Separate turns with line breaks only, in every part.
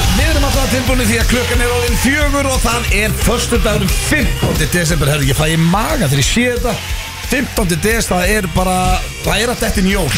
það tilbúinu því að klukkan er orðin fjögur og það er förstu dagurum 15. desember Herri, ég fæ í maga þegar ég sé þetta 15. des, það er bara, það er að þetta er jól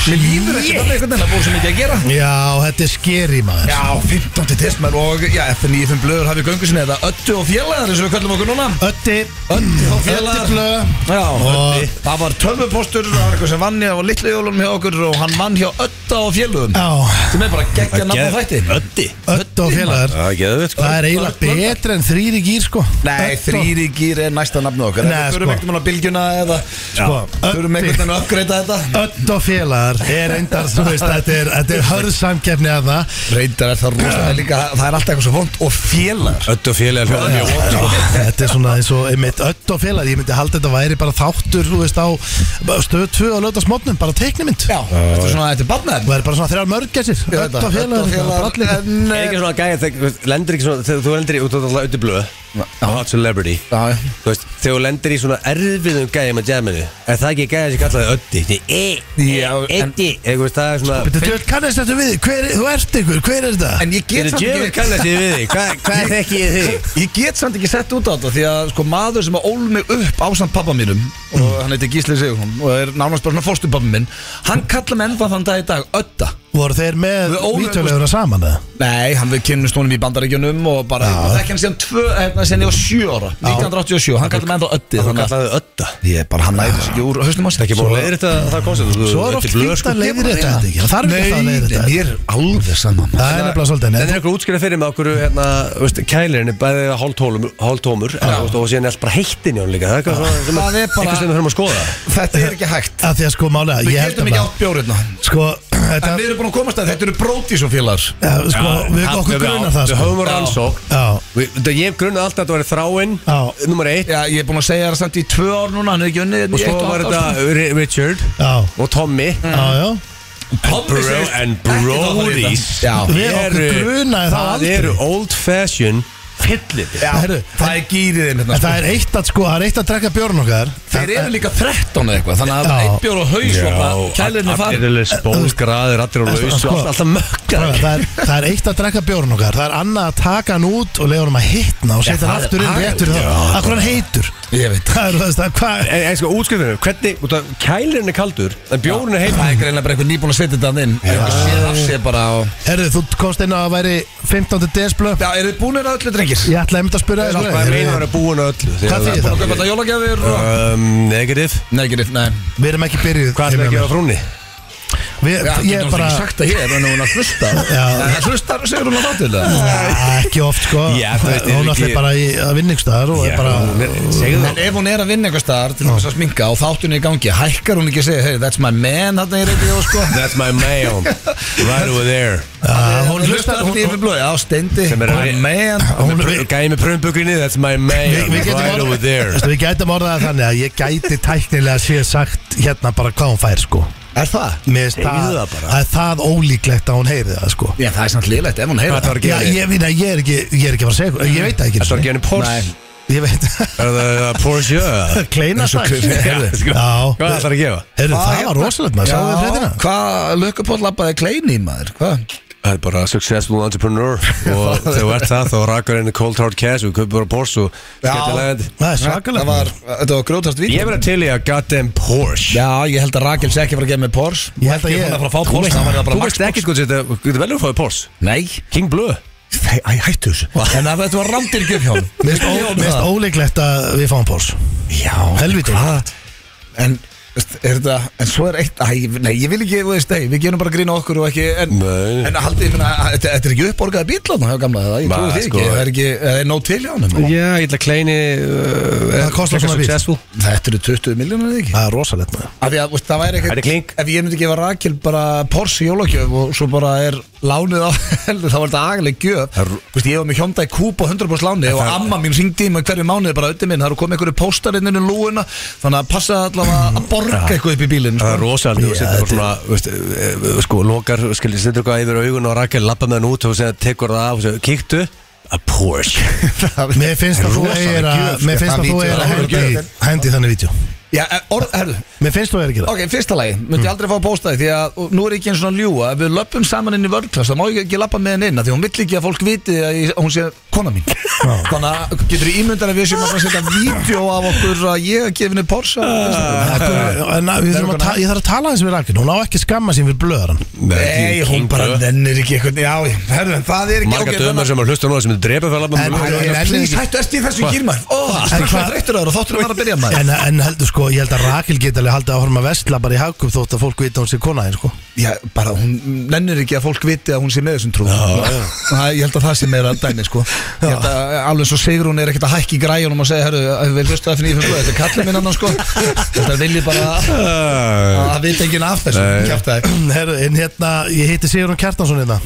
Mér líður ekki þetta einhvern veginn að búið sem ekki að gera
Já, þetta er skeri maður
Já, 15. desember og já, FN í þeim blöður hafið göngu sinni eða Öttu og Fjellaðar eins og við köllum okkur núna
Ötti
Öttu og
Ötti
Fjellaðar
blöð
Já,
Og-
Öddi. það var tölvupostur og það var eitthvað sem vann ég á litlu jólunum hjá okkur og hann vann hjá Ötta og Fjelluðum
Já,
sem er bara geggja nafn á þætti
Ötti
ötti og félagar
Það er ekki það sko
Það er eiginlega betra en þrýri gýr sko
Nei,
Öddi og-
þrýri gýr er næsta nafnu okkar
Nei,
Við
sko.
þurfum ekkert um að bylgjuna eða
Sko,
Þurfum
Öddi.
ekkert um að uppgreita þetta
Öll og félagar er endar, þú veist, þetta er, þetta er hörð samkeppni að það
Reyndar er það rosalega líka Það er alltaf eitthvað svo vond og félagar
Öttu og félagar hljóðan mjög vond sko.
Þetta er svona eins og einmitt öll og félagar Ég myndi halda þetta væri bara þáttur, þú veist, á stöðu 2 og löta smotnum, bara teiknimynd
Já, þetta er svona, þetta er
Það
barnaðin
er bara svona þrjár mörgessir
Ég veit
Öll
það,
og
Öddi og
félagar,
félagar,
brallir
en, eh,
Er ekki svona gæja þegar þú lendir ekki svona Þegar þú lendir í, þú ert alltaf auðvitað blöð Og hot celebrity
Já,
Þú veist, þegar þú lendir í svona erfiðum gæja með jamminu Er það ekki gæja sem kallaði ötti Þið, e,
Já,
e,
en-
Ötti Eða þú veist, það er svona
Þú veist, kannast þetta við, hver, þú ert ykkur, hver er þetta?
En ég get
Þetta
samt
djöfur
ekki
kannast ég við þig Hvað- Hvað þekki ég þig?
Ég get samt ekki sett út á þetta Því að sko maður sem að ól mig upp ásamt pappa mínum Og hann heitir Gísli Sigurðsson Og er nánast bara svona fórstupappa minn Hann kallar mig ennþá þann dag í dag Ötta
Voru þeir með
Við ólum-
vítjuleguna saman eða?
Nei, hann við kynnumst honum í bandaríkjunum og bara, það ekki hann síðan tvö, hérna síðan ég var sjö ára, 1987, hann kallar mig ennþá ötti,
Þú
þannig að
kallaði ötta
ég bara, hann næður sér ekki úr hausnum að
Það er ekki búin að leiðir þetta það konsert þú-
Svo er
Öddi
oft
blöð,
fínt
sko.
að leiðir þetta ekki Það þarf ekki alltaf að leiðir þetta
Nei, mér er alveg saman
Það er nefnilega svolítið
Þetta
en-
er eitthvað útskýrað fyrir með okkur hérna, veist, kælirinn er bæðið hálftómur og síðan er allt bara heittin í hún líka Það er eitthvað svona sem að-
Það er bara-
eitthvað sem við höfum að skoða
Þetta er ekki hægt,
Af Því að sko málega,
við
ég held
getum
að
ekki
bara-
átt bjórið En
Sko, þetta
við erum búin að komast að þetta eru brótísofélagar
Já, sko, við
Það-
okkur
við-
grunar það
Við
sko
höfum að
Já.
rannsók
Já,
Við- þetta- Ég grunaði alltaf að þetta var þráinn
Já.
Númer eitt
Já, ég er búin að segja það samt í tvö ár núna, hann er ekki unnið hérna
Og svo var þetta Ri- Richard
já,
og Tommy
já, já
Bro- and Brodies
Já,
Við okkur
eru-
grunaði það
Það
aldrei.
eru old fashion fyllir
já,
Herru,
það er gýriðin
En
hérna
það er eitt að sko, það er eitt að drekka björn okkar
Þeir eru líka 13 eða eitthvað, þannig að
Já.
einn bjór og haus og bara kælirinn er farin
allir spólgraðir, allir á lausu
sko-
allt- Alltaf mökkar
Það er, það er eitt að drekka bjórn okkar Það er annað að taka hann út og leiða hann að hitna og setja
það er
hann aftur inn
agalegt.
réttur þá Akkur hann heitur
Ég veit
Það er þú veist að hvað
En en sko, útskjöfnir, hvernig, út af kælirinn er kaldur En bjórinn er heitur
Það er greinlega bara eitthvað nýbúin að setja þetta hann inn Eitthvað séð af sér bara og...
Herru, þú komst inn á að væri 15. desblö
Já, eru þið búinir að öllu drengir?
Ég ætlaði einmitt að spyrja
Það
þér,
er alltaf
sko,
reynið að vera búin að öllu
Hvað þýðir
Búin
það?
að kaupa þetta jólagjafir og...
Um, negativ
Nei, ekki neitt, nei
Við erum ekki byrjuð
Hvað er
heima
það að
hjá
gefa frúnni?
mér. Við-
Já,
Ég er
getum
bara
ekki sagt það hér, en hún er að hlusta
Já.
En Hlustar Sigrún að þáttu þetta?
Já, Ekki oft sko
Já, þú veist,
Hún
er ekki-
ætlaði bara í að vinningstaðar og er bara
Segðu
En ef hún er að vinna eitthvað starf til þess að sminka og þáttunni í gangi, hækkar hún ekki að segja, hey, that's my man, þarna er eitthvað, sko
That's my man Right over there
Já,
Hún hlustar allir yfir blóð, já, steindi,
Sem er
my
að-
man
Hún- við-
Gæði með prumbuggrinni That's my
Við-
man
við getum
Right
orðað-
over there
Veistu, Við gætum orðað það þannig að ég gæti tæknilega séð sagt hérna bara hvað hún fær sko
Er það?
Mér finnst
Segðu
það,
það bara.
það er það ólíklegt að hún heyri það sko
Já, það er samt liðlegt, ef hún heyra
Hvað það var að
Já,
gefa
ég,
þér?
ég, ég, er ekki, ég er ekki að fara að segja ykkur. Ég veit það ekki
Þetta var að
einu
Nei.
gefa henni Porsche
sinni. Ég veit
Er það uh, Porsche eða?
Kleina
Eins og
sagt
kveð-
Já,
Já, sko. Hvað
Heyrðu,
ætlar að gefa?
það var rosalegt maður Sáðu þið
Já,
fréttina?
hvað lökkupóll labbaði klein í maður, hvað?
Það er bara successful entrepreneur Og þegar þú ert það Þá rakar henni cold hard cash Og kaupir bara Porsche Og
Já.
skemmtilega legend
Það er
Það var,
svakalegt maður.
þetta var grótast vídeo
Ég verði til í að goddamn Porsche
Já, ég held að Rakel sé ekki að fara að gefa mig Porsche
Ég held að
Hún
ég-
er að fara að fá
Þú
Porsche,
veist-
það var það bara
Þú veist ekki sko Þetta getur velur að fáið Porsche
Nei
King Blue
Æ, hættu þessu En það þetta var randir gjöf hjá honum.
Mér finnst ó- mér finnst ólíklegt að við fáum pors
Já
Helviti.
hvað? En, veist, er þetta En svo er eitt Æ, nei, ég vil ekki, þú veist, nei Við gerum bara grín á okkur og ekki En,
Nei.
en haldið, ég meina að- Þetta þetta er ekki uppborgaði bíl Þannig að gamla það, ég
Ma,
trúi því
sko.
ekki Það er ekki, það er nóg til hjá hann
Já, ég ætla að kleini uh,
Hvað kostar svona bíl?
Þetta eru 20 miljónir eða ekki
Það er rosalegt maður
Af því að, veist, það væri
Það er klink.
ekkert Ef ég myndi gefa Rakel bara Porsche jólagjöf og svo bara er lánið á heldur, þá var þetta agaleg gjöf
Það er-
Vist, ég var með hjónda í kúp og 100% láni og
það-
amma mín syngdi í mig hverju mánuði bara auðvitað minn, það eru komið einhverju póstarinn inn um lúuna þannig að passa allavega að borga eitthvað upp í bílinn sko.
Það er rosalega þú setur bara svona, veist, eh, eh, sko, lokar, skil, setur eitthvað yfir augun og Rakel lappa með hann út og segja, tekur það af og segja, kíktu, a Porsche
Það er-
Mér finnst
Það er
að þú
rosaleg
eigir að
gjöf, sko.
Mér finnst
Það
að þú
vídeó-
eigir
það er
að hendi-
gjöf.
hendi í þannig vídeo
Já, en orð, herru,
Mér finnst þú er ekki það
ok, fyrsta lagi Möndi ég aldrei fá að posta því Því að og nú er ég ekki eins og ljúa Ef við löpum saman inn í vörklass þá má ég ekki lappa með henni inn af Því hún vill ekki að fólk viti að ég, að hún sé kona mín Þannig að getur ímyndan að við séum að fara að setja vídeo af okkur að ég að gefa henni Porsche
Akkur- en að- við þurfum að ta- Ég þarf að tala eins við Rakin Hún á ekki að skamma sín fyrir blöðar hann
Nei, hún bara nennir ekki eitthvað Já, ég- herru, en það er ekki
Marga
ok,
dömar
þannig að-
sem að hlusta núna sem er drepið fyrir
En-
labbaðum
en-
Æ,
nennir
Please,
ekki.
hættu eftir þessu ég gýr maður Ó, strax
hvað-
þreyttur ára, þáttur var að byrja maður
En, en heldur sko, ég held að Rakel geti alveg haldið að horfa að vestla bara í hagkjöp þótt að fólk vita hún sé kona þín sko
Já, bara hún nennir ekki að fólk viti að hún sé með þessum trú Það- Ég held að það sé meira dæmi sko Ég held að alveg svo segir hún er ekkert að hækki græjunum og segja, herru, ef við hlustu það fyrir nýjum blöð Þetta er kallið minn annan sko Þetta er viljið bara að
Ah,
að vita enginn af þessu Kjaftaði
Herru, en hérna, ég heiti Sigurðun Kjartansson hérna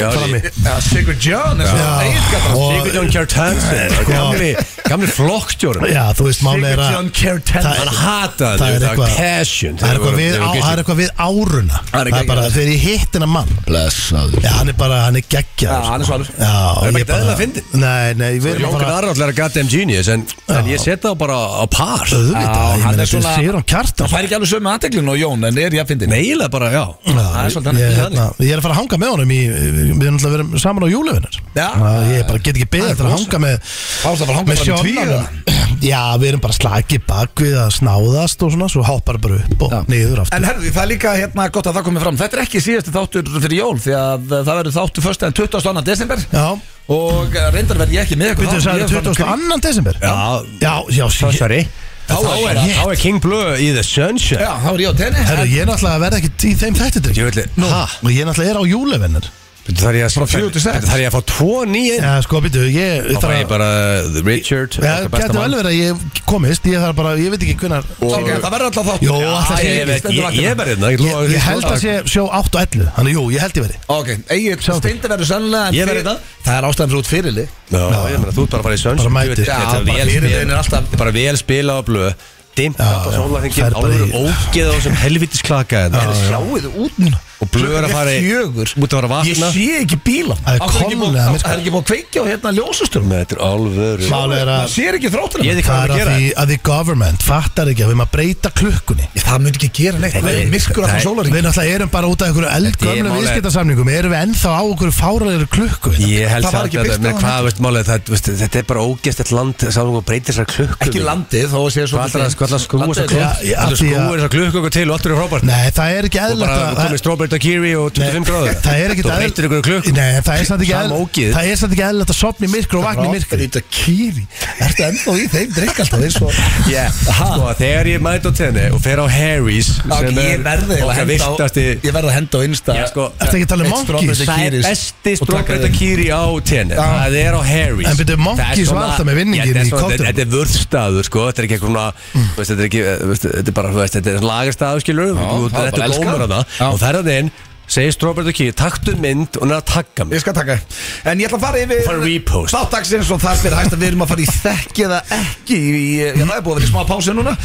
Já,
Frammi.
Já, Sigur John er
Já.
svona eiginlega
Og-
Sigurd Jón Kjart Hansen Gamli, gamli flokkstjórum
sko. Já, þú veist, máli er
Sigur
að
John Kertan
Það-
Hann hata
það er
þetta,
eitthvað-
passion
Það er eitthvað við, á, það er
á
eitthvað við áruna
Það
Það
er
er,
ekki-
bara þegar ég hitt hennar mann
Blessaður
Já, hann er bara, hann er geggjað
Já, hann er svalur.
Já,
Það er
og
bara
ég
ekkert eðlilega fyndið.
Nei, nei, við erum
Jón
að fara
Gnarr allir er goddamn genius en, en ég set það bara á par
Öðvita,
Já,
ég
hann
meina
er
þetta
svona-
er Sigurðun
Það
Kjartansson
fær ekki alveg sömu aðteglinu og Jón, en er ég að fyndi
Neila bara, já
Já,
Það er
ég,
svolítið þannig.
ég, hérna, ég er að fara að hanga með honum í, Við erum alltaf að vera saman á júlefinir
Já.
Ég bara get ekki beðið eftir að hanga með
Fást að fara að hanga bara
með
með tví, eða?
sjónanum Já, við erum bara slakið bak við að snáðast og svona Svo hoppar bara upp og
Já.
niður aftur
En herði, það er líka hérna gott að það komið fram Þetta er ekki síðasti þáttur fyrir jól Því að eh, það verður þáttur fyrst en 22. desember
Já,
Og eh, reyndar verð ég ekki með ykkur
byrjuðu
þá,
sagði
ég er farin að
22. desember
Já,
já, já sí-
sorry Þá er, þá er King Blue í The
grí-
Sunshine
Já, þá er ég á tenni
Herru, ég er náttúrulega að verða ekkert í þeim þætti
Ég
Drengur.
veit,
Nú, og ég er náttúrulega er á júlefinir
þar ég að
fjögur til sex.
Þar ég að fá tvo nýjinn
Já, sko, byrju, ég
Þá fæ ég bara uh, The Richard
Já,
okkar besta
getur
mann.
vel verið að ég komist Ég þarf bara, ég veit ekki hvernar
Ok, það verður alltaf þáttur
Jó,
Já,
alltaf
ég-
sé
Ég
ég
veit,
stendur
ég-
vaktina.
ég verði hérna ég lofa-
Ég held að sé sjó 8 og 11 Þannig, jú, ég held ég verið
Ok, eigið
Sjáum til.
steindi verður sannlega en
Ég verð
fyrir-
þetta.
Það er ástæðan fyrir út fyrirli
Já, ég meina, þú ert bara að fara í Sunshine
Bara mætir.
Ég veit,
Já,
þetta
bara
er vel
fyrir
spilað.
þeim er alltaf-
Þetta er bara vel spila á blöð Dimmt
Já,
átt á
já.
sólarhengin
Fer bara
Álur
í-
ógeð á hérna. sem helvitis klaka
En sjáu þið út núna
Og blöð er að fara í
Fjögur
Mútið að fara að
Ég
vakna
sé ekki bíla
Það er kollega myrkur.
Það er ekki búið að kveikja á hérna ljósastörum
Með Þetta er alvöru
Mál er að
Það sér ekki þróttur
Ég veit ekki hvað
Það er
það að
að
gera
því að því government fattar ekki að við erum að breyta klukkunni
Það myndi ekki gera neitt
Nei,
Það er myrkur að
nei.
það sólar
Við náttúrulega erum bara út af einhverju
Þetta
eldgöfnum
er málið.
viðskiptasamningum Erum við ennþá á okkur fáralegri klukku hérna?
Ég held
Það var
samt
ekki
að
byggt
þetta-
á
með hvað, veist, málið, það- veist, Þetta er bara ógeðst eitt land Sáðum og breytir þessar klukku
Ekki landið þó að sé svo
Hvað ætlar að- hvað ætlar að skrúa
Já,
þessar klukku
já,
Þú
því að-
skrúa þessar klukku okkur til og allt eru frábært
Nei, það er ekki
Og
eðlilegt
bara
að-
komið strawberry daiquiri og 25 gráður
Það er ekki
Þú breytir ykkur klukku
Nei, en það er samt ekki
Sama ógið.
eðlilegt Það er samt ekki eðlilegt að sopna í myrkur og vakna í myrkur
Þetta kýri Ertu ennþá í þeim drikk alltaf eins og
Yeah. Sko, þegar ég mæti á tenni og fer á Harry's sem
Ég verði
er
eiginlega
okkar
að henda á-
virtasti
Ég verði að henda á Insta
Já, sko,
Ertu ekki að tala um
Eitt
monkeys?
strawberry
það er
kýris
besti
og taka
strókræta
þeim.
kýri á tenni það er á Harry's
En byrju, Monkeys
Það er svona-
var alltaf með vinninginn
Já, þetta er
í
svona-
kottunum.
Þetta er vörðstaður, sko, þetta er ekki eitthvað svona þú veist, Þetta er ekki, eh, veist, þetta er bara, þú veist, þetta er lagarstaður, skilur
það er
Þetta
bara
er gómur
elskað.
að það
Já.
Og ferðan inn, segir strókræta kýri, taktu mynd og næra takka mig
Ég skal taka En ég ætla að fara yfir
Fara repost.
Þáttaksins og þar fyrir hægt að við erum að fara í þekki eða ekki í, Ég ætla að búið að vera í smá pásu núna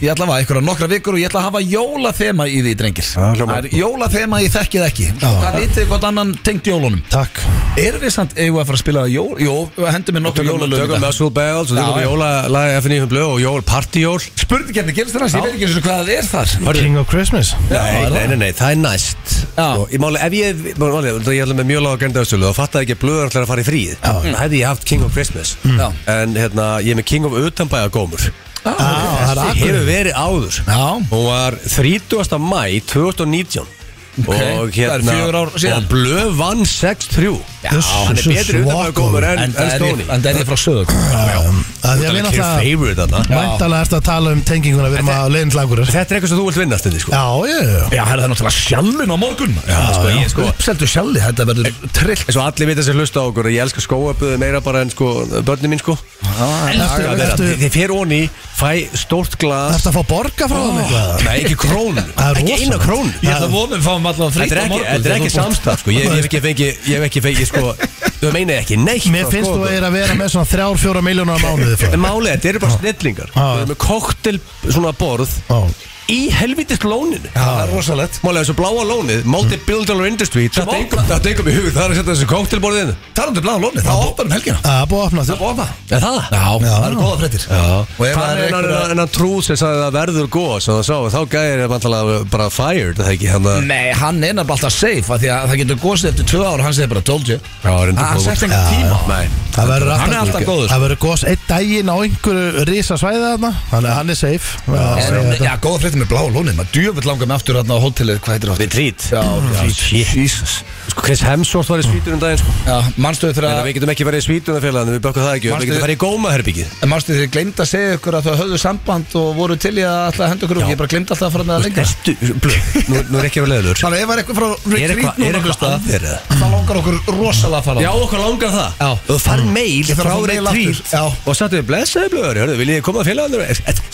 Ég ætla að hafa einhverja nokkra vikur og ég ætla að hafa jólathema í því drengir
Já, hljómar.
Það er jólathema í þekki eða ekki Það vitið þið hvort annan tengt jólunum
Takk
Erum við samt eigum við að fara að spila jól? Jó, hendum við nokkur
Tökum
jólalög í
tökum
dag.
Muscle Bells og
Já,
tökum
já.
jólalag FNF Blöð og jólpartíjól
Spurningkefni gerist þarna, ég veit ekki eins og hvað það er þar
King of Christmas
Já,
Nei,
er
nei,
það?
nei, nei, það er næst
Já.
sko, Ég máli, ef ég, máli, ég ætla með mjög lága grindafstölu þá fattaði ekki að blöður ætlar að fara í fríð Þá hefði ég haft King of Christmas
Mm. Já. Ah,
En hérna, ég er með King of Utanbæja gómur
Já, það er
Þessi
akkur
hefur verið áður
Já.
Hún var 30. mæ 2019 Og
það er
hérna,
fjögur ár síðan.
og blöð vann 6-3 Já, hann er
Jesus,
betri utanbæja gómur en,
En
en,
það er ég-
Stóni
en það er ég frá sögur
Um, Það er
Utanbæja
náttúrulega
favorite þarna
Mæntalega ertu að tala um tenginguna Við erum
Þetta-
að leiðin til akkur Já,
Þetta er eitthvað sem þú vilt vinna stundi, sko
já, já
Já, það er náttúrulega sjallin á morgun Já,
sko, ég- sko-
Uppseldu sjalli, þetta verður trillt
eins og allir vita sem hlusta á okkur að ég elska skóaböðu meira bara en sko börnin mín sko
Ertu-
Elskar þeirra.
ertu-
Þi- þið fer onni, fæ stórt glas
Þetta að fá borga frá þeim eitthvað
nei ekki krón
Það er
ekki
rosa.
eina krón
Ég ætla að vonum fáum allavega
þetta
frýtt á
er ekki,
morgun
þetta er ekki samstaf sko. ég, ég hef ekki fengið ég hef ekki fengið sko þau meina ekki neitt sko,
Mér
frá
finnst þú
skóaböðu.
að vera með svona þrjár, fjóra miljónar á mánuði frá
en málið er, þetta eru bara snillingar
Já.
þau eru með koktel svona borð
Já.
í helvitist lóninu
það er rosalegt
Málega þessu bláa lónið, multi-billion dollar industry Þetta
opnar-
engum- þetta engum í hug, það er að setja þessu kóktelborðinu
Talandu bláða lóni, það opnar um helgina
Það er búið að opna
Það
aftur
er opnað
Er það?
Já, það eru góða fréttir Og ef
Hvað
það
er
er
hennar
einhverja
einhverja... trú sem sagði að verður gos og það sá, þá gæðir það vantalega bara fired, það ekki hann að
Nei, hann er nefnilega alltaf safe af Því að það getur góðsið eftir tvö ár Hann segir bara told you
Já, reyndar
Hann
góður.
sett einhvern tíma
Nei,
Það verður
Hann er
alltaf-
alltaf góður sko.
Það verður gos eitt daginn á einhverju risa svæði þarna Þannig að hann er safe Já,
En,
segja þetta.
Já, góða fréttir með bláða lóni Maður djöfull langar með aftur hérna á hótelið Hvað heitir það?
Retreat
Já,
shit.
Jesus
Sko Chris Hemsworth var í svítunum daginn sko.
Já, mannstöðu
Þannig að
þegar
við getum ekki farið í svítunum félaginu, við bökkum það ekki upp. Við
Manstu-
getum farið í gómaherbyggið
Manstu þið glemt að segja ykkur að það höfðu samband og voru til í að alltaf henda ykkur og ég bara glemt alltaf að fara með það lengra
Ertu, blöð, nú, nú er ekki að vera leiðilur
Þannig að ef það er eitthvað frá
Er eitthvað- er eitthvað að þér eða?
þá langar okkur rosalega að fara
Já, Mm. okkur langar það
Já.
Og þú farið meil
Ég þarf að
frá
fá mail
retreat
aftur. Já.
Og sattu við blessaði blöður, hörðu, viljið þið koma að félaginu?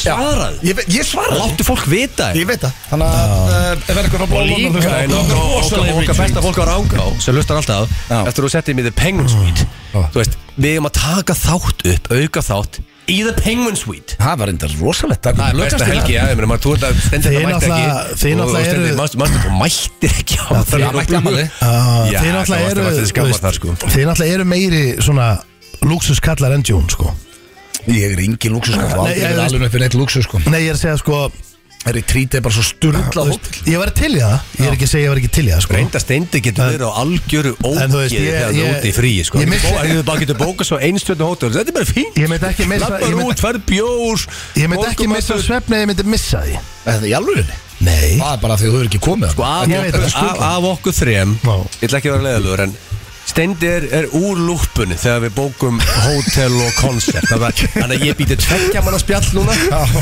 Svarað
Ég, ve- ég svara því.
Láttu fólk vita
Ég veit það Þannig að uh, ef það er eitthvað frá
Og
bláa lónum
líka
þá- þá
en okkar
langar rosalega
okkar- okkar
retreat.
besta fólk á Rangá sem hlustar alltaf
Já.
eftir að þú settir mig í The Penguin Suite þú veist, við erum að taka þátt upp auka þátt í The Penguin Suite
Það var reyndar rosalegt
Það er besta helgi, já, ég meina, maður þú ert að stendur
Þið
þetta mætti
náttúrulega-
ekki
þið
og-
náttúrulega
og stendur-
eru-
manstu- manstu, þú mættir ekki á það
Já, mætti ammali
Já,
Já,
Þeir
það
náttúrulega
varstu-
eru
varstu skammar
þú veist,
þar, sko.
Þeir náttúrulega eru meiri svona Luxuskallar en June sko
Ég er engin lúksus sko.
Nei,
Ég
ég
er
veist-
alveg upp fyrir neitt lúksus sko.
Nei ég er að segja sko
Retreat er bara svo sturla
þú veist, Ég var til í það Ég er ekki að segja ég var ekki til í það sko
reynda steindi getur verið á algjöru
En þú
ógeð
veist, ég-
þegar þú
ég-
ert í fríi sko.
ég
en
missti-
þú bara getur bókað svo einstjörnu hótel þetta er bara fínt
Ég myndi ekki missa-
lappar
ég myndi-
út, fær bjór
Ég myndi ekki missa svefni Ég myndi missa því
Það er í alveg
Nei
Það er bara því þú hefur ekki komið
sko, af,
Ég veit
okkur,
það,
af, af okkur þrem
Vá.
Ég ætla ekki að vera leiðalögur en Steindi er, er úr lúppunni þegar við bókum hótel og koncert Það var- Þannig að ég býti tvekja manna spjall núna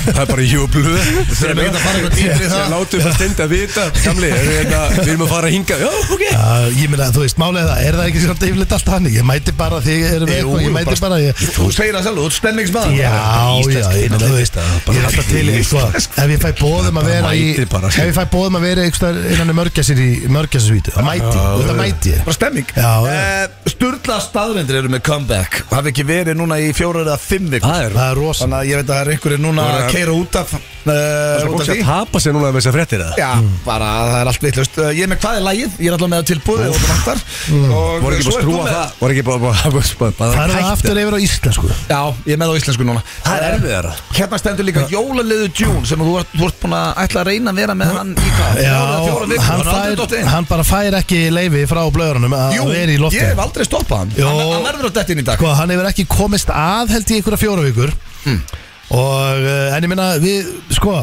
Það er bara júblu
Þurfum ekki hérna að fara eitthvað dýpra í það.
Látum það Steindi að vita Gamli, er við, hérna, við erum að fara að hinga Já, ok
Já, ég meina, þú veist, málega það, er það ekki svolítið yfirleitt allt hann? Ég mæti bara þig, erum við
Jú,
eitthvað, ég
jú,
mæti
bara-
bara, ég...
Þú segir það sjálf, þú ert stemningsmaður
Já, já, ég meina, þú veist, ég er alltaf til í, sko, ef ég fæ bóðum að vera í,
Mæti bara,
ef
sko.
ég fæ bóðum að vera einhverstaðar innan um mörgæsir í mörgæsasvítu, það mæti, þetta mæti ég.
Bara stemming
Já, já.
uh, Sturla staðrindir eru með comeback og hafi ekki verið núna í fjórar eða fimm vikur
Það er
Það er rosa.
Þannig að ég veit að það er einhverju núna
Það er-
að keira út af uh, út
Fólk
af
sé
því
að tapa sér núna með þess að fréttir það
Já,
Mm.
bara það er allt vittlust uh, Ég er með hvað er lægið, ég er alltaf með það tilbúið og það vantar
Mm.
Og eh,
Voru ekki
svo ert þú
bara að skrúa
með-
það Voru ekki bara- bara bara- bara
Það er það
hætta?
aftur yfir á Íslandsku.
Já, ég er með það á íslensku núna
Það er erfiðara
Hérna stendur líka jólaliðu June sem þú ert, þú ert búin að ætla að reyna að vera með hann í hvað?
Já,
Fjórar eða fjórar vikur,
hann,
er aldrei
fær,
dottið inn.
hann bara fær ekki leifi frá blöðurunum að
Jú,
vera í
ég hef
loftinu.
aldrei stoppað hann
Jó.
Hann hann verður á dettin í dag
Sko, hann hefur ekki komist að held í einhverja fjóra vikur
Hmm.
og eh, en ég minna við, sko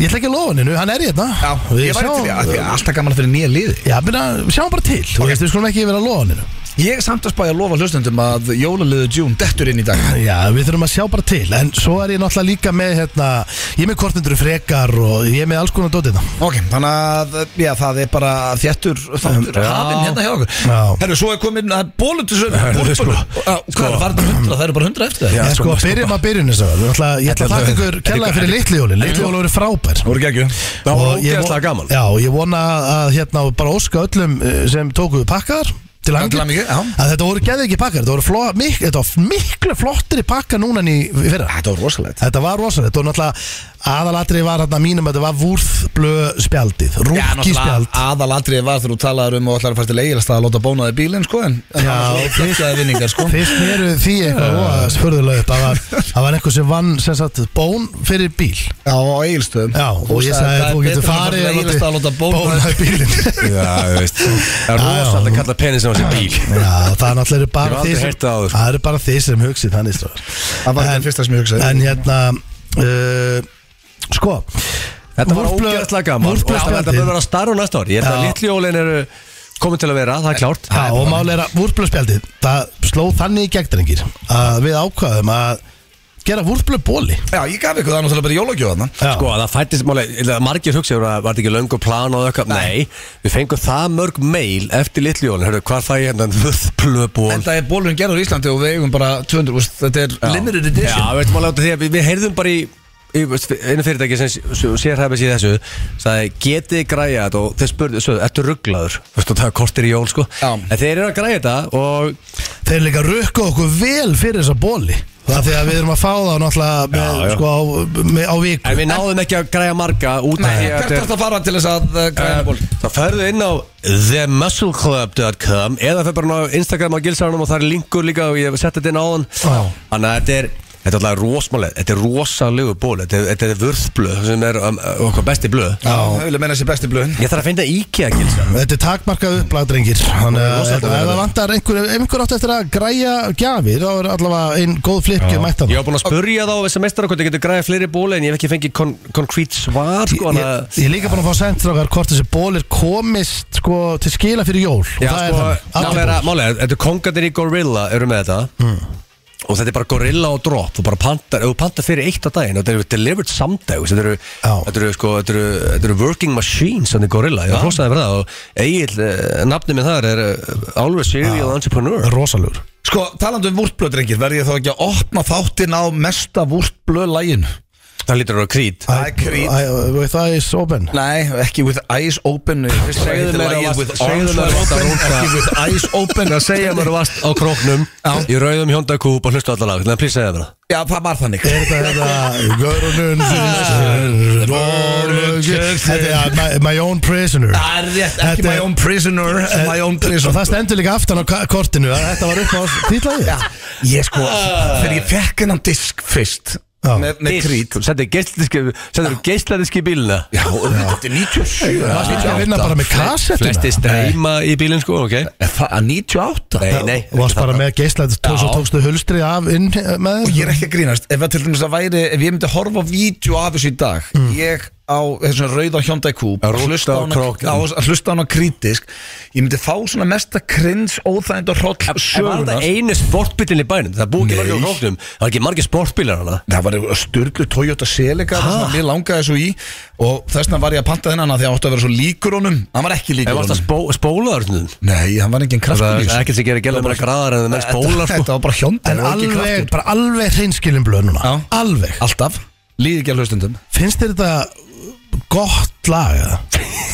ég ætla ekki að lofa hennu, hann er hérna
Já,
Við
ég væri
sjáum-
til í að, alltaf gaman fyrir nýja liði
Já, minna, við sjáum bara til, þú veist, við skulum ekki vera að lofa hennu
Ég er samt að spæja að lofa hlustendum að jólaliðu June dettur inn í dag
Já, við þurfum að sjá bara til, en svo er ég náttúrulega líka með, hérna, ég er með kortundru frekar og ég er með alls konar dótið hérna. það
Ok, þannig að já, það er bara þjættur þáttur
Já.
hafinn hérna hjá okkur
Já.
Herru, svo er komin að bólu til sömu
Herru,
Bólur.
sko.
Á, Hvað er það hundra? Það eru bara hundra eftir
Já,
það
En
sko,
sko,
sko,
byrjum að byrjun þess að, ég ætla að þakka ykkur kærlega fyrir litli jólin, litli jólin voru frábær
voru geggju
Það var
ég von-
ógeðslega gaman
Já, ég vona að hérna bara óska öllum eh, sem tókuðu pakkar til
til hamingju,
hangi
já.
að þetta voru geði ekki pakkar þetta voru fló, mik, þetta var miklu flottri pakkar núna en í í fyrra
Þetta var rosalegt
Þetta var rosalegt og náttúrulega aðalatri var hérna mínum að þetta var vúrþblö spjaldið, rúkki spjald
aðalatriði var þegar þú talaður um og ætlar að fara til eigilast að láta bóna þig bílinn sko en en
Já,
það var fyrstaði vinningar sko
Fyrst mér því eitthvað og spurðulega upp það var, það var einhver sem vann sem sagt bón fyrir bíl
Já, á eigilstöðum
Já, og ég sagði að þú getur farið
Það er betra að fara til eigilast að láta bóna
bónaði bílinn
Já, þú veist Það er
Já, já.
rosalega að kalla penisin á sér bíl
Já, það er náttúrulega eru
Ég
bara þeir sem
hef aldrei heyrt það áður.
Það eru bara þeir sem hugsið þannig stráður
Það var það fyrsta sem ég hugsaði
En hérna uh, Sko
Þetta var
Wolfblö-
ógeðslega gaman og
Wolfblö
Þetta
spjaldið
bör vera starf næsta ár Ég held að
Já.
litlíólin eru komin til að vera, það er klárt
Já, og máli er að Úrblö spjaldið Það sló þannig í gegndrengir Að við ákvaðum að Gera Úrblö bóli
Já, ég gaf ykkur það náttúrulega bara í jólagjóðana
Já.
Sko, það fættist málega, ég held að margir hugsa yfir að var þetta ekki löngu plan og eitthvað Nei, við fengum það mörg mail eftir litlíólin Hörru, hvað fæ ég hérna vöðplöból
En það er bólurinn gerður í Íslandi og við eigum bara 200 úst, Þetta er limited edition
Já, veistu málega út af því að við, við heyrðum bara í í, veist, einu fyrirtæki sem sérhæfis í þessu sagði getið græja þetta og þeir spurðu, svo, ertu rugglaður veist, og það er kortir í jól sko
Já.
en þeir eru að græja þetta og
Þeir líka rökku okkur vel fyrir þessa bóli af því að við erum að fá þá náttúrulega með,
Já, já.
Sko, á, með, á viku
En við náðum ekki að græja marga út af
Nei,
því að
hvert
þetta
er
er-
þetta að fara til þess að uh, græna ból?
Eh, Þá ferðu inn á themuscleclub.com eða fer bara inn á Instagram á Gilsarunum og það er linkur líka og ég hef sett þetta inn á hann
Já.
Þannig að þetta er Þetta er alltaf rosmaleg, þetta er rosalegu ból Þetta er, þetta er vörðblöð sem er um, okkar besti blöð
Það vilja menna sér besti blöðin
Ég þarf að finna IKEA gilsar
Þetta er takmarkað upplag, drengir Þannig
Ó,
að
rosa
ef
góð
það
hugmynd.
vantar einhver Ef einhver átt eftir að græja gjafir Þá er allavega einn góð um flippju mætt
Ég
hann
var búin að spurja þá á þessar meistara hvort ég getur græða fleiri bóli en ég hef ekki fengið kon konkrét svar sko,
Ég,
þannig að-
ég er líka búin að fá sent strákar hvort þessi bólir komist sko, til skila fyrir jól Og
Já,
það er
sko,
þannig. Allir
málega,
bólir.
málega, þetta er kongatir í Gorilla eru með þetta og þetta er bara Gorilla og Drop þú bara pantar, ef þú pantar fyrir eitt á daginn og þetta eru delivered samdægus þetta eru,
Já.
þetta eru, sko, þetta eru, þetta eru working machines þannig Gorilla, ég hrósaði fyrir það og Egil, nafni minn þar er eh, always serial entrepreneur
Rosalegur
Sko, talandi um vúrtblöð, drengir, verð ég þá ekki að opna þáttinn á mesta vúrtblöð-lægin?
það lítur að vera krít
Það er krít
I, With eyes open
Nei, ekki with eyes open
Segðu mér að vast-
Segðu
segðu mér að vast að
open
róta.
Ekki with eyes open
það segja mér vast á króknum í rauðum hjóndakúp og hlusta allar lag þannig að plýsa segja mér það
Já, það var þannig
Er þetta hérna Görunum Þetta er að my, my own prisoner
Það er rétt,
Þetta
ekki my
er-
own prisoner My own
Og
prisoner
það stendur líka aftan á ka- kortinu að Þetta var upp á títlaði
Ég sko,
Ah.
þegar ég fekk hennan disk fyrst
Já.
Með, með krít
sendur geisladiski í bílina
Já, þetta er 97
Varstu ekki að vinna bara með kassettuna?
flesti streyma í bílinn sko, ok
Það er 98
Nei, nei
Og varst bara með geislæð og svo
Já.
tókstu hulstri af inn eh, með
Ég er ekki að grínast Ef, að til dæmis að væri, ef ég myndi horfa á vídeo af þessu í dag Ég á þessum rauða Hyundai Coupe
Mm. Að rústa
hlusta
á
á hana-
krókinn.
á- að Hlusta á hann á krítisk Ég myndi fá svona mesta krins Óþægind og hroll
En var þetta
sögunar
einu sportbílinn í bænum? Það búið ekki
Nei.
margir á hróknum Það var ekki margir sportbílar hana
Það var styrlu Toyota Celica
Ha?
sem Mér langaði svo í Og þess vegna var ég að panta þennan af Því að átti að vera svo líkur honum Hann var ekki
En
líkur
varst það
honum
spó, Sko, spólaður svona?
Nei, hann var engin
Það
kraftur í
er
þessu.
ekkert sem gerir gæla bara graðar en það menn spólar sko
Þetta var bara Hyundai
En
það var ekki
alveg,
kraftur.
bara alveg hreinskilin blöð núna
Já.
Alveg
Alltaf Líði ekki að hlustundum
Finnst þér þetta gott lag? eða?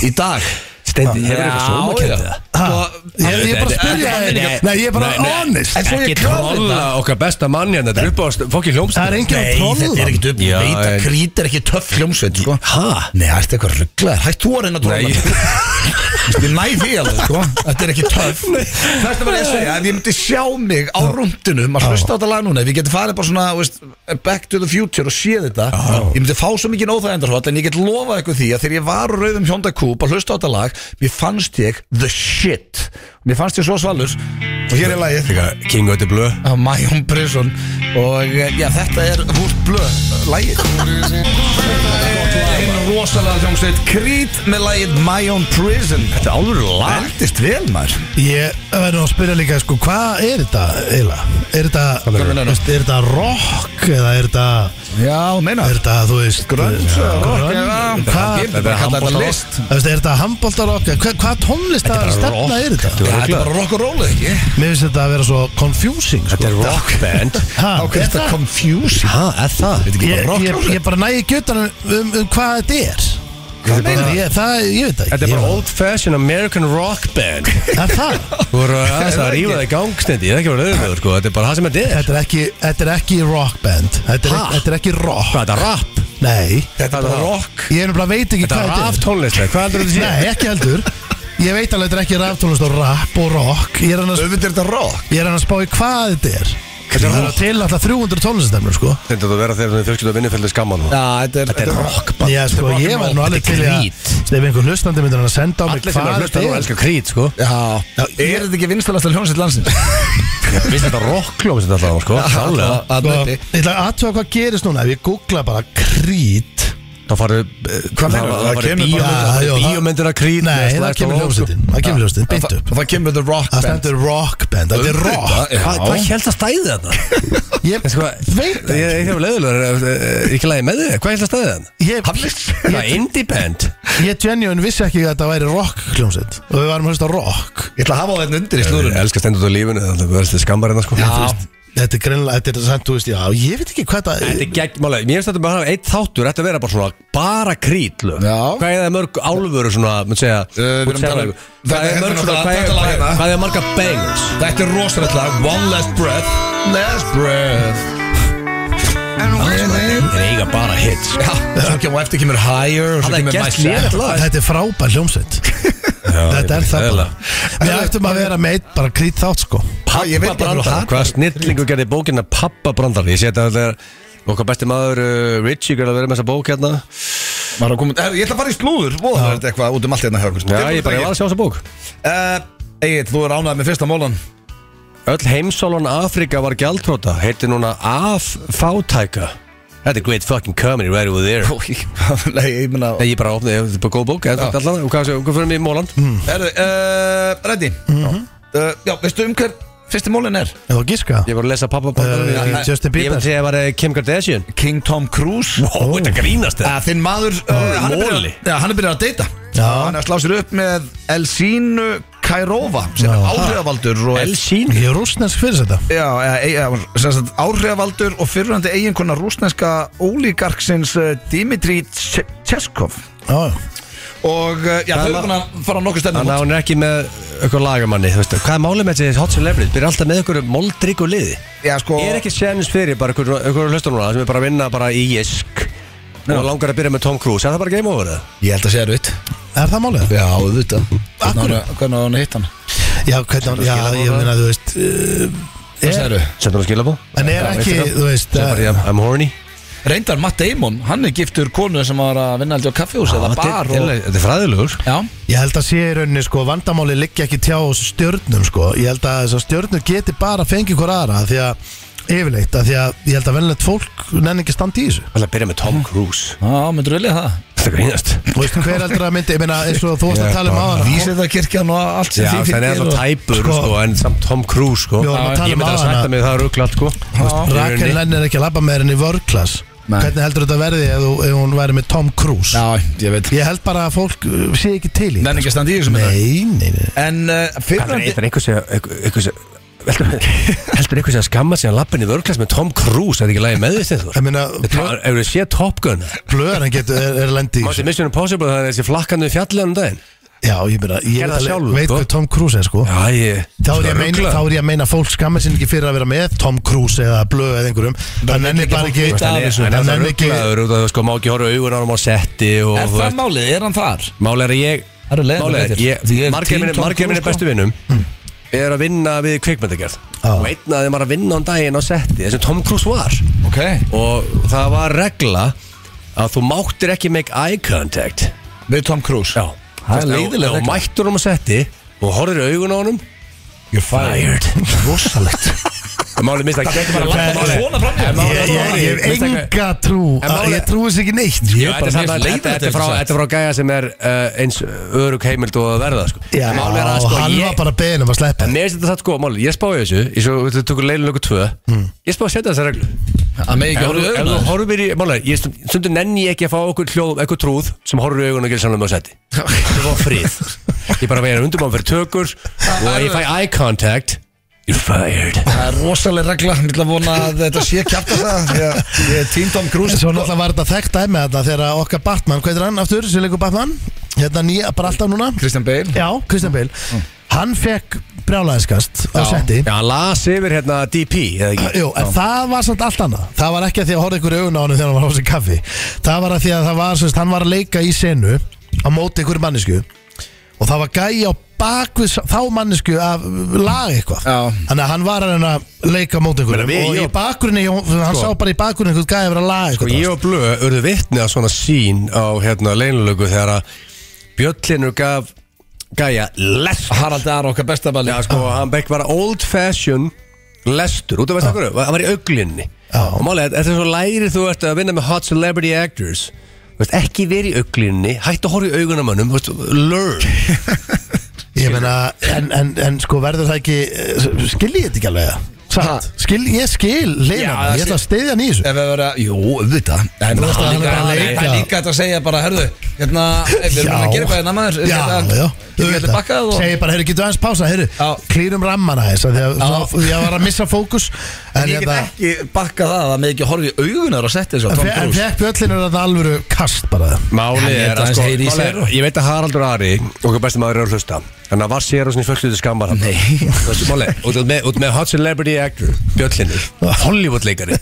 Í dag
Stendi, hefur
Já,
eitthvað svona að
já.
kynna það? Sko,
Ha? Ég
Þetta-
ég er bara að
þetta-
spyrja
þetta-
þig.
þetta-
Nei, ég er bara
Nei, nei.
honest
En svo ég
Ekki
kláði
trolla okkar besta manni en þetta er upp á fokki hljómsnum
Það er enginn að
Nei, þetta er
trolla
ekkert upp
Já,
Veit að
en-
krít er ekki töff hljómsveit sko.
Ha?
Nei, það er eitthvað rugglaður Hætt þú að reyna að
Nei.
tróla Ég næ því alveg sko. Þetta er ekki töff Þetta var ég að segja Ef ég myndi sjá mig á rúndinum Að hlusta á þetta lag núna Ef ég geti farið bara svona veist, Back to the future og sé þetta Ég myndi fá svo mikið óþægendarhótt En ég get lofað ykkur því Að þegar ég var á rauðum Hjónda Kúp Að hlusta á þetta lag Mér fannst ég the shit Mér fannst ég svo svalur Og hér er lagið
Þegar King of the Blue
á My Own Prison og eh, já, þetta er Vúrt Blöð lægið einn rosalega hljómsveit Creed með lægið My Own Prison
Þetta er alveg lag
Eldist vel maður
Ég verður að spyrja líka sko, hvað er þetta eiginlega? Er þetta,
Hvað meinarðu?
veist, er þetta rock eða er þetta,
Já, meina
er þetta þú veist
Grunge
eh,
eða rock,
grunge?
eða-
Hvað-
Ég myndi bara kalla þetta list
Þú veist, Er þetta handbóltarokk eða hvað- hvað tónlista stefna er þetta?
Já, þetta er bara rock and roll ekki
Mér finnst þetta að vera svo confusing sko.
Þetta er rockband
Ha,
Á hvað
er
er þetta
það?
confusing
Ha, er það?
Þetta er ekki
Ég,
bara
ég,
rock
ég bara nægi gjötan um, um hvað þetta er
Hvað meinar
ég, það, ég veit það ekki
Þetta er bara
Ég-
old fashioned American rockband
Er það?
Þú voru aðeins að
það
rífa það í gangstendi Ég er ekki að vera auðvitað sko Þetta er bara það sem þetta er
Þetta er ekki, þetta er ekki rockband Þetta er,
Ha?
ekki- þetta er ekki rock
Hvað, þetta er rap?
Nei,
Þetta er bara rock
ég er bara veit ekki
Þetta
hvað
er
þetta
rap
er
tónlistar Hvað heldur þetta sé?
Nei, ekki heldur Ég veit alveg þetta er ekki raftónlist og rap og rock Ég er hann að,
Öfund er þetta rock
ég er hann að spá í hvað þetta er Þetta er til alltaf 300 tónlistamur sko
Þetta er að vera þegar þú fjölskyldu að vinnufellu skamman
Já, þetta er
Þetta er rock bara
Já, sko,
rock and
ég var
roll,
nú alveg
þetta
til
er
í að
krít.
Ef einhver hlustandi myndir hann að senda á mig
Allir sem er
hvað
hlusta nú
þetta er
elskar krít sko
Já, er þetta ekki vinstalasta hljómsveit landsins?
Vist þetta rockljóð sem þetta var sko Sálega
Að
Sko,
nötti
Ég ætla að aðtöga hvað gerist núna Ef ég googla bara krít
Það farið
Hvað meinar þú? Það
Það farið
kemur bara-
Já, já, það-
bíómyndina krít
Nei, það kemur hljómsveitin Það kemur hljómsveitin, beint upp
Sko, Það kemur the rock band
Það stendur rockband, þetta er rock
Já.
Hvað hvað held að stæði þetta?
Ég
Sko,
veit
Ég
það
ég hef leiðulegur eh, Ekki lægi með þig Hvað held að stæði þetta?
Ég,
Það er indie band
ég genuine vissi ekki að þetta væri rock hljómsveit Og við varum að hlusta á rock
Ég ætla að hafa þetta undir í
Ég
slúrun
elskar stendur út á lífinu Það verður skammar en það sko
Já.
Þetta er greinlega, þetta er samt, þú veist, já, ég veit ekki hvað það
Þetta er gegnmálega, mér finnst þetta bara að hafa eitt þáttur Þetta vera bara svona, bara krítlög
Já.
Hvað er það mörg álfuru svona, mun segja
við erum
mun segja
að tala um-
mörg- Hvað er
Þetta-
mörg
þetta-
svona, hvað er-
þetta lag
hvað
hérna.
er- hvað er marga bangers
Þetta er rosalegt lag One last breath Last breath Það
Þeir eiga bara hits
Svo kemur eftir kemur Higher og svo
Hann er
kemur
gert
My Shadow.
lélegt lag.
Þetta er frábær hljómsveit Þetta er það bara Við ættum að vera meitt bara krýtt þátt sko
Já, ég veit ekki
Pappa
hvað
Brandar
það-
Hvaða snillingu gerði bókina Pappa Brandar Ég sé þetta að það er okkar besti maður uh, Richie gerði að vera með þessa bók hérna
Maður er að koma- Herru, Ég ætla að fara í slúður Vóða það er þetta eitthvað út um allt hérna hjá okkur
Já, ég bara ég var að sjá þessa bók
Egil, Eh, þú er ánægð með fyrsta mólan
Öll heimsólan Afrika var gjaldtróta Heitir núna Af Fátæka Þetta er great fucking comedy right over there
Nei, ég meina
Nei, ég bara opnaði, þetta er bara góð bók Þetta er allan, og hvað hvað fyrir mig í Móland
Herru, Reddi eh, Já, veistu um hver fyrsti mólin er?
Ef þú gíska
Ég var að lesa Pappa Brandar
Eh,
Ég-
Justin
Ég
Bieber
myndi segja að það var eh, Kim Kardashian
King Tom Cruise
Ó, þetta Ah, grínast
Að Þinn maður uh, hann, er byrjað,
Móli.
ja, hann er byrjað að deyta
Já.
Hann er að slá sér upp með Elsínu Kairova sem er
Já.
áhrifavaldur og er-
Elsín
Ég er rúsnesk fyrir þetta
Já, eða, e, e, sem sagt, áhrifavaldur og fyrrandi eiginkona rúsneska ólíkarksins eh, Dimitri Tse- Cheskov
Já,
og eh, já, þau
Hann
eru
á-
búin að fara á nokkuð stefnum
Þannig að hún er ekki með eitthvað lagamanni þú veistu. Hvað er málið með þessi hot celebrity? Byrja alltaf með einhverju moldrygg og liði
Já, sko,
Er ekki séns fyrir bara einhverju hlustur núna sem er bara að vinna bara í Jisk og langar að byrja með Tom Cruise Er það bara game over það?
ég held að segja raut
er það málið?
Já, auðvitað Hvernig á hann hitt hann?
Já, hvernig hann, já, ég meina, þú veist eh,
Hvað
er,
segirðu?
Sendur hún skilabó?
En er ekki, þú veist
Sem bara,
eh,
yeah, I'm horny
Reyndar Matt Damon, hann er giftur konu sem var að vinna aldrei á kaffihús eða
Þetta
bar
er-
og...
þetta er fræðilegur
Já,
Ég held að sé í rauninni, sko, vandamáli liggja ekki tjá stjörnum, sko Ég held að þessar stjörnur geti bara fengið hver aðra af Því að, yfirleitt, af því að ég held að velnett fólk nenni ekki standa í þessu
Það er að byrja með Tom Cruise
já, myndur vilja það
Þetta grínast
Þú veist, hver heldur að myndi, ég meina, eins og þú varst
Ég
að tala um
bara-
aðra
Vísið það kirkjan og allt sem
Já,
því
það er
fylgir
alltaf
og...
tæpur
Sko-
sko, en samt Tom Cruise sko.
Við vorum að tala
Ég
um
myndi að
áðan
sætta
að-
mig við það rugglalt sko.
Rakel Lenn er ekki að labba með henni í vörklass
Nei.
Hvernig heldur þetta verði ef, þú- ef hún væri með Tom Cruise?
Já, ég veit
Ég held bara að fólk uh, sé ekki til í
Menn ekki að standa í þessum þetta
Nei, nei, nei
En uh,
Heldur
fyrrandi
einhver sé Heldur einhver sé að skamma sig að lappin í vörglas með Tom Cruise Það er ekki lægi með því
Ég meina,
Hefur þið séð Top Gun?
blöðar hann getur, er, er lendi í þessu.
Mátti Mission Impossible það er þessi flakkanu fjallið um daginn
Já, ég meina, ég
Gerðu
veit
það
alveg-
sjálfur,
veit
sko.
hvað Tom Cruise er sko
Já, ég
Þá er, ég að meina, þá er ég að meina að fólk skammar sinni ekki fyrir að vera með Tom Cruise eða Blöð eða einhverjum Það nenni bara ekki
vita af þessu.
Það
Það er
nenni ekki
rugglaður um út af það sko Má ekki horfa augur á hann á setti og
Er
þú
það
veist.
málið, er hann þar?
Mál er að ég
Það eru leiðinlegar
Mál er
fréttir.
að
Því ég
ég
er sko.
Margir
team
minni-
Tom
margir minni
Cruise,
bestu vinnum Er að vinna við kvikmyndagerð
Já.
Og einn að þeim var að vinna á um daginn á setti Þessi Tom Cruise var
Ok
Og það var regla Að þú máttir ekki make eye contact
Við Tom Cruise
Já
Það er leiðileg
Og
regla.
mættur um á setti Og horfir í augun á honum
You're
Fired
Rosalegt
Málið minnst að
Það er ekki bara að lappa bara svona fram hjá.
Mál-
Ég- Ég ég hef enga trú
En mál er-
Ég trúi þess ekki neitt sko.
Já, Þetta er
bara mjög
samt-
leiðilegt
þetta- þetta er
þetta
frá,
sagt.
þetta er frá gæja sem er uh, eins örug heimild og að verða sko.
Já,
Mál er að sko
hann var
ég,
bara beðin um að sleppa
En mér finnst þetta satt sko máli, ég spáði þessu Ég svo, við tökum leilin okkur tvö
Hmm.
Ég spáði að setja þessa reglu
Það með ekki
Ef þú-
horfðu
ef þú
auðvitað
horfir í, máli, ég stund- stundum nenni ég ekki að fá okkur hljóð, eitthvað trúð sem horfir í augun og gerir sannlega með að setja Ég fá frið Ég bara vegar undumann fyrir tökur og ef ég fæ eye contact You're fired
Það er rosaleg regla Ég ætla að vona að þetta sé kjæft að það Ég ég er tím Tom Cruise
Svo náttúrulega var þetta þekkt dæmi þarna Þegar okkar Batman, hvað er hann aftur? Sér leikur Batman Hérna nýja, bara alltaf núna
Christian Bale
Já, Christian Bale Hann fekk brjálæðiskast á
Já.
setti
Mm. Já, hann las yfir hérna DP eða ekki
Jú, en það var samt allt annað Það var ekki að því að horfa ykkur í augun á hann þegar hann var á sig kaffi Það var að því að það var, sérst, hann var að leika í senu á móti ykkur mannesku og það var gæi á bakvið s- þá mannesku að laga eitthvað
Já.
Þannig að hann var að reyna að leika á móti ykkur
Meina, við-
og
ég-
í bakgrunni, hann sá bara í bakgrunni einhvern gæi að vera að laga
Sko
eitthvað
ég og Blö urðu vitni að svona sín á hérna leinulögu þegar að Bjöllinur gaf gæja lest
Harald Aron, okkar bestabali
Já sko, hann bekk var old fashion lestur út af veist okkur, hann var í auglinni
Já.
og málega, þetta er svo læri þú ert að vinna með hot celebrity actors Þú Veist, ekki verið í auglinni, hætt að horfa í augunamönnum veist, learn
Ég meina, en, en, en sko verður það ekki eh, skil ég þetta ekki alveg það? Satt, skil, ég skil
Já, það
leina, ég ætla
skil-
að steyðja hann í þessu
Ef við vera, jú, auðvitað En
Þú veist að
það er líka
hann er bara að leika.
Það er líka þetta að segja bara, herðu Hérna, ef við erum að gera eitthvað hérna maður
Já,
hérna,
já
Getum við allir bakkað og
Segir bara, heyrðu, getur aðeins pása, heyrðu
Já.
Klýrum ramman aðeins af því að
Já.
svona- Ég var að missa fókus En
En ég get
hérna
ekki bakkað það að með ekki horfið í augunar og setja þessu á Tom
En
Cruise
fekk bjöllinu þetta alvöru kast bara
Máli
Hann
er
lét
að
aðeins
sko
heyra í
máli er,
sér og-
Ég veit að Haraldur Ari Okkur besti maður er að hlusta Þannig að var sér og sinni fölkluðu skammar hann. Þú veist, Máli, út með, út með hot celebrity actor Bjöllinur, Hollywood leikari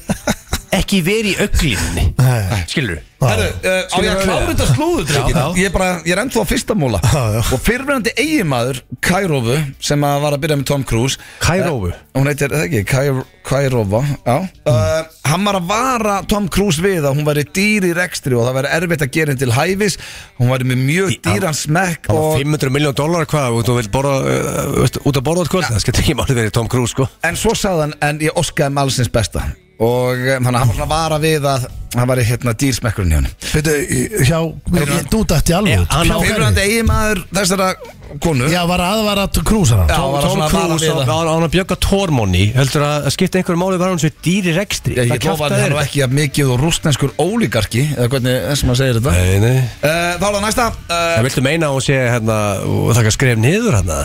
ekki verið í öglinni
Nei.
Skilur
Herru,
eh,
uh, á ég að
Skilur
klára
við?
þetta slúður drengir?
Já.
Ég er bara, ég er ennþá á fyrsta múla
Já, já.
Og fyrirverandi eigimaður, Kairófu Sem að var að byrja með Tom Cruise
Kairófu?
Eh, Hún heitir, er það ekki, Kair- Kairófa Já uh, Hann var að vara Tom Cruise við að hún væri dýr í rekstri Og það væri erfitt að gera henni til hæfis Hún væri með mjög dýran smekk
Það var
og,
500 miljón dólar hvað og þú vilt borða uh, veist, út að borða út kvöld það skemmt ekki málið verið Tom Cruise sko
En svo sagði hann, en ég óskaði með allsins besta Og eh, hann hann var svona að vara við að Hann væri hérna dýrsmekkurinn hjá henni
Veitu, hjá, ég- þú dætti alveg
Já,
út.
hann á-
Hjá hverju?
Fyrirverandi eigimaður þessara konu
Já, var aðvara krúsana
Já, var að
Tom
svona að vara
Cruise
við
á
það.
á- á hann að bjögga tórmóni heldur að að skipta einhverju máli var hann svo í dýri rekstri
Ég
Hvað
get lofa að
kjafta
það er
er
nú
þetta?
ekki að mikið og rústnenskur ólíkarki eða hvernig þess að maður segir þetta uh,
Nei, nei
Þá er það næsta
Það
uh,
viltu meina að hún sé hérna og það kan skref niður hérna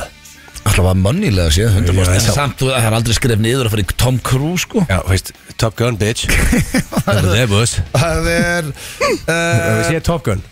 Alltaf var mönnilega séð 100%
Já,
En
já.
samt þú- það er aldrei skref niður að fara í Tom Cruise sko
Já, veist, Top Gun bitch Það er það búst
Það er uh,
Það sé Top Gun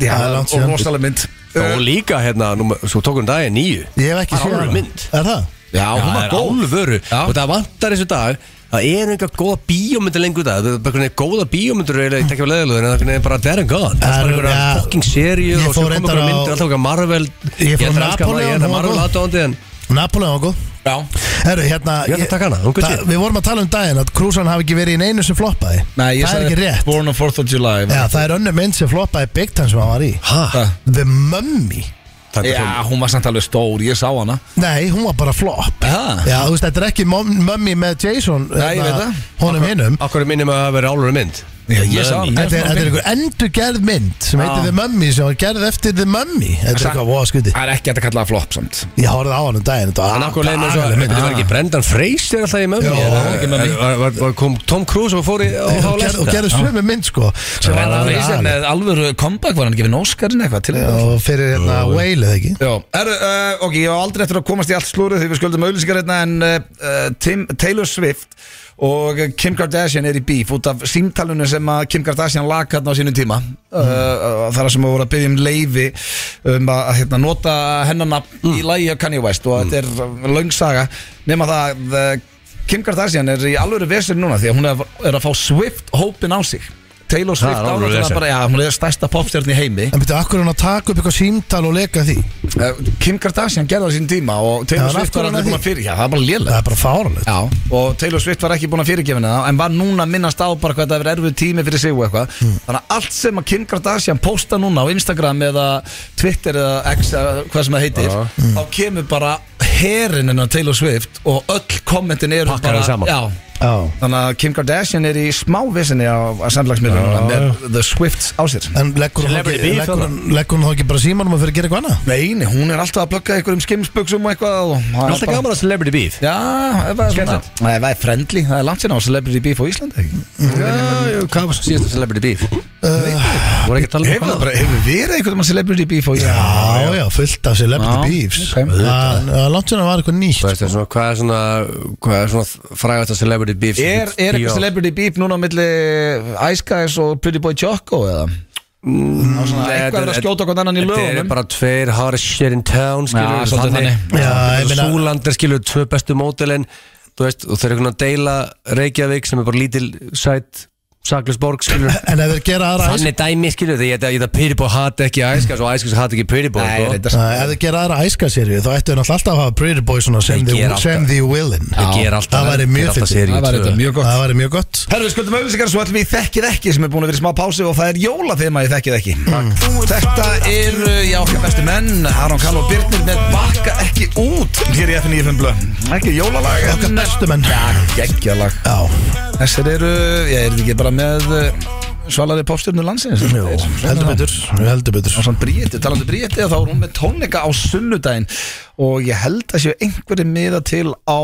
Já,
það er langt
og
síðan.
rosalega mynd
Og líka hérna, númer- svo tók hún daginn nýju
Ég hef ekki
Það er
séð
alveg
hana.
mynd
Er það?
Já, hún
það
var
er
góð
álvöru
Já.
og það vantar þessu dag það er einhver góða bíómyndir lengur í dag það er bara einhver góða bíómyndir eiginlega, ég tekja á leðalöðin en það er bara there and gone það er bara einhver
Já.
fucking seríu
Ég
og svo
fór
kom
reyndar
einhver
á-
myndir alltaf okkar Marvel
Ég fór á
ætla að elska
Napoleon,
ég ætla
hún var
Marvel
góð.
aðdóndi en
Napoleon var góð
Já,
Herru, hérna
Ég ætla að taka hana, hún gutsi.
það- Við vorum að tala um daginn að krúsan hafi ekki verið í neinu sem floppaði
Nei, ég
Það er
sagði
ekki rétt
Born on 4th of July
Já,
var-
það er önnur mynd sem floppaði big time sem hann var í
hæ?
The Mummy
Já, hún var samt alveg stór, ég sá hana
Nei, hún var bara flop
Já.
Já, þú veist, þetta er ekki Mum- Mummy með Jason hérna,
Nei, ég veit það.
Honum hinnum
Akkur er minnum að það vera álur mynd
Já, ég sá hana
Þetta er, þetta er einhver endurgerð mynd sem heitir
Já.
The Mummy sem var gerð eftir The Mummy Þetta er
Sa-
eitthvað voða skuti
Það er ekki hægt að kalla það flop samt
Ég horfði á hann um daginn þetta var
Þannig akkur leið með svo
agaleg mynd.
Þetta var ekki Brendan Fraser alltaf í mömmi
Jó,
eða-
ekki
mömmu.
eða- var- var- var- Kom Tom Cruise og fór í á
Og
þá
gerð- Og
lesta
gerði sömu mynd sko sem var
Brendan
alveg
Fraser
agaleg.
með alvöru comeback var hann gefið Óskarinn eitthvað til það
og fyrir hérna Whale eða ekki
Já, er, uh, ok, ég á aldrei eftir að komast í allt slúrið því við skuldum auðlýsingar hérna en uh, Tim, Taylor Swift og Kim Kardashian er í bíf út af símtalunum sem að Kim Kardashian lag hérna á sínum tíma mm. uh, þar sem að voru að byggja um leifi um að hérna, nota hennan mm. í lagi á Kanye West og þetta er löngsaga nema það að uh, Kim Kardashian er í alvöru vesir núna því að hún er, er að fá Swift hópin á sig Taylor Swift
er alvöru
náttúrulega
vesen.
bara, já, hún er stærsta popstjörn í heimi
En byrju, akkur er hún að taka upp eitthvað símtal og leka því?
Eh, Kim Kardashian gerði það sín tíma og
Já,
Taylor
en af
Swift
hverju
var
hann að
aldrei búin að
því?
fyrir Já, það var bara
Það
lélega
er bara fáralegt
Já, og Taylor Swift var ekki búin að fyrirgefina það en var núna að minnast á bara hvað þetta hefur erfið tími fyrir sig og eitthvað
Hmm.
þannig að allt sem að Kim Kardashian posta núna á Instagram eða Twitter eða X eða hvað sem það heitir
Hmm.
þá kemur bara herinin af Taylor Swift og öll kommentin eru
Pakkar þeim
bara
saman.
Já,
Já
þannig að Kim Kardashian er í smávissinni á, á samfélagsmiðlunum með The Swifts á sér
En leggur hún, þá
Celebrity
ekki,
beef,
leggur,
þarna.
hún, leggur hún þá ekki bara símanum að fyrir að gera eitthvað annað?
Nei, nei, hún er alltaf að plugga einhverjum skimsbuxum og eitthvað og það er
Alltaf
bara-
gaman að celebrity beef
Já, ef það er svona
Skemmtilegt.
Nei, það er friendly, það er langt sinna á Celebrity Beef á Íslandi ekki?
Já, já, hvað var svo síðasta celebrity beef? Voru ekki að tala um
Uh, Hefur það
hvað?
bara, hefur verið einhvern veginn Celebrity Beef á Íslandi?
Já, já, fullt af
Já,
celebrity beefs
ok.
Það það er langt sér að var eitthvað nýtt
Þú veist, það er svona, Hvað er svona, hvað er svona frægast að celebrity beef? sem
Er,
ég- ég á?
er eitthvað Celebrity Beef núna á milli Ice Guys og Pretty Boy Choco eða?
Nei,
svona-
þetta
eitthvað Mm, er að skjóta okkur annan í
Þetta
lögunum.
er bara tveir harshir in town, skilur
Já, svolítið þannig.
Já, ég meina-
Súlandir, skilur, tvö bestu mótilin Þú veist, og þeir eru einhvern veginn að deila Reykjavík sem er bara lítil sæt Saklusborg, skilur
En ef þeir gera aðra æs-
Þannig dæmi, skilur, þegar ég það Pyribó hati ekki æskas og æskas hati ekki Pyribó
Nei,
sko.
þetta
Æ, Ef þeir gera aðra æska-serju þá ættu þeir náttúrulega alltaf að hafa Pretty Boy svona sem
Þeir
the,
gera alltaf.
sem the Willin
Þeir gera alltaf-
Það væri
þeir
mjög
gera alltaf
fyndið.
seríu
Það var
tvö.
þetta mjög gott
Það væri mjög gott
Herru, við skuldum auðvitað svo ætlum við í þekkið ekki sem er búin að vera í smá pási og það er jóla þeim að ég þekkið ekki Þetta eru, já, okkar bestu menn Aron Kall og Birnir með Bakka ekki út hér í FNÍFM Blö Ekki jólalag en-
Okkar bestu menn.
Já, geggjalag
Já,
Þessir eru, ég er þetta ekki bara með uh, svalari popstjörnur landsins
jú, heldur betur Heldur betur
Og svona Bríetti, talandi um Bríetti þá er hún með tónleika á sunnudaginn og ég held að séu einhverju miða til á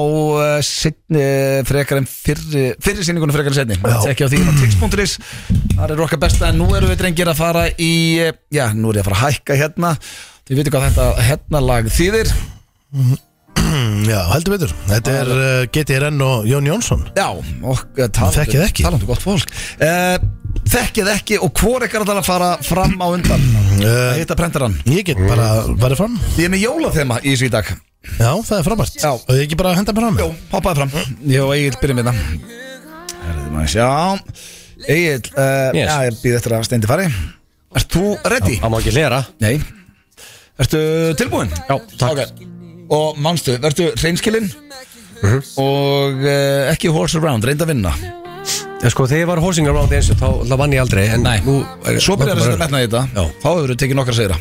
uh, sinni, frekar en fyrri, fyrri sinningunum frekar en setni
Já.
ekki á því á tix.is þar er okkar besta en nú erum við drengir að fara í eh, já, nú er ég að fara að hækka hérna þið veitum hvað þetta hérna lag þýðir
Mm, Já, heldur betur Þetta er uh, GTRN og Jón Jónsson
Já, og eh, tal-
Þekkið ekki.
Talandi gott fólk uh, Þekkið ekki og hvor ekkert að fara fram á undan að hitta prentarann
Eh, Ég get bara farið fram
Ég er með jólathema í þessu í dag
Já, það er frábært
Já.
Og ég ekki bara að henda mér á mig
Jó, hoppaði fram Ég og Egil byrjum við það hérna. Herðu, maður Aðeins, Já, Egil, uh,
Yes.
já, ég býð eftir að steindi fari Ert þú ready?
Það má ekki lera
Nei Ertu tilbúin?
Já, takk
Og manstu, ertu hreinskilinn Mhm. Og uh, ekki horse around, reynd að vinna
En sko, þegar ég var hósingar round eins og þá þá vann ég aldrei en
Nei.
nú er-
Svo byrjar þess að metna í þetta
Já.
Þá hefur við tekið nokkra sigra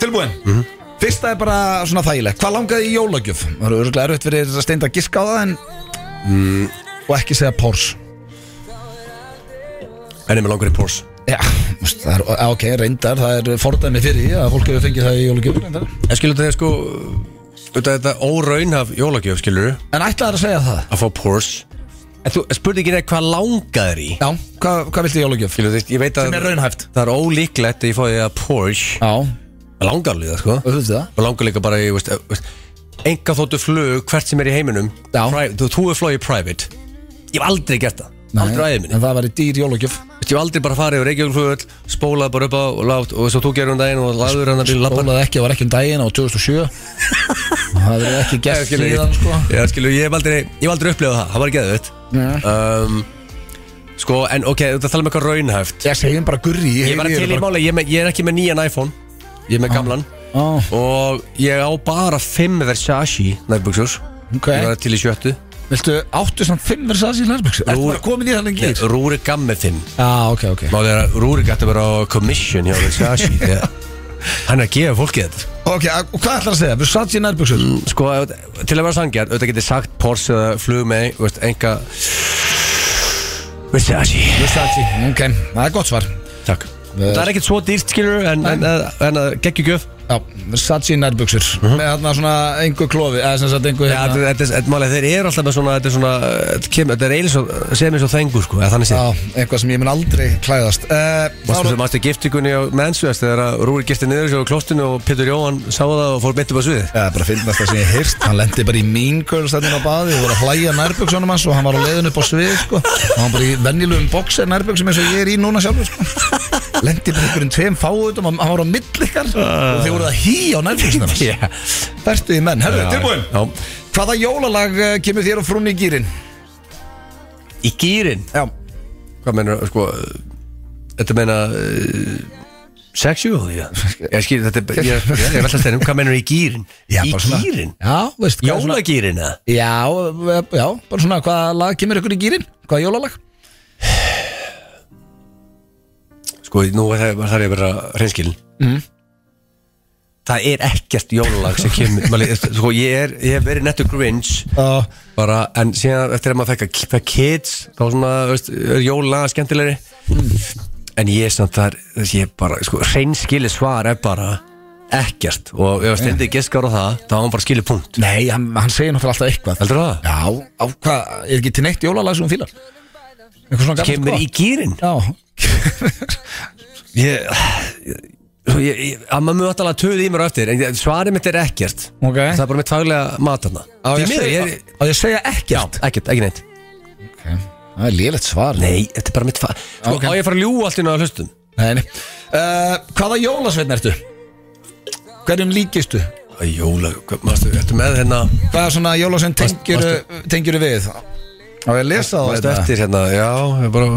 Tilbúin Fyrsta er bara svona þægilegt Hvað langaði í jólagjöf? Það eru örgulega erfitt fyrir þess að steinda að giska á það en Mm. Og ekki segja Porsche
En ég með langar í pórs
Já, þú veist, það er, á, ok, reyndar Það er fordæmi fyrir því að fólk hefur fengið það í jólagjöf reyndar.
En skilur þetta sko Þetta þetta óraunhaf jólagjöf skilur
En ætlaði að segja það
Að fá pórs En þú spurði ekki neitt hvað langar í
Já, hvað, hvað viltu í jólagjöf?
Skilur þetta, ég veit að
Sem er raunhæft
Það er ólíklegt að ég fóði að Porsche
Já,
Mér langar alveg það sko
auðvitað það
Mér langar líka bara í, veist, eh, veist Enga þóttu flug hvert sem er í heiminum
Já.
Pri- Þú, þú er flogið private Ég hef aldrei gert það Aldrei
Nei,
aðeins minni
En það væri dýr jólagjöf
Veist, Ég hef aldrei bara farið yfir Reykjavíkflugvöld Spólað bara upp á og látt Og þess að þú gerir um daginn og laður hann að bíl lappa
Bólaði ekki, það var ekki um daginn á 2007 Það verið ekki gert síðan sko
Já, skilur, ég hef aldrei, ég hef aldrei upplifað það, það var geðvögt um, Sko, en ok, þetta tala um eitthvað raunhæft
Ég segjum bara gurri
Ég er bara Ah. til í máli, ég, er með- ég er ekki með nýjan iPhone Ég er með gamlan
Ó,
Og ég á bara 5 Versace nærbuxur
ok
Ég var til í sjöttu
Viltu áttu samt fimm Versace nærbyggs? Ertu
Rú-
bara komin í það lengi? Já,
Rúrik gaf með 5
ok, ok
Málið er að Rúrik ætti að vera á commission hjá Versace Þegar hann er að gefa fólki þetta
Ok, a- og hvað ætlar að segja? Versace nærbyggs?
Sko, auðvitað- til að vera sangjar, auðvitað getið sagt Porsche eða flug með, veist, enga Versace
Versace Ok, það er gott svar
Takk Það er ekkert svo dýrt skilur en, en, en, en að geggju gjöf
Já, Versace nærbyggsur Með þarna svona engu klofi Eða sem sagt engu
Já, þetta
hérna
er- þetta er- þetta er málið, þeir eru alltaf með svona Þetta er svona, þetta kemur, þetta er eiginlega svo sem eins og þengur sko, eða þannig sé
Já, eitthvað sem ég mun aldrei klæðast uh,
Mástu sem mástu giftingunni á mennsvest þegar Rúri gifti niður sér á klostinu og Pétur Jóhann sá það og fór mitt upp að sviði
Já, bara finnast það sem ég heyrst Hann lendi bara í Mean Girls þarna inn á baði og voru að hlæja nærbuxunum hans og hann var á leiðin upp á svið sko. og hann bara í venjulegum boxer nærbuxum eins og ég er í núna sjálfur sko. lendi bara í einhverjum tveim fáutum hann var á millikar og þið voru að hí á nærbuxunum hans
Já.
Bertu í menn, herðu, tilbúin
Já.
Hvaða jólalag eh, kemur þér og frunni í gýrin?
Í gýrin
Já
Hvað meinar, sko eh, Þetta meina uh, Sexual, já Ég skil, þetta er, ég, ég, ég er alltaf steinum Hvað meinar í gýrin? í
bara svona-
gýrin?
Já, veist hvað er svona-
Jólagýrin, eða?
Já, eh, já, bara svona hvaða lag kemur ykkur í gýrin? Hvaða jólalag?
Sko, nú er það, það er ég bara reynskilin mm. Það er ekkert jólalag sem kemur Mali, Sko, ég er, ég hef verið nettur grinch
Uh,
bara, en síðan eftir að maður fekk að fekk kids, þá svona, veist, er jólalag skemmtilegri En ég er samt þar, þess ég er bara, sko, reynskili svar er bara ekkert og ef að stendið geskar á það, þá á hann bara skilið punkt
nei, hann, hann segir náttúrulega alltaf eitthvað
Heldur það?
Já, á hvað, er ekki til neitt jólalag sem hún fílar? Eitthvað svona gammalt
Kemur í gýrin
sko. Já,
Ég, ég, ég, ég amma mjög alltaf töði í mér á eftir, en ég- svarið mitt er ekkert
ok
Það er bara mitt faglega mat þarna
Á ég,
Því miður,
segja,
ég-
á ég að segja ekkert
Ekkert, ekki neitt
Það er lélegt svar
Nei, þetta er bara mitt fa... Sko,
Ok.
á ég að fara að ljúga allt inn á hlustum?
Nei, nei. Uh, Hvaða jólasveitn ertu? Hverjum líkistu?
Að jóla, hvað- mástu, ertu með hérna
Hvað er svona jólasveitn tengjur, tengjur við? Á ég að lesa það
Mástu eftir hérna, já, ég bara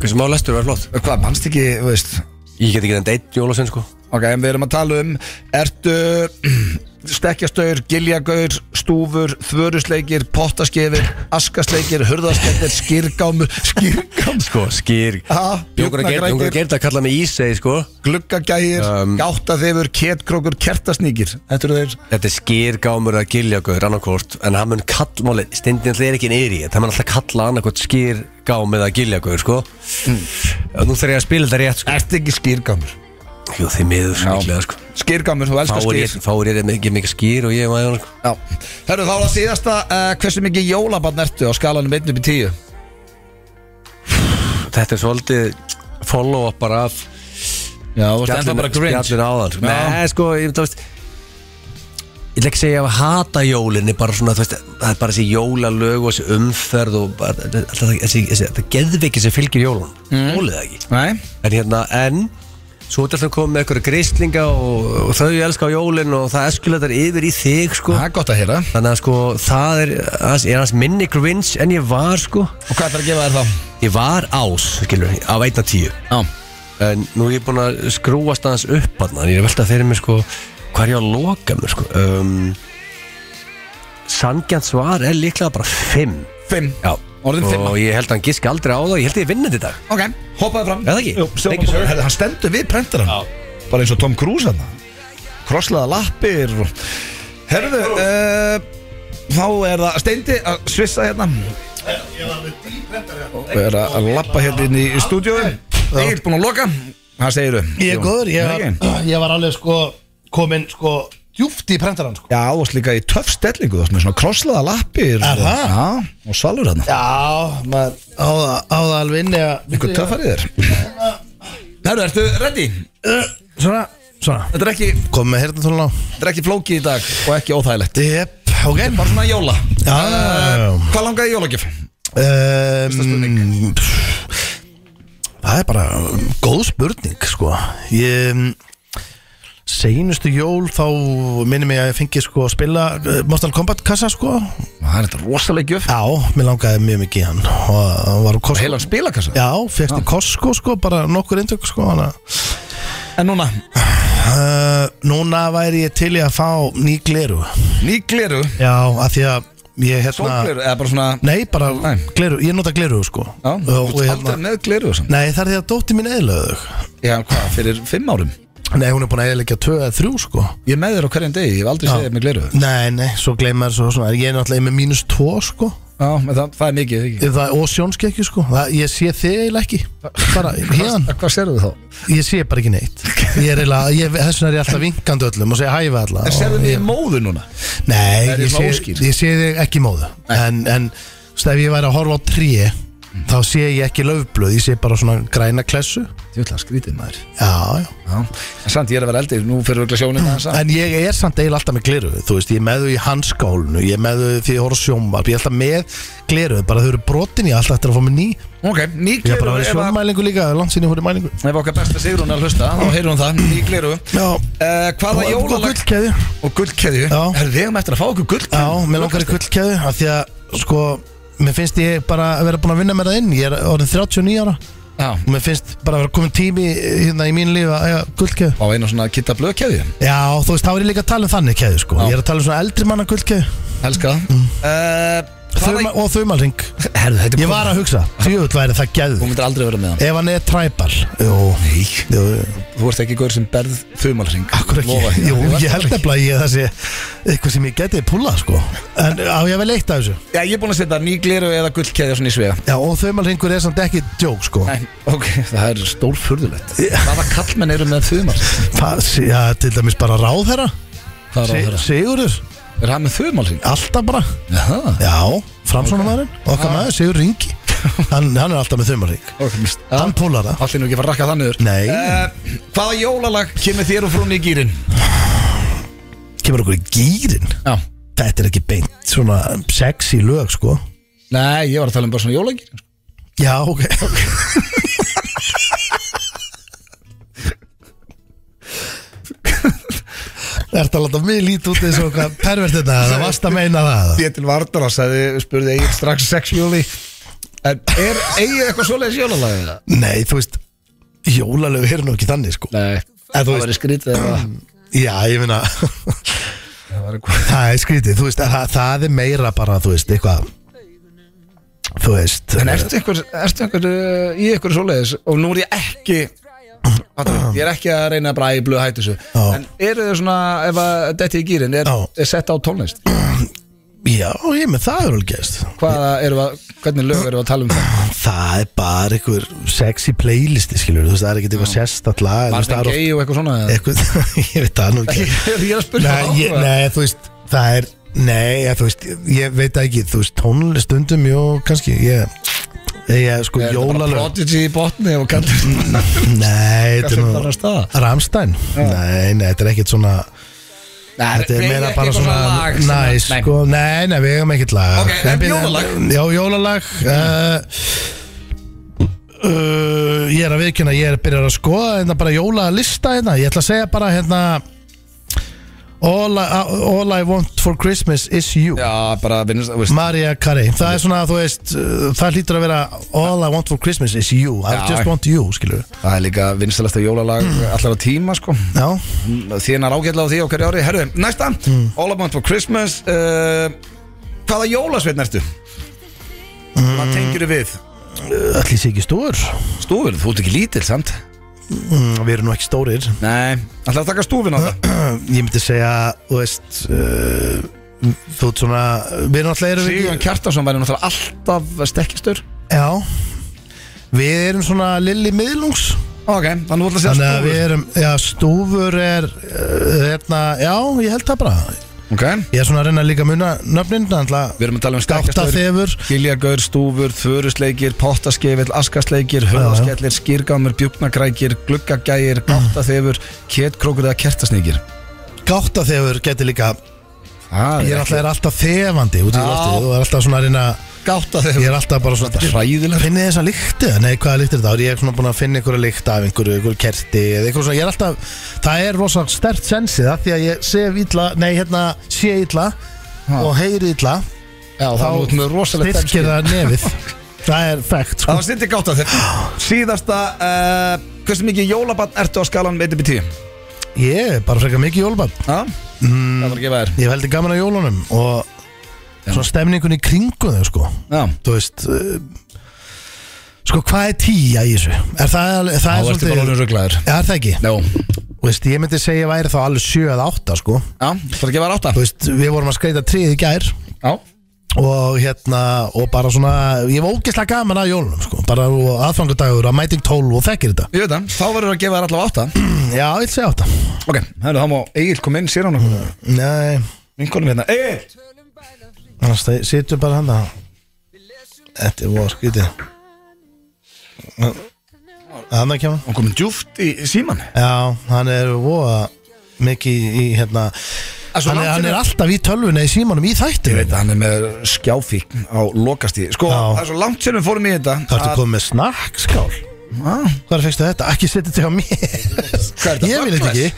Hversu má lestur var flott
Hvað, mannst ekki, þú veist
Ég get ekki þetta eitt jólasvein, sko
Ok, en við erum að tala um Ertu stekkjastaur, giljagaur, stúfur, þvörusleikir, pottaskeifir, askasleikir, hurðasleikir, skýrgámur, skýrgámur
Sko, skýr
Ha,
Jókur að
bjúgnagrækir.
gerða að kalla mig ísegi, sko
gluggagægir, um,
Um,
gáttaþefur, kettkrókur, kertasnýkir Þetta eru þeir
Þetta er skýr gámur að giljagur annarkort En hann mun kall, máli, stendin alltaf er ekki neyri Það mun alltaf kalla annarkort skýr gám eða giljagur, sko Nú þarf ég að spila þetta rétt,
Ertu ekki skýrgámur?
sko Jú, þið miður,
Já.
miklega, sko
Skýrgámur, þú elskar
Fáir ég,
skýr
fáir ég mikið, mikið skýr og ég maður, sko
Já. Herru, þá er það síðasta uh, Hversu mikið jólabann ertu á skalanum 1 upp í 10?
Þetta er svolítið follow-up bara af
Já, þú veist ennþá
spjallinu
bara grinch
spjallinu áðan sko.
Já.
Nei, sko, ég þú veist Ég ætla ekki að segja að hata jólin er bara svona, þú veist, það er bara þessi jólalög og þessi umferð og bara, þetta er alltaf þessi, þessi, þetta geðveiki sem fylgir jólun mm. Jólið það ekki
Nei,
En hérna, en Svo er alltaf komið með einhverja grislinga og, og þau elska á jólin og það eskuletar yfir í þig, sko
það er gott að heyra
Þannig að sko, það er, aðeins- ég er hans minni grinch en ég var, sko
Og hvað ætlar að gefa þér þá?
Ég var ás, skilur, af 1 að 10
Já,
En nú er ég búinn að skrúast aðeins upp hann Ég er veltað fyrir mér sko Hvað er ég að loka mér sko um, Sangjant svar er líklega bara 5
Fimm
Já
Orðin fimm.
Og ég held að hann giski aldrei á það Ég held að ég vinna þetta í dag
Ok Hoppaði fram
Eða ekki?
Jú, sjáum
Thank you,
bara-
sir.
Herðu, Hann stendur við prentar hann Bara eins og Tom Cruise hann Krosslaða lappir og... Herðu uh, Þá er það Steindi að svissa hérna Og Er að lappa hérna inn í stúdíói Egil búinn að loka Hvað segirðu?
Ég er
Jón?
góður, ég
Nei, ekki?
var, ég var alveg sko komin sko djúft í prentarann sko
Já, þú varst líka í töff stellingu Þú varst með svona krosslaða lappir
Er
og-
það?
Já, og svalur hann
Já, maður á það- á það alveg inni að
Einhver töffarið er Herðu, ertu ready?
Svona, svona
Þetta er ekki,
Komum með hérna, herðatólun á
þetta er ekki flóki í dag og ekki óþægilegt
Jep, ok
Bara svona jóla
Já,
Eh,
já, já.
Hvað langaði í jólagjöf?
um, Það er bara um, góð spurning sko Ég um, Seinustu jól þá minnir mig að ég fengi sko að spila uh, Mortal Kombat kassa sko
Það er þetta rosaleg gjöf
Já, mér langaði mjög mikið í hann og hann var úr Costco
Heilan spilakassa
Já, fegst í Costco sko, bara nokkur indök sko hana.
En núna,
Uh, Núna væri ég til í að fá ný gleru
ný gleru
Já, af því að ég hérna
Sólgleru, eða bara svona
Nei, bara
Nei.
gleru, ég nota gleru sko
Já,
Og-
þú
og
ert
hérna
aldrei með gleru og svona
Nei, það er því að dótti mín eðlaðu þau
Já, hvað, fyrir fimm árum
Nei, hún er búin að eðlækja tvö eða þrjú sko
Ég er með þér á hverjum degi, ég hef aldrei séð þér með gleru Já,
Nei, nei, svo gleymar svo svona Ég er náttúrulega með mínus tvo sko
en það, það er mikið, ekki
Það er ósjónskekju sko það, Ég sé þig eiginlega ekki Bara hérna,
Hvað, hvað serðu þá?
ég sé bara ekki neitt Ég er eiginlega, ég, þess vegna er ég alltaf vinkandi öllum Og segja hæfi alla
En
og
serðu þið
ég-
í móðu núna?
Nei,
Er ég
ég
svona
sé,
óskýr?
ég sé þig ekki í móðu En, en þú veist, ef ég væri að horfa á tríi Þá sé ég ekki löfblöð Ég sé bara svona græna klessu
Þjóðlega skrítið maður
Já, já
Já, en samt ég er að vera eldir, nú fyrir við glasjónin aðeins að
En ég er samt eiginlega alltaf með gleruðu Þú veist, ég er með þau í handskálinu Ég er með þau því að horfa á sjónvarp Ég er alltaf með gleruðu, bara þau eru brotin Ég er alltaf eftir að fá mig ný Ég
Ok, ný
er bara
gleru
að vera í
ef að-
sjónmælingu líka það er Langt sinni hóri mælingu
Ef okkar besta sigur hún að hlusta, þá heyrur hún það, ný gleru
Já,
Uh, hvaða
og og
jólalag
gullkeðju
og gullkeðju
Já.
Herðu, við hefum eftir að fá okkur gullkeðju
Já, mér langar í gullkeðju af Því að, sko, mér finnst ég bara að vera búin að vinna mér það inn Ég er orðin 39 ára og
Já,
mér finnst bara að vera komin tími Hérna í mín lífi að eiga gullkeðju
á einu svona kitta blöðkeðju
Já, þú veist, þá er ég líka að tala um þannig keðju, sko
Já.
Ég er að tala um svona eldri manna gullkeðju
Elska það uh,
Þauma,
hvaða,
Og þaumalring
Herðu, þetta er
Ég var að hugsa, djöfull væri það geðu
Þú myndir aldrei vera með hann
Ef hann er træpar Jú,
Nei,
jú
þú ert ekki gaur sem berð þumalring
Akkur ekki Jú, ég held nefnilega að ég það sé Eitthvað sem ég geti púlað sko En á ég vel eitt af þessu
Já, ég er búin að setja nýgleru eða gullkeðja svona í svega
Já, og þaumalringur er samt ekki djók sko
Nei, ok, það er stór furðulegt Hvaða kallmenn eru með þumalring?
Það, sí- já, til dæmis bara ráð þeirra
Hvað er á þeirra?
Sigurður,
Er hann með þumalring?
alltaf bara
Jaha
Já, framsónumæðurinn Okkar maður, Sigur Ringi hann, hann er alltaf með þaumalring Hann púlar það
Allir nú ekki að fara að rakka þannig yfir
Nei.
Eh, Hvaða jólalag kemur þér og frúnni í gýrin?
Kemur okkur í gýrin
Já
Þetta er ekki beint svona sexy lög sko
Nei, ég var að tala um bara svona jólagýrin
Já, ok Ertu að láta mig lítið út eins og hvað pervert þetta er? Það varst að meina það
Ég til Vardara sagði, spurði Egil strax 6 júli En er Egil eitthvað svoleiðis jólalagið?
Nei, þú veist Jólalög er nú ekki þannig sko
Nei,
En þú
það
veist-
verið skrítið eða
Já, ég meina
það var eitthvað
Það er skrítið, þú veist það, það er meira bara, þú veist, eitthvað Þú veist
En ertu einhver, ertu einhver uh, í einhver svoleiðis og nú er ég ekki Fattar þú? ég er ekki að reyna að bræði blöð hættu þessu
Já.
En eru þau svona, ef að detti í gýrin, er,
Já.
er sett á tónlist?
eh, Já, ég með það er alveg gæst
Hvað eru að, hvernig lög eru að tala um það?
Það er bara einhver sexy playlisti, skilur Þú veist, það er ekkert eitthvað sérstætt lag en þú veist,
Marvin
það er oft-
Gaye og eitthvað svona eða?
eitthvað, ég veit það nú ekki
Ég er að spyrja
nei,
þá,
ég,
eða?
nei, þú veist, það er Nei, ja, þú veist, ég veit það ekki Þú veist, tónlist stundum, jú, kannski Ég, ég sko,
Er þetta bara
jólalög
Prodigy í botni og kallir
Nei, þetta
Hversu þarna
er nú
staða?
Ramstein, nei, nei, þetta er ekkert svona Þetta er
Nei,
meira
ekki
bara
eitthvað
svona
lag sem-
Næs,
Nei.
sko, nei, nei, við eigum ekkert lag
Ok, en
byrja-
jólalag?
Já, jólalag uh, uh, Ég er að viðkjöna, ég er að byrja að skoða Hérna bara jólalista hérna, ég ætla að segja bara hérna All I, all I want for Christmas is you
Já, bara vinnast, þú veist
Maria Carey, það er svona þú veist uh, það hlýtur að vera All I want for Christmas is you, I
Já.
just want you skilur við,
Það er líka vinstalasta jólalag allar á tíma sko
já,
Þínar ágætla á því á hverju ári Herru, næsta All I want for Christmas uh, Hvaða jólasveitn ertu? Hvað tengir þið við?
allir sé ekki stór
Stúfin, þú ert ekki lítill samt
mm, við erum nú ekki stórir
Nei, ætlar að taka stúfin á það
ég myndi segja, þú veist uh, þú veist svona við náttúrulega erum
Sigurðan
ekki
Kjartansson væri náttúrulega alltaf stekkistur
já, við erum svona lilli miðlungs
Ok, þannig að þú ætlar að segja
þannig að við
stúfin
erum, já, stúfur er uh, hérna, já, ég held það bara
Ok,
ég er svona að reyna líka að muna nöfnin,
við
þannig
erum að tala um
að
stekkistur
áttaþefur
Giljargaur, stúfur, þörusleikir, pottaskefil, askasleikir, höfðaskellir, skýrgámur, bjúknagrækir, gluggagægir, gáttaþefur, ketkrókur eða kertasneikir.
gáttaþefur geti líka
Það
Ég er alltaf, er alltaf þefandi út í
Já.
lofti og er alltaf svona að reyna Ég
gáttaþefur.
er alltaf bara svona
Hræðilega.
Finnið þessa lykti? Nei, hvaða lyktir þetta? Er ég svona búin að finna einhverja lykt af einhverju, einhverju kerti eða eitthvað svona Ég er alltaf, það er rosa stert sensið það því að ég sef illa, nei hérna sé illa og heyri illa
Já, það er út með rosalega
styrkir það nefið Það er fakt
Það
sko.
var sindi gáttaþefur. Síðasta, uh, hversu mikið jólabann ertu á skalan með 1-10?
Ég er bara frekar mikið jólbann
Ha? Mm. Það var að gefa þér.
Ég hef heldur gaman á jólunum og svona stemningunni í kringum þau sko
Já.
þú veist uh, sko hvað er tíja í þessu er það, alveg- það
Þá
er
ertu bara
svolítið
orðin rugglaður.
Já, er það ekki?
Já.
Þú veist, ég myndi segja að væri þá alveg 7 eða 8 sko
Já, það var að gefa þér átta.
Þú veist, við vorum að skreita tríð í gær
Já.
og hérna, og bara svona ég var ógeðslega gaman að jólunum sko bara aðfangadagur, að mæting 12 og þekkir þetta
Ég veit það, þá verður að gefa þér allavega átta.
Já, ég vil segja 8
Ok, herru, þá má Egil kom inn, sér hann okkur.
Nei,
Vinkonum hérna. Egil!
annars það situr bara hann að Þetta er voru skrítið Þannig að kemur
Hún komið djúft í síman
Já, hann er voða mikið í hérna
svo
hann er,
langt
hann
fyrir-
er alltaf í tölvunni í símanum í þættu
Ég veit að hann er með skjáfík á lokastíð Sko,
Já.
það er svo langt sem við fórum í þetta
Það ertu komið með snakkskál
að,
Hvar fegstu þetta? Ekki setja þetta á mér
Hvað er þetta,
Ég vil þetta ekki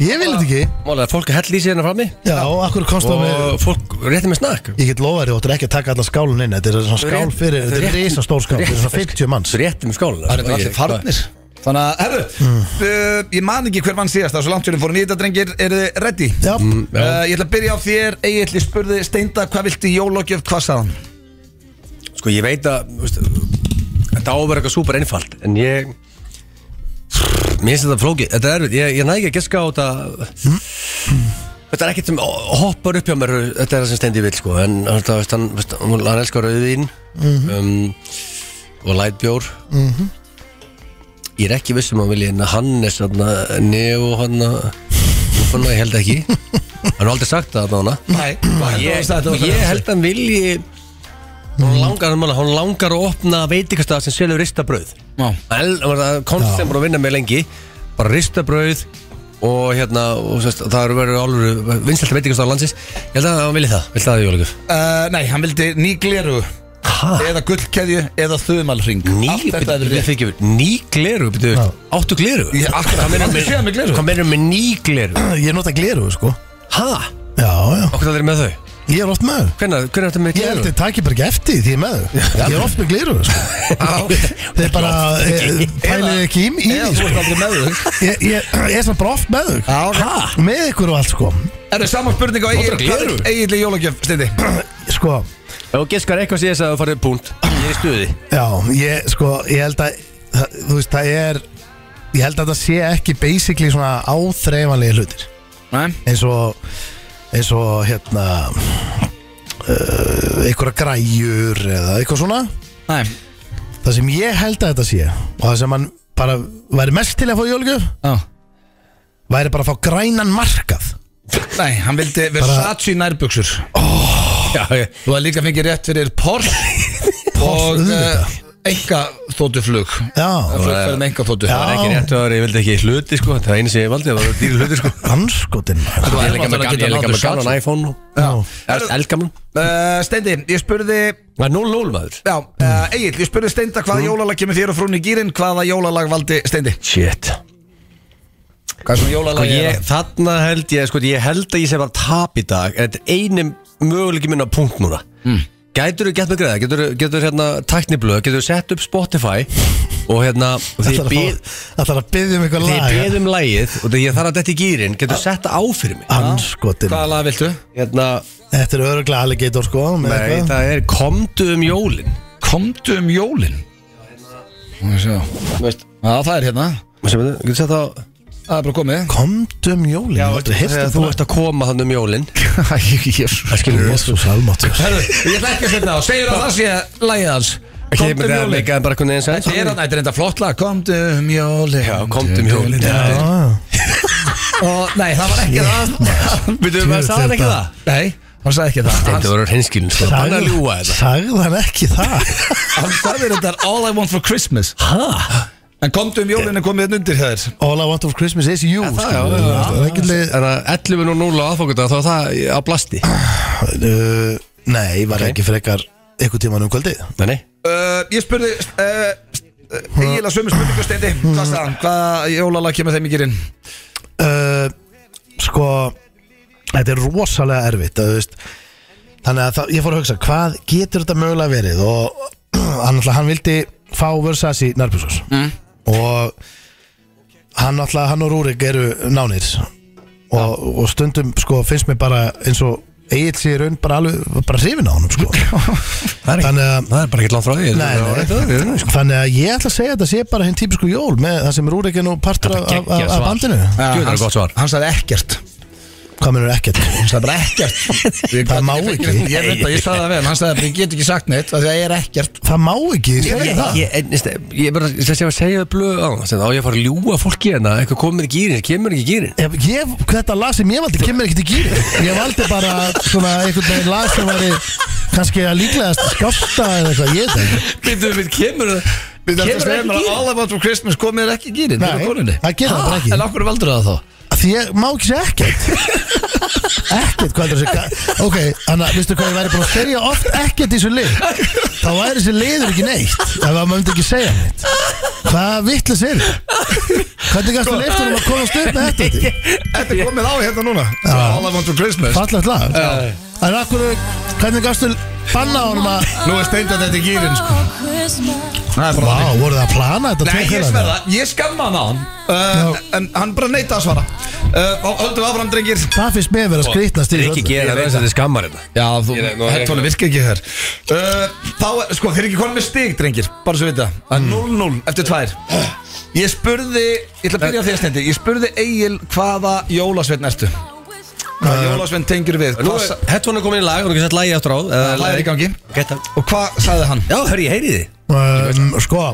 Ég vil þetta ekki
Málega, fólk hell í sig hérna frammi
Já, akkur komst það með
Og fólk rétti með snakk
Ég get lofað þér, þú ættir ekki að taka allan skálun inn Þetta er svona
rétt-
skál fyrir,
þetta er
þetta er
rétt-
reysa stór skál Þetta er svona 50 manns
Rétti sko. með skóla
Það er allir farnir Þannig að, herru, uh, ég man ekki hver mann síðast Það er svo langt sem við fórum í þetta, drengir Eru þið ready?
Já,
Uh, ég ætla að byrja á þér Egil, ég spurði Steinda Hvað viltu í jólagjöf, hvað sagði hann?
Sko ég veit að þú veist, Þetta áverður eitthvað súper einfalt En ég Mér finnst þetta flókið, þetta er erfitt Ég, ég næ ekki að geska á þetta Þetta er ekkert sem hoppar upp hjá mér Þetta er það sem stendi vil sko En þetta, veist, hann, veist, hann, hann elskar auðvín um, Og lightbjór Ég er ekki viss um að vilja En hann er svona Neo hann Úfanna, ég held ekki Hann er aldrei sagt það þarna
Nei, hvað
ég,
sagði þetta?
ég held að hann vilji Hún langar, hann, hann langar að opna veitikastað sem selur ristabrauð
Já.
El- hann var það Konst sem bara að vinna með lengi Bara ristabrauð Og hérna, og, sest, það eru verið alveg Vinstælt veitikastað landsins Ég held að hann vilji það, vill það í jólagjöf
Uh, nei, hann vildi ný gleru
Hæ?
Eða gullkeðju, eða þumalring
Ný,
Allt þetta er rétt
byrju, ný gleru, byrju, áttu gleru
Ég- akkurat,
Hvað meinar
áttu
með-
séð með gleru?
Hvað meinar með ný gleru?
ég nota gleru, sko
Hæ?
Já, já,
Okkur það er með þau?
ég er oft með þau.
Hvernig, hvernig er þetta með
Ég held
gleru?
ég taki bara ekki eftir því því ég er með þau Ég er oft með gleru,
Ah,
sko Þeir bara eh, pælið ekki í, í
Eða
því,
þú
sko
ert aldrei með þau
Ég, ég, ég er svona bara oft með þau
Já, ok.
Ha? Með ykkur og allt sko
Er það saman spurning á Egil?
Notar
Hvað
gleru?
er Egil í jólagjöf, Steindi?
Sko,
Ef þú geskar eitthvað síðan að þú farið punkt Ég er í stuði
já, ég, sko, ég held að það, Þú veist, það er Ég held að það sé ekki basically svona áþreifanlega hlutir
Nei
Eins og Eins og hérna uh, Einhverja græjur Eða eitthvað svona
Nei
Það sem ég held að þetta sé Og það sem hann bara væri mest til að fá jólgjöf
Já
Væri bara að fá grænan markað
Nei, hann vildi Versace nærbuksur
Já, ég,
Þú hafði líka fengið rétt fyrir Porsche Og
auðvitað.
uh, enga þóttuflug
Já,
Flugferð með enga þóttu
Það var ekki rétt að ég vildi ekki hluti sko Það er einu sem ég valdi, það var dýri hluti sko
anskotin maður.
Ég er líka með gaman- ég er líka með gaman iPhone
Já.
Elgaman
uh, Steindi, ég spurði
Það er 0-0 maður
Já, uh, Egil, ég spurði Steinda hvaða jólalag kemur þér og frún í gýrin Hvaða jólalag valdi Steindi?
Shit
Hvað er svona
Sko,
jólalagi
ég, þarna held ég, sko, ég held að ég sé bara tap í dag Þetta er einum möguleiki minna punkt núna mm. Gætur þú gett með greiða, getur þú hérna tækniblöð, getur þú sett upp Spotify og hérna, og
Það
þið
er
bið
að byggja um eitthvað
Þið
lag
beðum lægið og þegar ég þarf að detta í gýrin Getur þú sett á fyrir mig
Anskotin
Hvaða lag viltu?
Hérna,
Þetta er öruglega alligator sko með
nei,
eitthvað.
það er komdu um jólin
Komdu um jólin Má ég sjá. Já,
Veist,
það er hérna
sem þetta, getur sett á
Það er bara komið
Komdu um jólin Já, aldrei heyrt
Þegar
þetta
þú ert að koma hann um jólin
Ég
Jésús almáttur
ætla ekki að setja á Segjur að það sé lagið hans
Ekki
Komdu
með
um
það að
jólin
leika en bara einhvern veginn
Þetta er
sætt
hann, þetta er enda flott lag Komdu um jólin
Já, komdu um jólin.
Já.
Já,
Og nei, það var ekki það
Býtum við að sagði hann ekki það?
Nei, hann sagði ekki það Hann-
Þetta voru hinskilin, sko, hann að ljúa þetta
Sagði hann ekki það
Hann sagði þetta er All I Want For Christmas
Hæ?
En komdu um jólin er komið hérna undir hjá þér
All I want of Christmas is you
Já,
sko.
já,
Það
já, já.
er ekki leið-
Þannig að 11 og 0 á aðfókuta þá er það á blasti
Uh, Nei, var ekki frekar einhvern tíman um kvöldið
Nei, nei
Uh, Ég spurði uh, Egil að sömu spurningu steindi Hvað sagði hann? Hmm. Hvaða jólalag kemur þeim í gyrinn?
uh, Sko Þetta er rosalega erfitt að, þú veist, Þannig að það, ég fór að hugsa Hvað getur þetta mögulega verið Og hann, náttúrulega- hann vildi fá Versace Narbusos mm. Og hann, náttúrulega- hann og Rúrik eru nánir og, og stundum sko, finnst mér bara eins og Egil sé í raun bara alveg bara hrifin á honum sko.
er ekki-
Þannig að
Það er bara ekki langt frá því
Nei,
Það er
nei.
rétt að því, sko.
Þannig að ég ætla að segja að þetta sé bara hinn típisku jól með það sem Rúrik er nú partur af,
Þetta
af,
geggjað
af
svar.
bandinu
Djú, það er
hann-
gott svar.
Hann sagði ekkert
Hvað mennur ekkert?
Hann sagði bara ekkert Ég-
Það má
ég- ég-
ekki.
Ég veit að ég sagði það vel Hann sagði bara ég get ekki sagt neitt af Því að ég er ekkert
Það má ekki segja
Ég-
það
Ég en, veist, ég bara Þess að ég var að segja blöð á Þannig að á ég að fara að ljúa fólki hérna Eitthvað komið í gýrin, kemur ekki í gýrin
Ef ég, þetta lag sem ég valdi kemur ekkert í gýri Ég valdi bara svona einhvern veginn lag sem væri kannski að líklegast skásta eða eitthvað ég veit ekki.
Býttu við, kemur
Við þarfum að
Kemur
segja
ekki í
bara
gýrin
All I want for Christmas komið ekki í gýrin
Nei, það gerir
Ah,
það bara ekki.
En okkur valdur það þá?
Því ég má ekki segja ekkert Ekkert hvað er þessi Ok, þannig að veistu hvað ég væri búin að segja oft ekkert í þessu lið Þá væri þessi liður ekki neitt Ef að maður myndi ekki segja neitt Hvað vittlis er þetta? Hvernig gæstu leiftunum að komast upp með þetta? Þetta?
Þetta er komið á hérna núna All I want for Christmas
Fallegt lag En akkur, hvernig gafstu banna honum að
Nú er steindat þetta í gýrin sko Það er bara
Vá,
þannig.
voru það að plana þetta
Nei,
tveir
ég
félagarnir?
sverða, ég skamma hann á hann uh, En hann bara neyta að svara uh, og Höldum áfram, drengir
Það finnst mér vera skrýtnast í
Það er ekki
þessu öllu.
gera
veit
þess að þið skammar hérna
Já, þú,
Ég er- nú er ég-
headphone virka ekki þér uh, Þá, er- sko, þeir eru ekki konum með stig, drengir Bara svo við það, það er 0-0 eftir tvær Ég spurði, ég ætla að byrja á þér stendi Ég spurði Egil hvaða jólasveinn ertu Hvaða jólasveinn tengur við
Nú
Hvað
er
sa-
headphone komin í lag og ekki sett lagi aftur á
Já, lagið er í gangi.
Geta
Og hvað sagði hann?
Já, hörru, ég heyri þið
Um, Sko,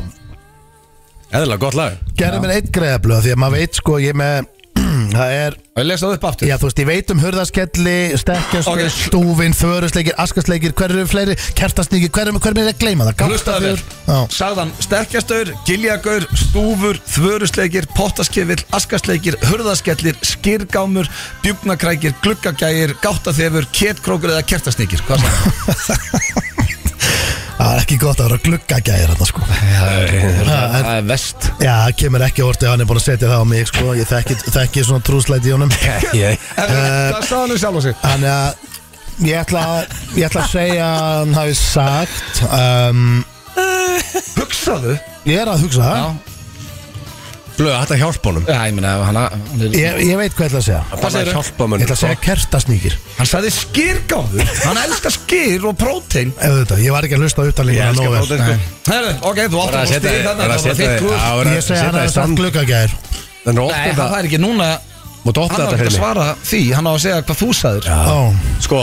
Eðla, gott lag
gerði mér eitt greiðablu Því að maður veit sko, ég með Það er,
Og ég lesa það upp aftur
já þú veist, ég veit um hurðaskelli Stekkjast,
Ok.
okay. stúfin, förusleikir Askasleikir, hverju eru fleiri, kertastíki Hverju hver mér er að gleyma það,
Hlustaðu vel
Já.
Sagðan sterkjastaur, giljagaur, stúfur, þvörusleikir, pottaskefil, askasleikir, hurðaskellir, skýrgámur, bjúknakrækir, gluggagægir, gáttaþefur, ketkrókur eða kertasneikir Hvað sagði hann?
Það er ekki gott að vera gluggagæðir Þetta sko Það er-
er vest
Já, það kemur ekki orðið að hann er búin að setja það á mig sko. Ég þekki, þekki svona trúslæti í honum
Ég
Hvað sagði hann um sjálf á sig?
Þannig að ég ætla, ég ætla að segja að hann hafi sagt um,
Hugsaðu
Ég er að hugsa
Já.
Blöð, hætti að hjálpa honum
Já, ég meina, hann, hann,
ég, ég veit hvað ég ætla að segja
Bara að
segirðu?
hjálpa
Ég
mönnum,
ætla að segja kertasníkir
hann sagði skýrgámur Hann elskar skýr og prótein
Auðvitað, ég var ekki að hlusta á
Ég
uttalega
elska
nógu
bróðir
vel.
sko
Herru, ok, þú
Bara að
áttur að
setja
stíð
þig
þannig
Bara að setja þig á, bara að
Ég segja hann
setja
hafi
þig í
sagt
stand
gluggagæðir
Þannig að
Nei,
ofta
það
þetta
er ekki núna
Máttu
Hann
ofta
á
þetta
ekki að
fyrir mig
svara því Hann á að segja hvað þú sagðir
Ó,
Sko,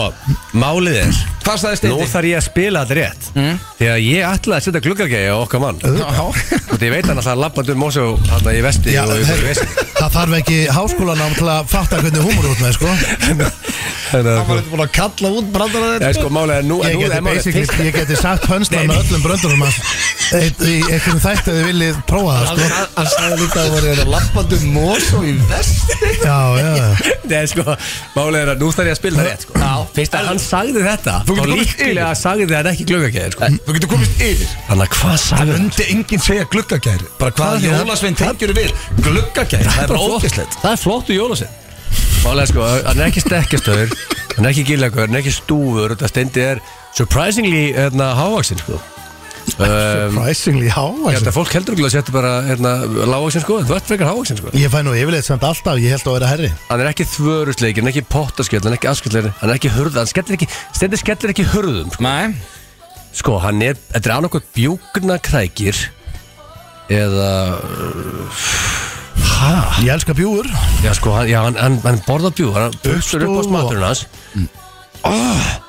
málið er
Hvað sagði
Nú
Steindi?
þarf ég að spila þetta rétt Því að ég ætlaði að setja gluggagæði á okkar mann Þú
Mm. Já.
veit ég veit hann að það labbandi um Mosó Þannig í vesti
Já,
og í
þeir-
vesti
það þarf ekki háskólanám til að fatta hvernig húmur út með sko.
Þannig að
Hann var eitthvað búin að kalla út brandara
Já, sko, málið er nú
Ég
nú
geti
er málið
basically,
fyrst-
ég geti sagt hönsna með öllum bröndurum hans eitt- í einhverjum þætti að þið viljið prófa það sko.
Hann hann sagði líka að það voru
hérna
verið lappandi um mós og í vesti
Já, já, já
Nei, sko, málega er að nú þarf ég að spila það rétt, sko Já Fyrst að hann sagði þetta
Þú
Þá
getur komist
líklega sagði hann ekki glöggakæði, sko
Þú getur komist yfir
Þannig að hvað
Það
sagði hann?
myndi enginn segja gluggagæri Bara
Hvað
hvað
er það?
Jólasvein tengjur við Gluggagæri, það er bara ógæslegt
Það er flott úr jólasinn Málega, sko, hann er ekki stekkjastöður Hann er ekki gillagur, hann er ekki stúfur Þetta stendi er surprisingly hérna, hávaxin, sko um,
Surprisingly hávæs
Þetta fólk heldur ekki að setja bara hérna, lávaxin, sko en Þú ert frekar hávaxin, sko
Ég fæ nú yfirleitt samt alltaf, ég held að vera herri
Hann er ekki þvörusleikir, hann er ekki pottaskjöld Hann er ekki askjöldleir, hann er ekki hurða Hann skellir ekki, stendur skellir ekki hurðum, sko
Nei
Sko, hann er, þetta er annarkoð bjúknakrækir Eða uh, Hæ?
Ég elska bjúur
Já, sko, hann, já, hann, hann, hann borða bjú Hann buksur upp á
og-
smaturinn hans mm. Ah.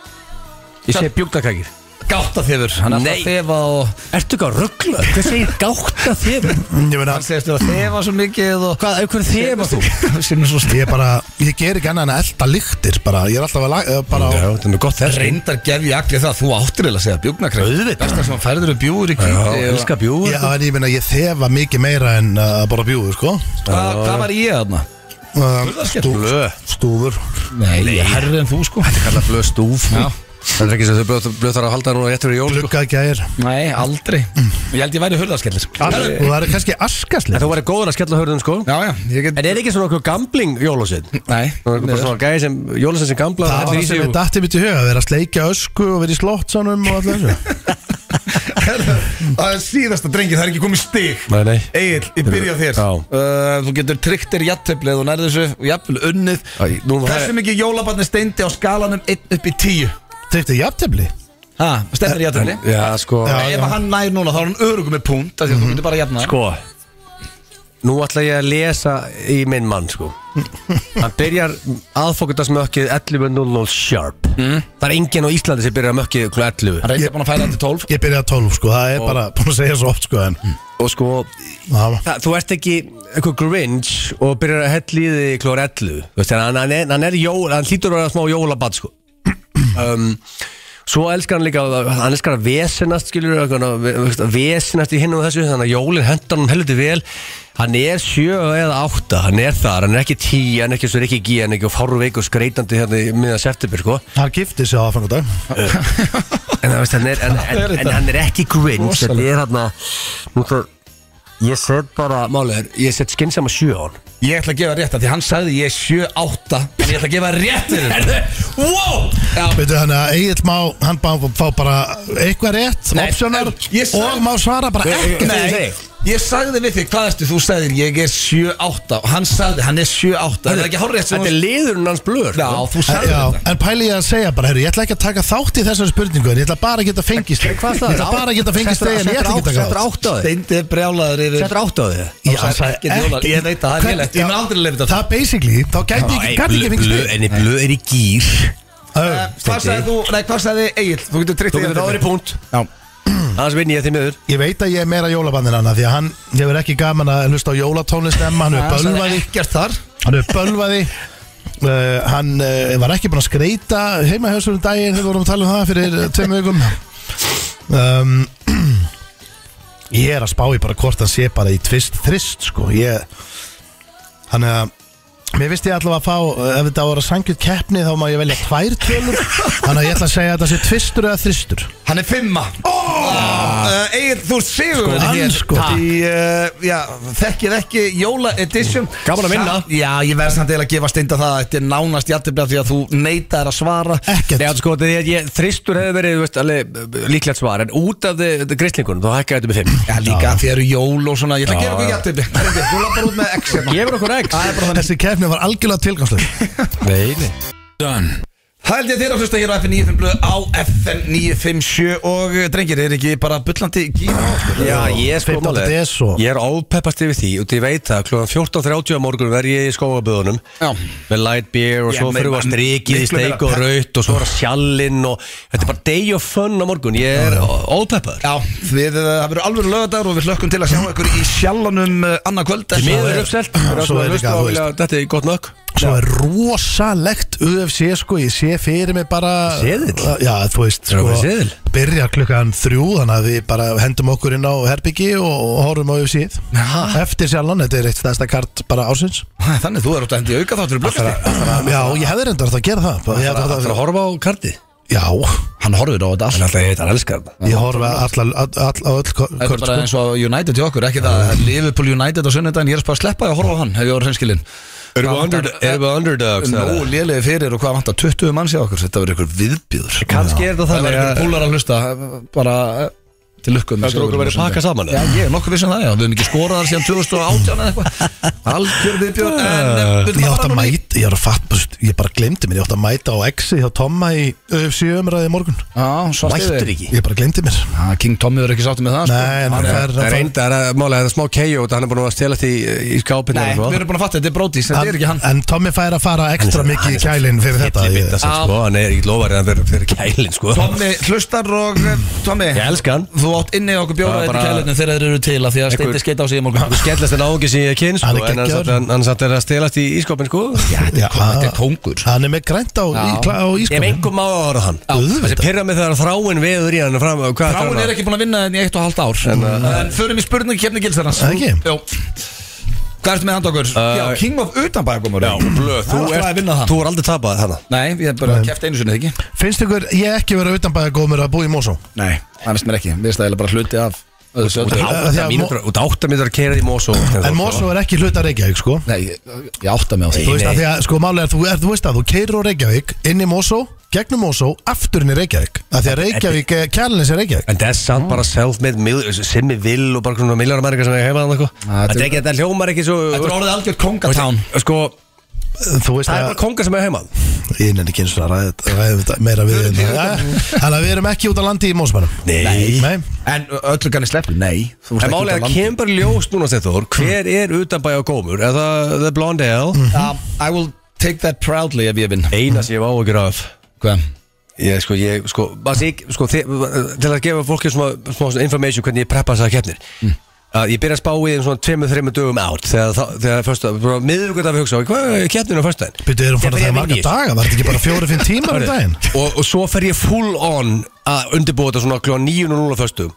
Ég segi bjúknakrækir
Gáta þefur, hann er alltaf
Nei.
að þefa og
Ertu ekki að ruggla? Hvað segir gátt að þér?
Ég meina,
hann segist þér að þefa svo mikið og
Hvað, af hverju þema þú?
sem er svo
ég er bara, ég ger ekki annað en að elda lyktir bara Ég er alltaf að laga, bara
Já,
á
þetta er nú gott þess
reyndar gef ég allir það að þú áttir eða að segja bjúknakræð
Auðvitað.
Besta sem hann færður um bjúur í
Já,
kvíti og-
elska bjú
Já, en ég meina, ég þefa mikið meira en uh, að bara bjúur, sko
Hva- Hvað var ég þarna?
Um,
Burðarskell.
stú- Stúfur
Nei, ég er herri en þú sko
Kalla blöð stúf
Já.
Það er ekki sem þau blöð, blöð þarf að halda núna rétt fyrir jól sko.
Gluggagæðir
Nei, aldrei Mm. Ég held ég væri hurðarskellir
Og það er kannski askasli
En þú væri góður að skella hörðum sko
Já, já, ég get
En er ekki svona okkur gambling jólasinn?
Nei,
Það var bara
miður.
svona gæði sem Jólasinn sem gamla
Það var það sem við datti mitt í huga Að vera að sleikja ösku og vera í slottsanum og sko. allir þessu
Það er síðasta drengið, það er ekki komið stig
Nei, nei
Egil, ég byrja á þér
Já.
uh, Þú getur tryggt þér jættöfli eða þú nærði þessu og jafnvel unnið
Æ, nú var-
Hversu mikið jólabarni steindi á skalanum 1 upp í 10
Tryggti jafntefli
Ha, stendur í jættöfli
Já, sko
Já.
Ef hann nær núna þá er hann örugum með punkt af Því að þú getur bara jafna
Sko Nú ætla ég að lesa í minn mann, sko Hann byrjar aðfókutast mökkið 11.00 sharp Það er enginn á Íslandi sem byrjar mökkið kl. 11
Hann reyndi búin að fæla hann til 12
Ég byrjaði að 12 sko, það er bara búin að segja svo oft sko en
Mm.
Og sko,
það,
það, þú ert ekki eitthvað grinch og byrjar að hella í þig kl. 11 Þú veist, hann, hann, er, hann er jól, hann hlýtur að vera smá jólabat, sko um, Svo elskar hann líka, hann elskar að vesenast, skilur að vesenast í hinn og þessu, þannig að jólin hendur hann heldur vel. Hann er sjö eða átta, hann er þar, hann er ekki tí, hann er ekki svo ekki gí, hann er ekki fárveik og skreitandi hérna í miðan september, sko.
Hann gifti sig á aðfangadag
En, það veist, hann, er, en, en, en hann er ekki grinch, þetta er hann að, nú svo, ég set bara, málegar, ég set skinnsama sjö á hann.
Ég ætla að gefa rétt að því hann sagði ég er 7-8 En ég ætla að gefa rétt fyrir þetta Wow Já,
Veitu hann að Egil má, hann má fá bara eitthvað rétt,
Nei,
opsjónar
ég sagði-
og má svara bara ekki
Nei, ég sagði við þig, hvað erstu? Þú sagðir, ég er 7-8 og hann sagði, hann er 7-8 Það er ekki hárrétt sem
Þetta er liðurinn hans blöður.
Já, þú sagði
Já,
þetta
en pæli ég að segja bara, heyrðu, ég ætla ekki að taka þátt í þessari spurningu en ég ætla bara að geta fengist Ég ætla bara að geta fengist þig en ég ætla ekki að taka
Settur
þátt
átt á þig.
Steindi er brjálaður yfir
Settur átt á þig.
Já, sagði
Hann sagði ekkert jólar. Ég veit að það er
Hvern-
lélegt. Ég mun aldrei leyfa þetta.
Það basically, þá gæti ég gæti ekki fengist þig
En í blöð er í gýr
Eh,
Ö,
Hvað sagði þú, nei, hvað sagði Egil? Þú getur tryggt
Þú getur ráður í punkt
Já.
Annars vinn ég því miður
Ég veit að ég er meira jólabandin hann af því að hann hefur ekki gaman að hlusta á jólatónlist emma, hann hefur
Bölvaði
bölvaði
ekkert þar
hann er bölvaði uh, hann uh, var ekki búinn að skreita heima hjá um daginn þegar við vorum að tala um það fyrir eh, tveim vikum um, ég er að spá í bara hvort hann sé bara í tvist þrist sko ég, hann er að Mér vist ég allavega að fá, eh, ef þetta voru að sangjöld keppni þá má ég velja tvær tölur Þannig að ég ætla að segja að þetta sé tvistur eða þristur
Hann er fimma uh, Egil, þú ert sigur
Sko, hann, sko.
Í, uh, já, þekkið ekki Jóla Edition
Gaman að vinna.
Sa- Já, ég verð samt eiginlega að gefa steinda það að Þetta er nánast jættibla því að þú neytaðir að svara
Ekkert
Nei, sko, því að ég, þristur hefði verið, þú veist, alveg eh, líklegt svar En út af grislingunum, þá hækkaði þetta með fimm
Já, líka því eru jól og svona Ég ætla að
Já,
gefa okkur
já.
jættibli Þú lappar út með X hérna
Gefur okkur X
Þessi keppni var algjörlega tilgangslega
Nei, nei
Það held ég þeirra að hlusta hér á FM 95 blöð á FM 957 og eh, drengir, er ekki bara bullandi gíma?
Já, ég er sko
15.
máli
des og-
Ég er ápeppast yfir því og ég veit að klúan 14.30 á morgun verð ég í skóaböðunum
Já.
með light beer og
Já,
svo
men-
fyrir við að strikið í
miklu meira
steik og
pepp.
raut og svo er að sjallinn og þetta er bara day of fun á morgun Ég er ápeppar
Já, við, eh, það verður alveg lögadagur og við hlökkum til að sjá ykkur í sjallanum annað kvöld
Því miður
er-
er uppselt
Svo er líka, þú veist-
Þetta er gott nökk
Svo er rosalegt UFC sko, ég sé sé fyrir mig bara
Seðill?
Já, þú veist sko,
Erum við seðil?
Byrja klukkan þrjú Þannig að við bara hendum okkur inn á herbyggi Og, og horfum á UFC
Já.
Eftir sjálfan, þetta er eitt stæðsta kart bara ársins
Þannig þú er út að hendi auka þáttur í blökkastík
Já, ég hefði reyndar átt að gera það Ég hefði átt
Það
að-
er að horfa á kardið
Já,
Hann horfir á þetta
Hann
allt
alltaf heitar elskar þetta
ég horfa allar- all- all- á öll kort
Þetta er bara eins og United til okkur, ekki það Liverpool United á sunnudaginn, ég er bara að sleppa því að horfa á hann Hef ég orðið hreinskilinn
Erum við
Hvað vantar-
under- erum við underdogs, eða?
Nó lélegi fyrir og hvað vantar 20 manns í okkur Þetta verður ykkur viðbjöður
Kannski er þetta
Það
þannig
verður
að
ykkur púlar að hlusta Bara eh, til lukku með
Heldur okkur
sigurinn
verið
á sunnudaginn.
pakkað saman,
Já,
eða?
ég er nokkuð vissin það, já Við höfum ekki skorað þar síðan 2018 eða eitthvað Algjör viðbjöður En eh, við
Ég
ætlum að
átt
fara
að
núna í-
mæta, ég er að fatt Ég bara glemdi mér, ég átt að mæta á exi Hjá Tomma í UFC umræði í morgun
Já, svart
Mættur
yfir
ekki
Ég bara glemdi mér
Já, King Tommy verður ekki sáttum með það sko.
Nei, en hann
Hann er-
fær
Það
hann
er
fær-
reynda, það er málega þetta smá keió Þetta hann er búin að stela því í hérna, sko. skápinu
Nei, við erum búin að fatta, þetta er brótis, þetta er ekki hann
en, en Tommy fær að fara ekstra mikið í kælinn fyrir þetta
Ég
ég,
bitna sem sko, hann er ekki lofarið að vera fyrir kælin sko
Tommy, hlustar og eh, Tommy
Ég elska hann
Þú átt inni á okkur
Það
bjóra
var
þetta
bara-
kælirnum þegar þeir eru til að því að
Einhver-
steindi skeita á sig í morgun
Skellast en áhengi sem ég kyn sko
Hann er
En hann
geggjaður.
satt- hann- hann satt er að stelast í ískópin sko
Já,
Þetta er kóngur
Hann Ah, er með grænt á, í,
Já.
kla- á
Ef
ískóðum
einhver má að horfa á hann
auðvitað.
Þessi pyrra mig þegar þráin veður í hann fram hvað ætlar
Ráin
hann
er
að-
ekki búin að vinna þenni í eitt og halvt ár En, en förum í spurningu kemni gilsarans
Það ekki?
Jó Hvað ertu með handa okkur?
Eh,
Já, King of utanbækumur
Já, blöð, þú
Það er alltaf að
ert
vinna það.
Þú er aldrei tapað þannig
Nei, ég hef bara kæft einu sinni, ekki?
Finnst ykkur ég ekki vera utanbæða góðmur að búa í Mosó?
Nei Það finnst mér ekki, við erum stæðilega bara hluti af öðru
Út af
sjóti
því
átta
að
mínútur- út af átta mínútur að kera því Mosó
En Mosó er ekki hluta Reykjavík sko
Nei, ég, ég átta mig á því
Þú veist
nei.
að því að sko málega er þú, er, þú veist að þú keirir á Reykjavík inn í Mosó, gegnum Mosó, aftur inn í Reykjavík að Því að Reykjavík, kælinni sér Reykjavík
En það er samt bara self-made mil- Simmi Vill og bara svona miljónarmæringar sem ég heima þannig sko.
þetta er-
Þetta er ekki, þetta hljómar ekki svo
Þetta er orðið algjör kongatán
Sko,
Þú veist
það er bara
að
konga sem er heima
ég nenni ekki eins og að ræða þetta- ræða þetta meira við hérna. Jæja. Þannig að við erum ekki út á landi í Mósmannum
Nei.
Nei.
En öllu kanni sleppur, nei Þú
En málega það kemur bara ljós núna Steinþór Hver er utanbæja og gómur? Er það The Blonde Ale?
Um, I will take that proudly ef ég vinn
Eina sem ég hef áhugur af
Hvað?
Ég sko, ég sko, bara sig, sko þið, Til að gefa fólki svona, svona, svona information Hvernig ég preppa þess að keppnir að Ég byrja að spá í þeim svona tveimur, þreimur dögum átt Þegar, það- þegar fyrsta, bara miðugur að við hugsa Hvað er keppnir á fyrsta
Byrju, erum
Ég
fann að það
byrja
er
að
marga
vinna í þessu.
daga, var þetta ekki bara fjóri-fimm tímar um daginn?
og, og svo fer ég full on að undirbúa þetta svona kljóðan 9.00 á föstum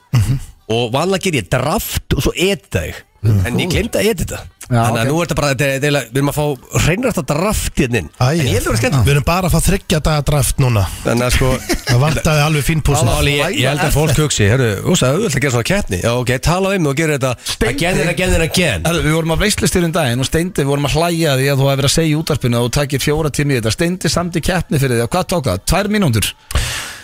og vanlega ger ég draft og svo edita þig en ég glemd að edita
Já,
þannig að
ok.
nú er þetta bara, þetta er- þetta er eiginlega- við erum að fá reynrætt að draft hérna inn
Æ,
en ég heldur að skemmt
Við erum bara að fá þryggja daga draft núna
þannig að sko
Það vantaði alveg fín pússin
Máli, ég, ég held að fólk hugsi, herru, þú veist að auðvitað að gera svona keppni Já, ok, tala um og gera þetta again and again and again
Herru, við vorum að veistlistyrinn daginn og Steindi, við vorum að hlæja að því að þú hafi verið að segja í útarpinu að þú takir fjóra tími í þetta Steindi samt í keppni fyrir því og hvað tók það? Tvær mínúndur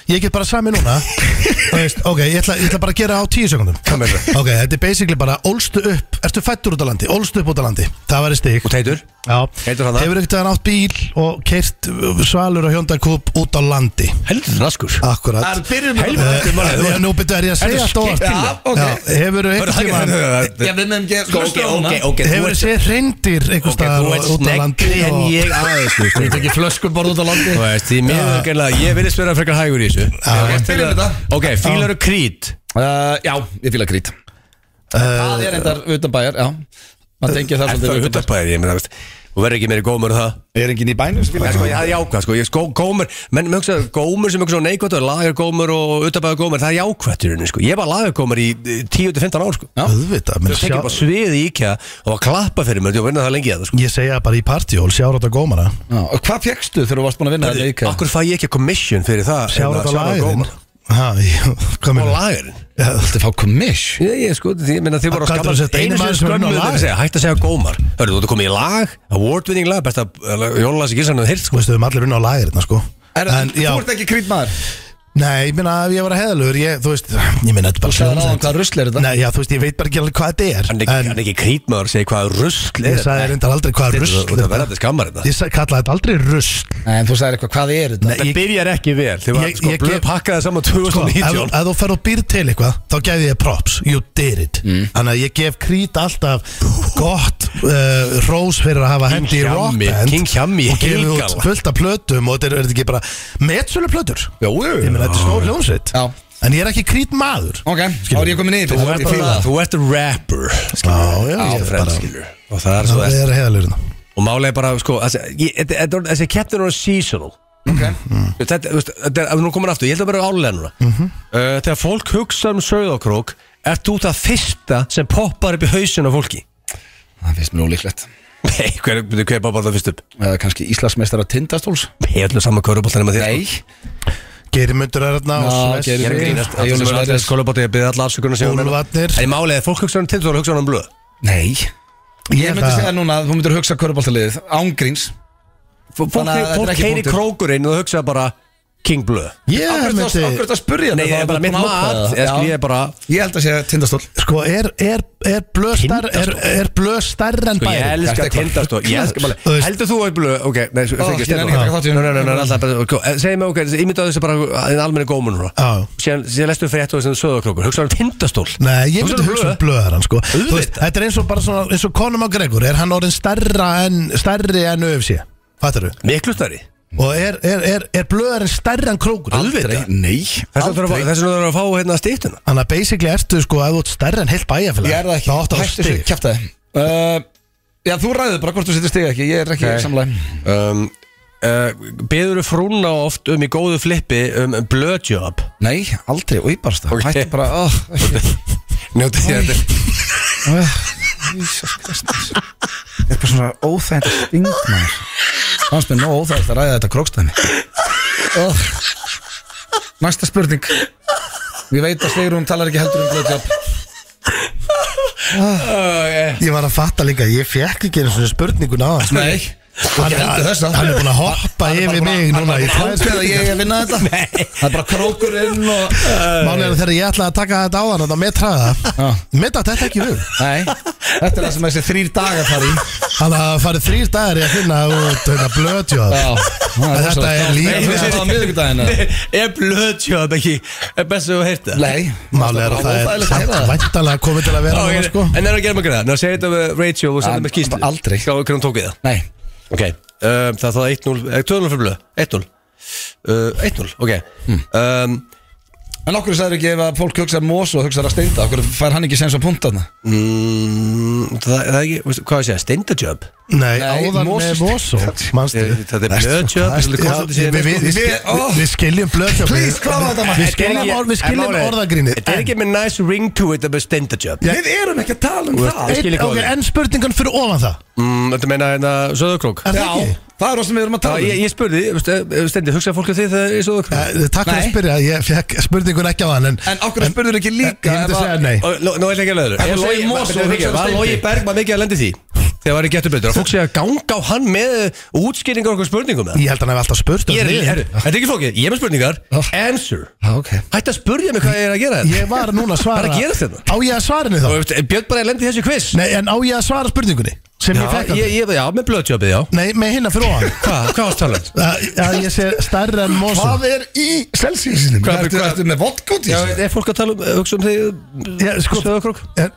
Ég get bara sami núna Þú veist, Ok, ég ætla, ég ætla bara að gera á tíu sekundum
með það.
Ok, þetta er basically bara Ólstu upp, ertu fættur út á landi Ólstu upp út á landi, það væri stig
Og teitur,
Já,
Heitur hann það?
hefur ekkert að nátt bíl og keirt svalur og hjóndakúp út á landi
heldur naskur
Akkurat
byrjum
Helviti maður, þú
Eh,
ert-
Nú byrjuðu er ég að segja
Þetta er
allt óvart
skikkilega.
Já, ok.
Hefur ekkert
Hörru,
tíma
það
Já,
er-
við meðum ekki
Sko, ok, ok, ok, þú
Hefur
ert-
séð reyndir einhver
ok, þú
staðar
ert
út á landi
sneggri en
og-
ég aðeins þú veist.
Þetta ekki flöskuborð út á landi
Þú veist, því miður gennilega, ég virðist vera frekar hægur í þessu
Ok, byrjum þetta
Ok, fílar og krít
Uh, Já, ég fíla grít Uh, Það er endar utan bæjar, já Man tengir Uh, það
Það er
svolítið utan bæjar
utanbæðir, ég meina, veist Þú verður ekki meiri gómur en það
Ég er enginn í bænum sem
Nei,
fílar
sko, ég, það er jákvæð, sko, ég sko, gómur Menn, mér hugsaðu, gómur sem eitthvað svona neikvætt og Lagar gómur og utanbæðar gómur, það er jákvætt í rauninni, sko Ég var lagar gómur í eh, 10-15 ár, sko
Já.
Auðvitað, menn
Þau tekið
sjá-
bara sviðið í IKEA og var að klappa fyrir mér, þú verður það lengi að það, sko
Ég segja bara í partíól, sjárat á gómara
Já, Og hvað fjekkstu þegar þú varst búin að vinna þetta auka?
Akkur fæ ég ekki commission fyrir það
Sjárat á
hérna, sjárat á
lagin
gómar?
Ha, ég- hvað
Og
meina
lagarinn
Þú ætti að fá commish
Ég, ég sko, því, ég meina þið voru
Hvað heldurðu að setja einu
einu
maður
sinni
sem er
skömmu
með lag?
að segja, hætt að segja gómar Hörru, þú ert að koma í lag, award-winning lag besta jólalas í gilsanum hirt,
Þú
sko
veist, við erum allir unna á lagir hérna, sko
Er,
En,
Þú
já,
ert ekki grít maður
nei, ég meina, ef ég var að heðalur Ég, þú veist, ég meina, þetta er bara
Þú sagði ráðan
hljómsveit.
hvað rusl er þetta
Nei, já, þú veist, ég veit bara ekki alveg hvað þetta er
Hann er ekki- hann er ekki krítmaður, segir hvað rusl er
Ég sagði reyndar aldrei hvað
Þetta
rusl
er það verðandi skammar þetta
Ég sagði, kallaði þetta aldrei rusl
Nei, en þú sagðir eitthvað, hvað er þetta?
Þetta byrjar ekki vel, þið var
Ég-
sko
ég-
blöð
ég-
pakkaði saman
Sko, ef þú-
2019
ef þú fer og býr til eitthvað þá gæði ég props, you did it
Mm.
þannig að ég gef krít alltaf gott uh, rós fyrir að hafa hendi í
Hjammi,
rockband
King Hjammi,
og gefið út
heilgala.
fullt af plötum og þetta er, er þetta ekki bara metsölu plötur
Jó, jú.
ég meina þetta er stór hljómsveit
Já.
en ég er ekki krít maður
Ok, þá er ég komin niður
Þú ert bara- Þú ert rapper
já, já,
Á
ég er
fremst,
bara
skilur. Og það er svo
það er hérna. heðalurinn
Og málega bara, sko, þessi- ég- þetta- þetta- þessi keppnir eru seasonal þetta, þú veist, þetta er, ef nú komin aftur, ég held að vera álega núna mm uh, Þegar fólk hugsa um sögðakrók Ert þú það fyrsta sem poppar upp í hausin á fólki?
Það finnst mér ólíklegt
Nei, hver, byrju, hver poppar það fyrst upp?
Eða kannski Íslandsmeistara tindastóls
Ég held að saman köruboltan með þér
Nei
Geirmundur er hérna
Já,
og
Ég
Sves
Geir-
er að grínast Allir sem
Jónas
eru allir
Valdes.
að skóla bóti Ég byrði alla afsökunar sem
Úlfarnir.
En ég máli að fólk hugsa um tindur og hugsa um blöð
Nei Ég myndi
það-
segja núna að þú myndir hugsa körubáltaliðið Ángríns
Fólk,
Þannig að þetta er
fólk
ekki
heyri
punktur.
krókurinn og hugsa bara King blöð
Ég myndi
Ángríns að spyrja
Nei,
þetta,
það er
þá
bara
þú
mitt
búin að
mat
ákveða
Ég
það.
skil, ég er bara
Já. Ég held að segja tindastól
Sko, er, er, er blöð stærri er, er blöð stærri en
Sko, ég
bæri?
elska tindast og ég elska
Þú
bara
veist-
Heldur þú að blöð, ok, nei, svo-
Ó,
fyrir
ég
ekki
nenni ekki að taka þátt í honum.
stjórn Segðu mig, ok, ímyndaðu þessu bara þinn almenni gómun
Já.
Sér lestu frétt og þessu söðakrókur Hugsa um tindastól
Nei, ég myndi
Hugsaðu um
hugsa um
blöð.
blöðaran sko
Auðvitað.
Þú veist, Þetta er eins og bara svona eins og Conor McGregor, er hann orðin stærra en stærri en UFC, fattar du?
Miklu stærri
Og er, er, er, er blöðaran stærri en krókur?
Aldrei Nei
Þess vegna þurfa- þess vegna þurfum við að fá hérna stýttuna
Þannig að basically ertu sko að þú ert stærri en heilt bæjarfélag
Ég er
Það átt
það ekki
að
Hættu þessu
stig
kjæftaði uh, Já, þú ræður bara hvort þú setur stig ekki Ég er ekki
Nei.
samlega
um, uh, Beður frúna oft um í góðu flippi um blödjob
Nei, aldrei, og ég bara stað
Ok.
Hættu bara oh,
Njóti því að þetta
Þetta er bara svona óþægnd að stingmaður Hans með nóg óþægnd að ræða þetta krókstæmi oh. Næsta spurning Ég veit að Stegrún talar ekki heldur um blöðjobb
Ég var að fatta líka, ég fekk ekki einu svona spurningun á það sko.
Nei
hann,
Ég heldur þess að
hann er búin að hoppa yfir mig núna í tvær
Ákveð að ég er að vinna þetta Það er bara krókurinn og
Málið er að þegar ég ætlaði að taka þetta á þann Þetta með traða Með þetta ekki við
Nei, þetta er það sem þessi þrýr dagar fari í
Þannig að það farið þrýr dagar í að finna út Þetta blöðjóð
Já,
En þetta er líka-
Þú sér það á miðvikudaginn eða?
Er blödjob ekki Er best að þú heyrti það?
Nei,
Málið er að
óþægilegt
það
heyra
er Væntalega komið til að vera
Já,
núna
ég-
sko
En er að gera maður greið Ná, segir þetta við Rachel og senda
Ah,
mér skýslu
aldrei.
Sjáum hvernig hún tók í það
Nei,
Ok, um, það er þá 1-0 eh, 2-0 fyrir blöð, 1-0 uh, 1-0, ok
Hmm.
um,
en okkur sagður ekki ef að fólk hugsa mós og hugsa að steinda Okkur fær hann ekki sens á puntaðna
mm, það, það er ekki, veistu, hvað ég segja, steindajöb
Nei,
Nei,
áðan
Moses-
með Mosó Manstu
Eh, Þetta
sko,
er blöðjöb
Já, við- við- við- við-
Oh.
Við skiljum blöðjóð
Please, klára þetta, maður.
Við skiljum, orð- við skiljum orðagrínið
Þetta er ekki með nice ring to it að steindajöb
Við erum ekki að tala um
Ég
það
skil
Einn-
ekki
ok,
orðið.
En spurningan fyrir ofan það
Mm, Þetta meina hérna söðukrók
Er það
Já,
ekki?
það er það sem við erum að
Já,
tala
ég,
um
ég spurði, veistu, eh, steindi, hugsaði fólk um þið þegar ég söðukrók
Eh, Takk fyrir
Nei.
að spyrja, ég fekk spurningun ekki á hann En
um.
Eh,
En okkur spurður ekki
Ég
líka
myndi
ef að-
segja nei
Og Nú nú ætla ég ekki að
En þú segir Moss og
löður
hugsaði
Var
Steindi.
Lógi Bergman mikið að lendi því Þegar var ég getur betur Að Fólk sé að ganga á hann með útskýringar okkur spurningum eða?
Ég held að hann hef alltaf spurt um
Ég er,
þig.
er, þetta er ekki flókið, ég er með spurningar Answer
Já, ok
Hætti að spurja mig hvað ég er að gera
Ég var núna að svara
Hvað er að gerast hérna?
Á ég að svara henni þá?
Og veist, eh, Björn bara lendi í þessu quiz
Nei, en á ég að svara spurningunni? Sem ég fekk
Já,
að
ég, ég, já með blöðtjöpið, já
Nei, með hinna fyrir ofan
Hvað, hvað varst talað?
Að- Að ég sé stærri en mosa
Hvað er í selsísinum?
Hvað-
Hvað
hvað-
ertu með vodka út í
Já,
þessu?
er fólk að tala um, hugsa um þig
Já, sko-
Stöðakrók?
En-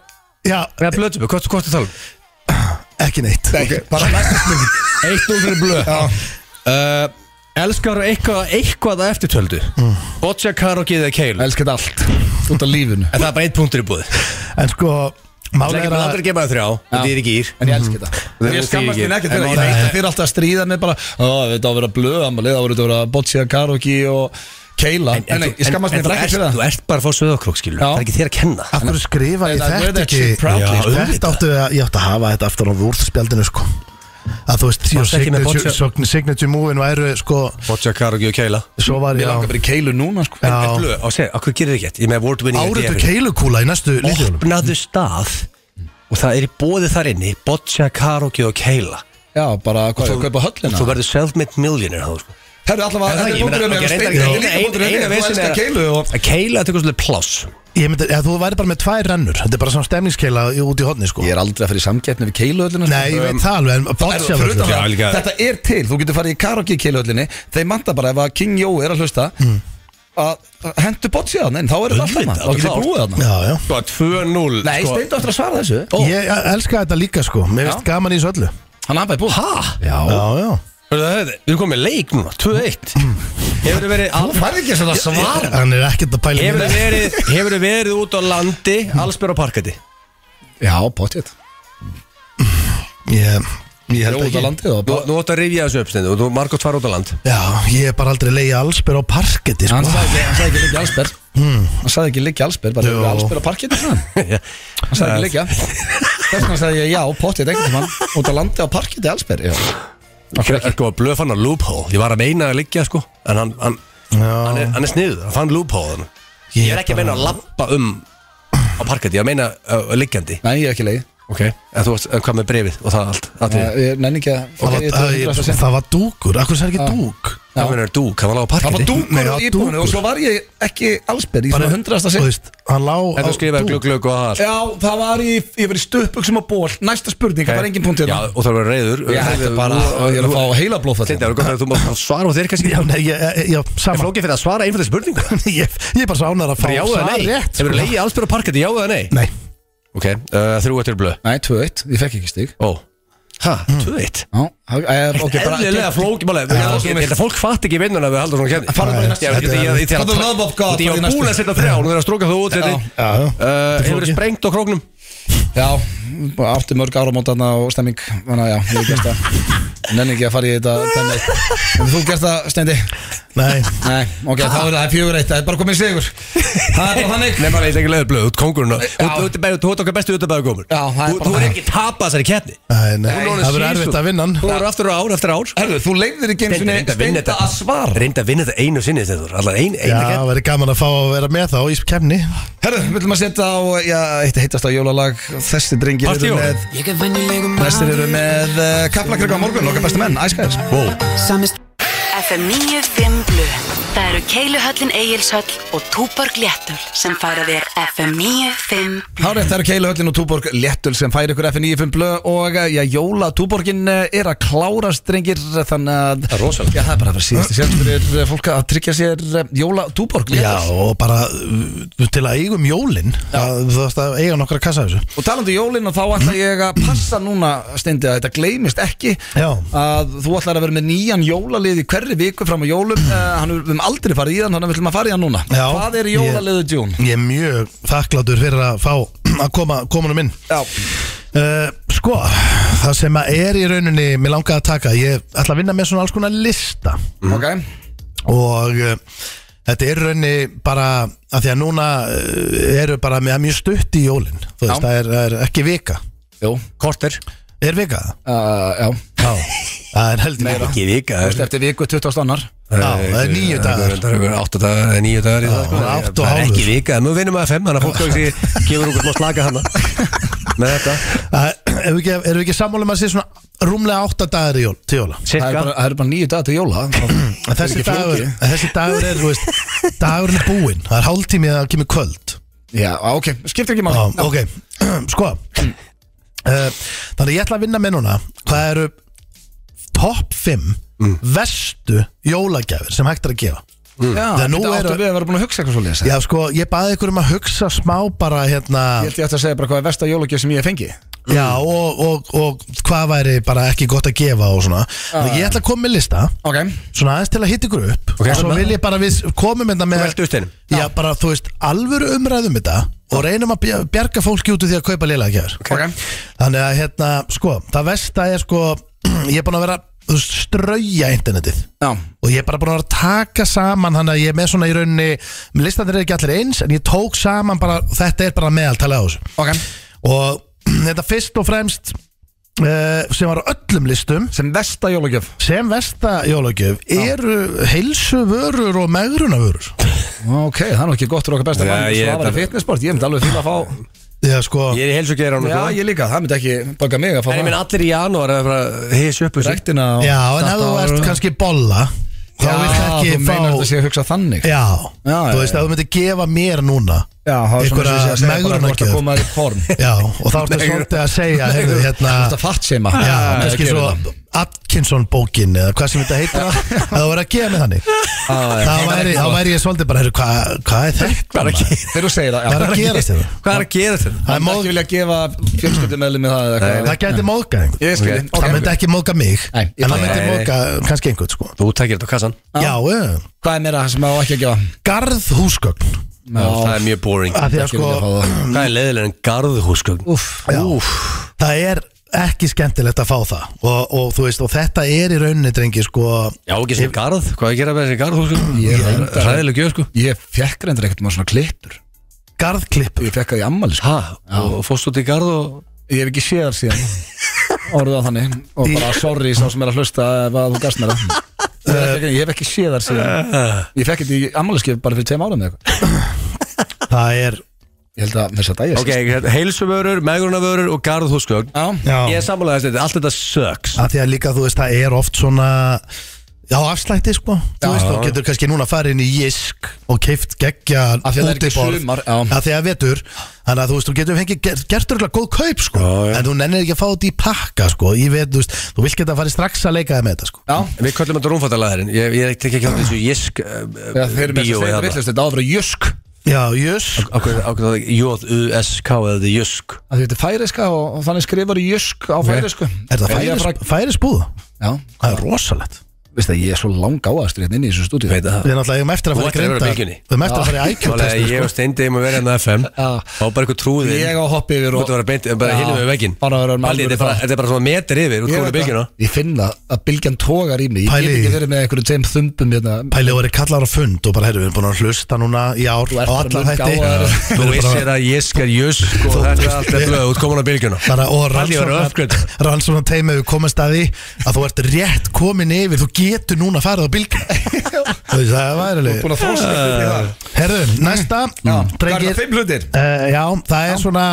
Já,
Já, blöðtjöpið, hvað, hvað ertu að tala um?
ekki neitt
Nei, bara næsta spurning
1-0 fyrir blöð uh, Elskar eitthvað, eitthvað að eftirtöldu
Mm.
Boccia, Karokið eða Keil En
Elskar allt Út af lífinu
það er bara einn punktur í búð Það
En sko,
er
málega
ekki
er
bara
að
aldrei að gefa það þrjá Það er ekki ír
En ég elska þetta
Þú
Ég
veist
skammast
ekki.
mín ekkert
En
fyrir það. Ég
málið-
veit að þið er alltaf að stríða með bara Ó, þetta á að vera blöð ammali Það voru þetta að vera boccia, karaoke og keila En, nei, ég skammast
en
mín
þú
ekkert
ert-
fyrir það
Þú ert bara að fá söðakrók, skilur
Já.
Það er ekki þér að kenna
Af hverju skrifa ég
Nei, það-
þetta
wear that
ekki
shit proudly,
Já,
sko.
Þetta áttu að, ég áttu að hafa þetta aftur á vúrðspjaldinu sko Að þú veist, your
Varstu ekki með
signature,
Boccia?
sogn- signature move-in væru sko
Boccia, Karokið og Keila
Svo var
Ég
ég á
langar bara í keilu núna sko
Já.
En blöð, á segja, okkur gerir þið ekki Ég með award winning
Áriðu
engineering.
keilukúla í næstu líkjónum
Opnaðu stað Og það er í bóði þar inni Boccia, Karokið og Keila
Já, bara hvað, ég kaupa höllina
Þú verður self-made millionaire þá, sko.
Herru, allavega,
Er það ekki?
þetta er
Ég meina,
bóndurinn
ok,
mér
reyndar-
Steindi er
eina-
líka
eina-
bóndurinn
eina
mér Þú
vesen er
elskar keilu og
að Keila tekur svolítið pláss
Ég myndi, eða þú væri bara með tvær rennur Þetta er bara svona stemningskeila í- út í hodni sko
Ég er aldrei að fyrir samgætni við keiluhöllina
Nei, ég veit það alveg, en
Herru, fyrir utan
boccia
Já,
það,
líka-
Þetta er til, þú getur farið í karaoke keiluhöllinni Þeir manta bara ef að King Jó er að hlusta að hendu boccia þarna inn, þá er þetta alltaf
Auðvitað,
þarna, þá getur
klárt.
búið þarna
Já, já
Sko, 2-0
Nei,
sko,
Steindi áttur að svara þessu
Ég elska þetta líka sko, mér finnst gaman í þessu öllu
Hann aðbæði búið Hæ?
Já, já
Hörðu það, hörðu, Við erum komið leik núna, 2-1 Hefur þið verið al-
Færði ekki svona svara
Hann er ekkert að pæla í
Hefur
mér.
þið verið, hefur þið verið út á landi Allsbyr á parkati
Já, bóttið
Ég Ég held
Ég er út
ekki.
á landið og
Nú,
bara-
nú átt að rifja þessu upp stendur og þú margótt fara út á land
Já, ég er bara aldrei leiði allsbyr á parketti
Hann
sko.
sagði ekki- hann sagði ekki liggja allsberg Hann sagði ekki liggja allsberg bara
Jú.
hefur allsberg á parkinu hann Hann sagði ekki liggja Þess vegna sagði ég já, pottið einhvern tímann út á landi á parkinu allsberg
Sko, blöf hann að loophole Ég var að meina að liggja sko En hann, hann, hann, er, hann er sniður, hann fann loophole hann. Ég er ekki að meina að lappa um á parketti, ég er að meina uh, liggjandi
Nei, ég er ekki leið
Ok En þú varst, en hvað með brefið og það allt atriði?
Ég er Ah. nenni ekki að
Það var-
ég-
það-
ég-
ég-
ég-
Það var dúkur, akkur sér ekki dúk
Það meina er dúk, hann var lág á
Það var
parketti
Nei,
dúkur
það var
á íbúinu
dúkur.
og svo var ég ekki allsberg í svona hundrasta
Þú
sinn
veist, Hann lá á
En þú skrifaði glugg, glugg og það allt.
Já, það var í, ég var í stöpuksum á ból Næsta spurning, það var engin punkt
Eh, Já,
hérna
og það var reyður
Ég hætti bara, ég er að fá heila blóðfall
Þetta er gott að þú mátt að svara og þeir kannski
Já, nei, ég- ég- já,
Er
sama
flókið fyrir að svara einfættir spurningu?
Ég ég er bara sánar að fá
Bara já eða
svar
nei?
rétt
sko.
sko.
Hefur leiði allsbyrð á parketti, já eða nei?
Nei,
Ok, uh, þrjú eftir blöð
Nei, 2-1, ég fekk ekki stig
Ó, hæ, tvö eitt
Já, er, Mm. ok, bara
Eðlilega flókið málega Ég held að fólk fatt ekki vinnuna við haldum svona kemni
Farðu bara í næstu.
Þetta
For the love of God,
Ég
farðu í
var
næstu.
búin að setja þrjá, nú er að stróka þú út
Já.
þetta
já, já.
Hefur þið sprengt á króknum?
Já, bara átti mörg áramótana og stemming Þannig að já, ég hef gert það Nenni ekki að fara í þetta dæmi. Hefur þú gert það, Steindi?
nei
Nei, ok, þá er það fjögur eitt Það er bara komið sigur Það er bara þannig
Nei, maður veit ekki leiður blöð, út kóngurinn
Já.
Þú ert okkar bestu utabæðu komur
Já, það er bara
Þú er
þannig.
ekki tapað þessari keppni
Nei, nei,
Hún er
það verður
season.
erfitt að vinna hann
Þú eru aftur á ár, eftir ár
Herðu, þú leiðir ekki eins og
Reyndu að vinna
Steindi
þetta.
að svara
Reynda að vinna þetta einu sinni þetta Allar ein,
Já,
eina hérna. keppni
það verður gaman að fá að vera með þá í kemni
Herðu, við viljum að setja á, já, eitt heitast á jólalag Þessi drengir
Partíó.
eru með
Ég er venjulegu
Þessir eru með uh, kaplakrygg á morgun Okkar bestu menn, æskæðis
Wow.
Samist FM 95 Blu Það eru Keiluhöllin Egilshöll og Túborg Léttul sem færa þér FM 95
Hárið, það eru Keiluhöllin og Túborg Léttul sem færi ykkur FN95 blöð og eh, já, Jóla Túborgin eh, er að klára strengir þannig að
Það er rosalegt.
Já, það er bara að vera síðusti sjálf fyrir eh, fólk að tryggja sér eh, Jóla Túborg
Já,
Léttul
og bara uh, til að eigum jólin það- Þú þarfst að eiga nokkra kassa af þessu
Og talandi um jólin og þá ætla ég að passa núna steindi að þetta gleymist ekki
Já.
að þú ætlar að vera með nýjan jólalið í hverri viku fram á jólum uh, hann er- við höfum aldrei farið í hann, þannig að við ætlum að fara í hann núna
Já.
Hvað er jólaliðu June?
Ég er mjög þakklátur fyrir að fá að koma komunum inn
Já,
uh, Sko, það sem að er í rauninni Mér langaði að taka Ég ætla að vinna með svona alls konar lista
ok
Og uh, þetta er í rauninni bara að Því að núna uh, eru bara með mjög stutt í jólin Þú veist,
Já.
það er, það er ekki vika
Jú,
Korter
Er vika?
uh, já,
Já, það er heldur
Meira.
vika
Ekki vika
Þú veist, eftir viku 20. annar
Já, það er níu dagar.
Það er áttu dagar, það er níu dagar í það sko.
það er átta og
Það er
hálfur.
ekki vika, en nú vinnum við að fem Þannig að fólk kannski gefur okkur smá slaka hana Með þetta
Það er- Eh, Erum við ekki, erum við ekki sammálum að sé svona rúmlega átta dagar í jól, til jóla?
Það er
Cirka
bara, það eru bara nýju dagar til jóla
En þessi
Það er ekki
dagur,
flókið.
en þessi dagur er, þú veist, dagurinn er búinn Það er hálftími að það kemur kvöld
Já, ah, ok, skiptir
Já,
ekki máli
ok, sko uh, Þannig að ég ætla að vinna með núna Hvað eru top 5
Mm.
verstu jólagjafir sem hægt er að gefa
Já,
Það er nú
þetta
eru-
áttu við að vera búin að hugsa eitthvað svo lesa
Já, sko, ég baði ykkur um að hugsa smá bara hérna
Ég held ég ætti að segja bara hvað er versta jólagjöf sem ég hef fengið
Já, og, og, og hvað væri bara ekki gott að gefa og svona Þannig að ég ætla að koma með lista
Ok,
Svona aðeins til að hitta ykkur upp
Ok,
Hérna.
Svo
svona.
vil ég bara við komum hérna með
Veltu steinum
Já, bara, þú veist, alvöru umræðum þetta og reynum að bja- bjarga fólki út úr því að kaupa liðlagjafir
ok
Þannig að, hérna, sko, það vest að ég, sko, ég er búin að vera, þú veist, strauja internetið
Já,
og ég er bara búin að vera að taka saman þannig að ég er með svona í rauninni, listandir er ekki allir eins en ég tók saman bara, þetta er bara meðaltalið á þessu
ok
og þetta fyrst og fremst uh, sem var á öllum listum
Sem versta jólagjöf
sem vesta jólagjöf eru heilsuvörur og megrunavörur
Ok, það er nú ekki gott fyrir okkar besta
Já,
mann
ég-
Svo var í fitnessport, ég myndi alveg fíla að fá
Já, sko,
Ég er í helsugeir á
Já,
núna
ég líka, það myndi ekki baka mig að fá
En ég minn
það
allir í janúar að fara hins upp þessu.
Rektina og
já, en ef
þetta
þú
og-
ert kannski bolla þá
Já,
vilt ekki
þú meinar þetta
fá
sé að hugsa þannig
Já,
Já, já,
þú veist,
já.
ef þú myndir gefa mér núna
Já, það er svona
einhverja
sem ég segi að segja bara hvort að
megrunargjöf.
koma þér í form
Já, og þá ertu
Nei,
svolítið að segja heyrðu, hérna,
Þú ert að fatt seima
Já, kannski svo Atkinson bókin eða hvað sem þetta heitir að að það voru að gefa mig þannig þá væri, þá væri ég svolítið bara, heyrðu, hvað hva er þetta?
Hvað er að
maður?
ge-
Þegar þú segir það já.
Hvað er að gerast hérna? þetta?
hvað er að gera þetta?
Það
Það
er
má
móð-
ekki vilja gefa fjölskyldumeðlum með það eða eitthvað.
Það gæti móðga einhvern
Ég skil,
Ok.
ok
Það myndi ekki móðga mig
Nei, ég
En það
bara-
myndi
Nei, nei.
móðga kannski einhvern sko
Þú tekir þetta á kassan
Já, já.
Hvað er meira sem á ekki að gefa?
Garðhúsgögn
Já, Það er mjög boring
Af því að
Ekki vilja fá
sko
það.
Hvað er leiðilega en garðhúsgögn?
Úff
Já. Það er ekki skemmtilegt að fá það og, og þú veist, og þetta er í rauninni drengi sko,
Já, ekki sem garð, hvað er að gera með þessi garð húsum? Ég er ræðileg gjöð sko
Ég fekk reyndar ekkert maður svona klippur
garðklipp
Ég fekk það í ammali sko.
Ha, og fórst út í garð og
Ég hef ekki séð þar síðan Orðið á þannig Og bara sorry sá sem er að hlusta ef að þú gast mér það Ég hef ekki- Ég hef ekki séð þar
Eh.
síðan Ég fekk þetta í ammaliskef bara fyrir tveim árum eða eitthvað
það er
Ég held að þess að dæja
Ok, hérna, heilsumörur, megrunavörur og garð húsgögn
Já
já,
Ég er sammálaðið þetta, allt þetta söks
að því að líka þú veist, það er oft svona já, afslætti sko þú veist, þú getur kannski núna farið inn í Jisk og keift geggja
Af því að það er ekki
útiborð.
sumar, já.
Af því að vetur þannig að þú veist, þú getur fengið ger- gert örgulega góð kaup sko,
Já, já.
en þú nennir ekki að fá þetta í pakka sko, ég veit, þú veist, þú vilt geta að fara strax að leika þér með þetta sko
Já
Við köllum þetta rúmfattalæðurinn Ég, ég tek ekki þátt í þessu eh, jisk
Já, Þeir eru með
hérna.
þess að segja þetta villust Þetta áður að jösk
já, Jisk
Ákveð J-U-S-K eða þetta er jösk
að Þetta er færiska og, og þannig skrifar jösk á færisku
Er það
Ég
færis,
bara-
færisbúð?
Já
Það er rosalegt
Veist það, ég er svo lang áastur hérna inn í þessu stúdíu
Veit það
Við erum náttúrulega eigum eftir að
Þú
fara í
ættir að vera
grinda Við
á bylgjunni.
erum eftir að fara í
Málega
IQ-testinu
ég og
sko.
Steindi um að vera hérna á FM
Já.
Fá bara eitthvað trúðinn
Ég á hopp yfir
Þú
og
ert að vera beint, bara
Já.
hinnum við vegginn
Bara að vera með
Palli,
alvöru
þetta er bara-
þátt.
þetta er bara svona meter yfir Þú
Ég
ert
veit
að bylgjuna
það. Ég finn það að bylgjan tógar í mig Ég
Pæli
get
í
ekki
því.
verið með einhverjum tveim þumbum hérna.
Pæli og verið kallar á fund og bara heyrðu, við erum búin að hlusta núna í ár
Þú
á
ert bara
alla
mjög
þætti
gáfaður.
Þú
Við erum bara-
vissir að ég skar jösk og þetta er allt eftir Þú ert komin á bylgjuna
bara, og
Palli var
rannsóknar
öfgrönd
rannsóknar teimið við komast að því að þú ert rétt komin yfir, þú getur núna farið á bylgja þú veist, það væri alveg
Búin að þróska þetta í það.
herðu, næsta mm, drengir,
fimm hlutir?
uh, já, það er svona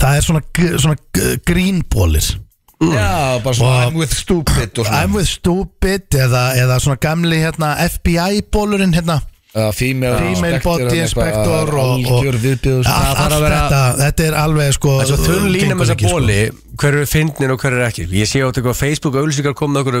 það er svona, gr- svona grínbólir
Já, bara svona I'm with stupid og svona
I'm with stupid eða, eða svona gamli hérna, FBI bólurinn hérna
Uh, Female,
Female
inspector,
body
eitthvað,
inspector og, og
Algjör viðbjöðs
allt,
Það þarf
allt
að vera-
þetta, þetta er alveg sko
Það er svo þunn lína
gengur
með
ekki,
þessa
sko.
bóli Hver eru fyndnin og hver eru ekki Ég sé á þetta eitthvað á Facebook auðlýsingar komið okkur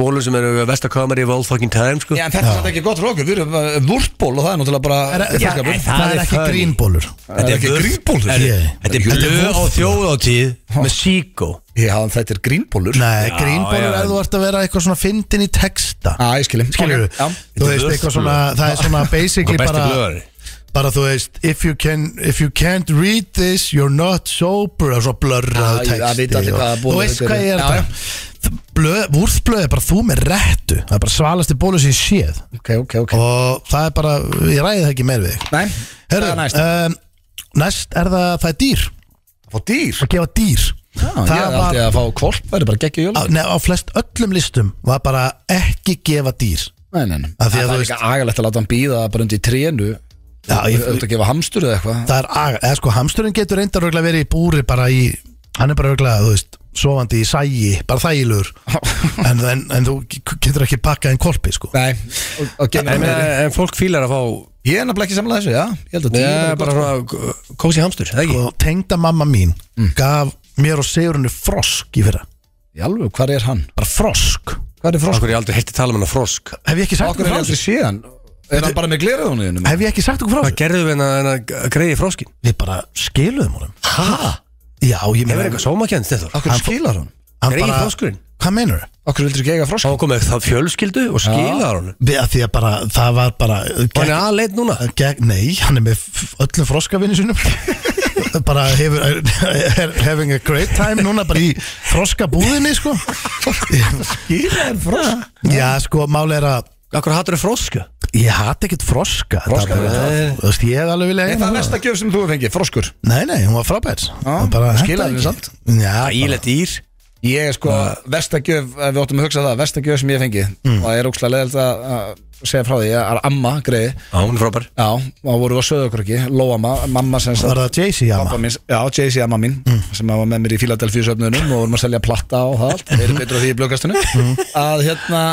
bólum sem eru að vesta kamar í all fucking time sko.
Já, en þetta er samt ekki gott rókur Við erum uh, vúrtból og það er náttúrulega bara
Er-
Ég
já,
þakka
en
fyrir.
það er ekki
funny.
grínbólur
Þetta er
ekki
vörf-
grínbólur?
Þetta er-
Ég.
þetta er blöð á þjóðáttíð með síkó
Já, en um þetta er grínbólur
Nei, grínbólur
já.
er þú ert að vera eitthvað svona fyndin í texta
Á, ég skilum
Skilur
Já,
Þú
Þetta er
veist, eitthvað
vörfblöð.
svona, það er svona basically
Og besti
bara,
blöðari.
bara þú veist if you, can, if you can't read this you're not sober og svona
Já,
blörrað
ég- það vita
texti
allir
og-
hvaða
Þú
bólur
veist
þetta
hvað
eru.
ég er um?
Já, já.
þetta Vúrðblöð er bara þú með réttu Það er bara svalasti bólur sem ég séð
ok, ok, ok
og það er bara, ég ræði það ekki meir við þig.
Nei,
Herru,
það er næst
um, næst er það það er dýr,
Fá dýr
að gefa dýr
Já, Ég
það
er
var,
aldrei að fá kvolp Það er bara geggja
á,
jól
nei, á flest öllum listum var bara ekki gefa dýr
Nei, nei, nei
Af því að
Það
þú
er
veist-
ekki agalegt að láta hann býða bara undir trénu
Já, ég-
Þú ert að gefa hamstur eða eitthvað
það er, aga- eða sko hamsturinn getur reyndar örgulega verið í búri bara í, hann er bara örgulega, þú veist sofandi í sægi, bara þægilegur en, en, en þú getur ekki pakkað en kolpi, sko
Nei, og, og gefa
En, eh, en fólk fílar að fá
Ég er nefnilega ekki samlega þessu, já Ég held að dýr
ja,
eru
bara
gott.
svona kósi hamstur eða ekki?
og tengda mamma mín gaf mér og Sigurinu frosk í fyrra
Í alveg, hvar er hann?
bara frosk,
Hvar er frosk?
Akkur ég aldrei heitti tala um hann á frosk
hef ég ekki sagt
Akkur
okkur
er ég
frosk?
aldrei síðan Er hann bara með glerðunni innum?
Hef ég ekki sagt okkur
Hvað
frosk?
gerðu við hennar- hennar greiði froskin?
Við bara skiluðum honum
Hæ?
Já, ég
Hefur
meina
eitthvað sómakjönd þetta?
Akkur skilar hann?
hann
Greið
bara-
froskurinn
Hvað meinar þau?
Akkur vildur ekki eiga frosk?
Hann kom með það fjölskyldu og skilaðar honum
Við að því að bara, það var bara
Og hann
gegn,
er aðleit núna
gegn, Nei, hann er með f- öllum froskavinni sinum bara hefur er, having a great time núna bara í froskabúðinni sko
Skilar frosk?
Já, sko, máli er að
Akkur hattur er frosku
ég hati ekkert froska
Froska,
það, bara,
nei.
Þú veist, ég hef alveg vilja
Er það mesta gjöf sem þú hefur fengið? Froskur?
Nei, nei, hún var frábær Það bara
þú
hentaði
skilaðir henni
ekki.
samt.
Já, bara,
Ílet dýr
Ég er sko, versta gjöf, ef við óttum að hugsa það, versta gjöf sem ég hef fengið og það er ókslega leðilt að að segja frá því, ég er amma, greiði
Já, hún er frábær
Já, þá vorum við að söðu okkur ekki, Lóama, mamma sem sagt-
Var það Jay-Z
Pappa
jama?
mín, já, Jay-Z amma mín sem var með mér í Philadelphia söfnunum og vorum að selja platta og það allt, þeir eru betur á því í blöggastunum að hérna,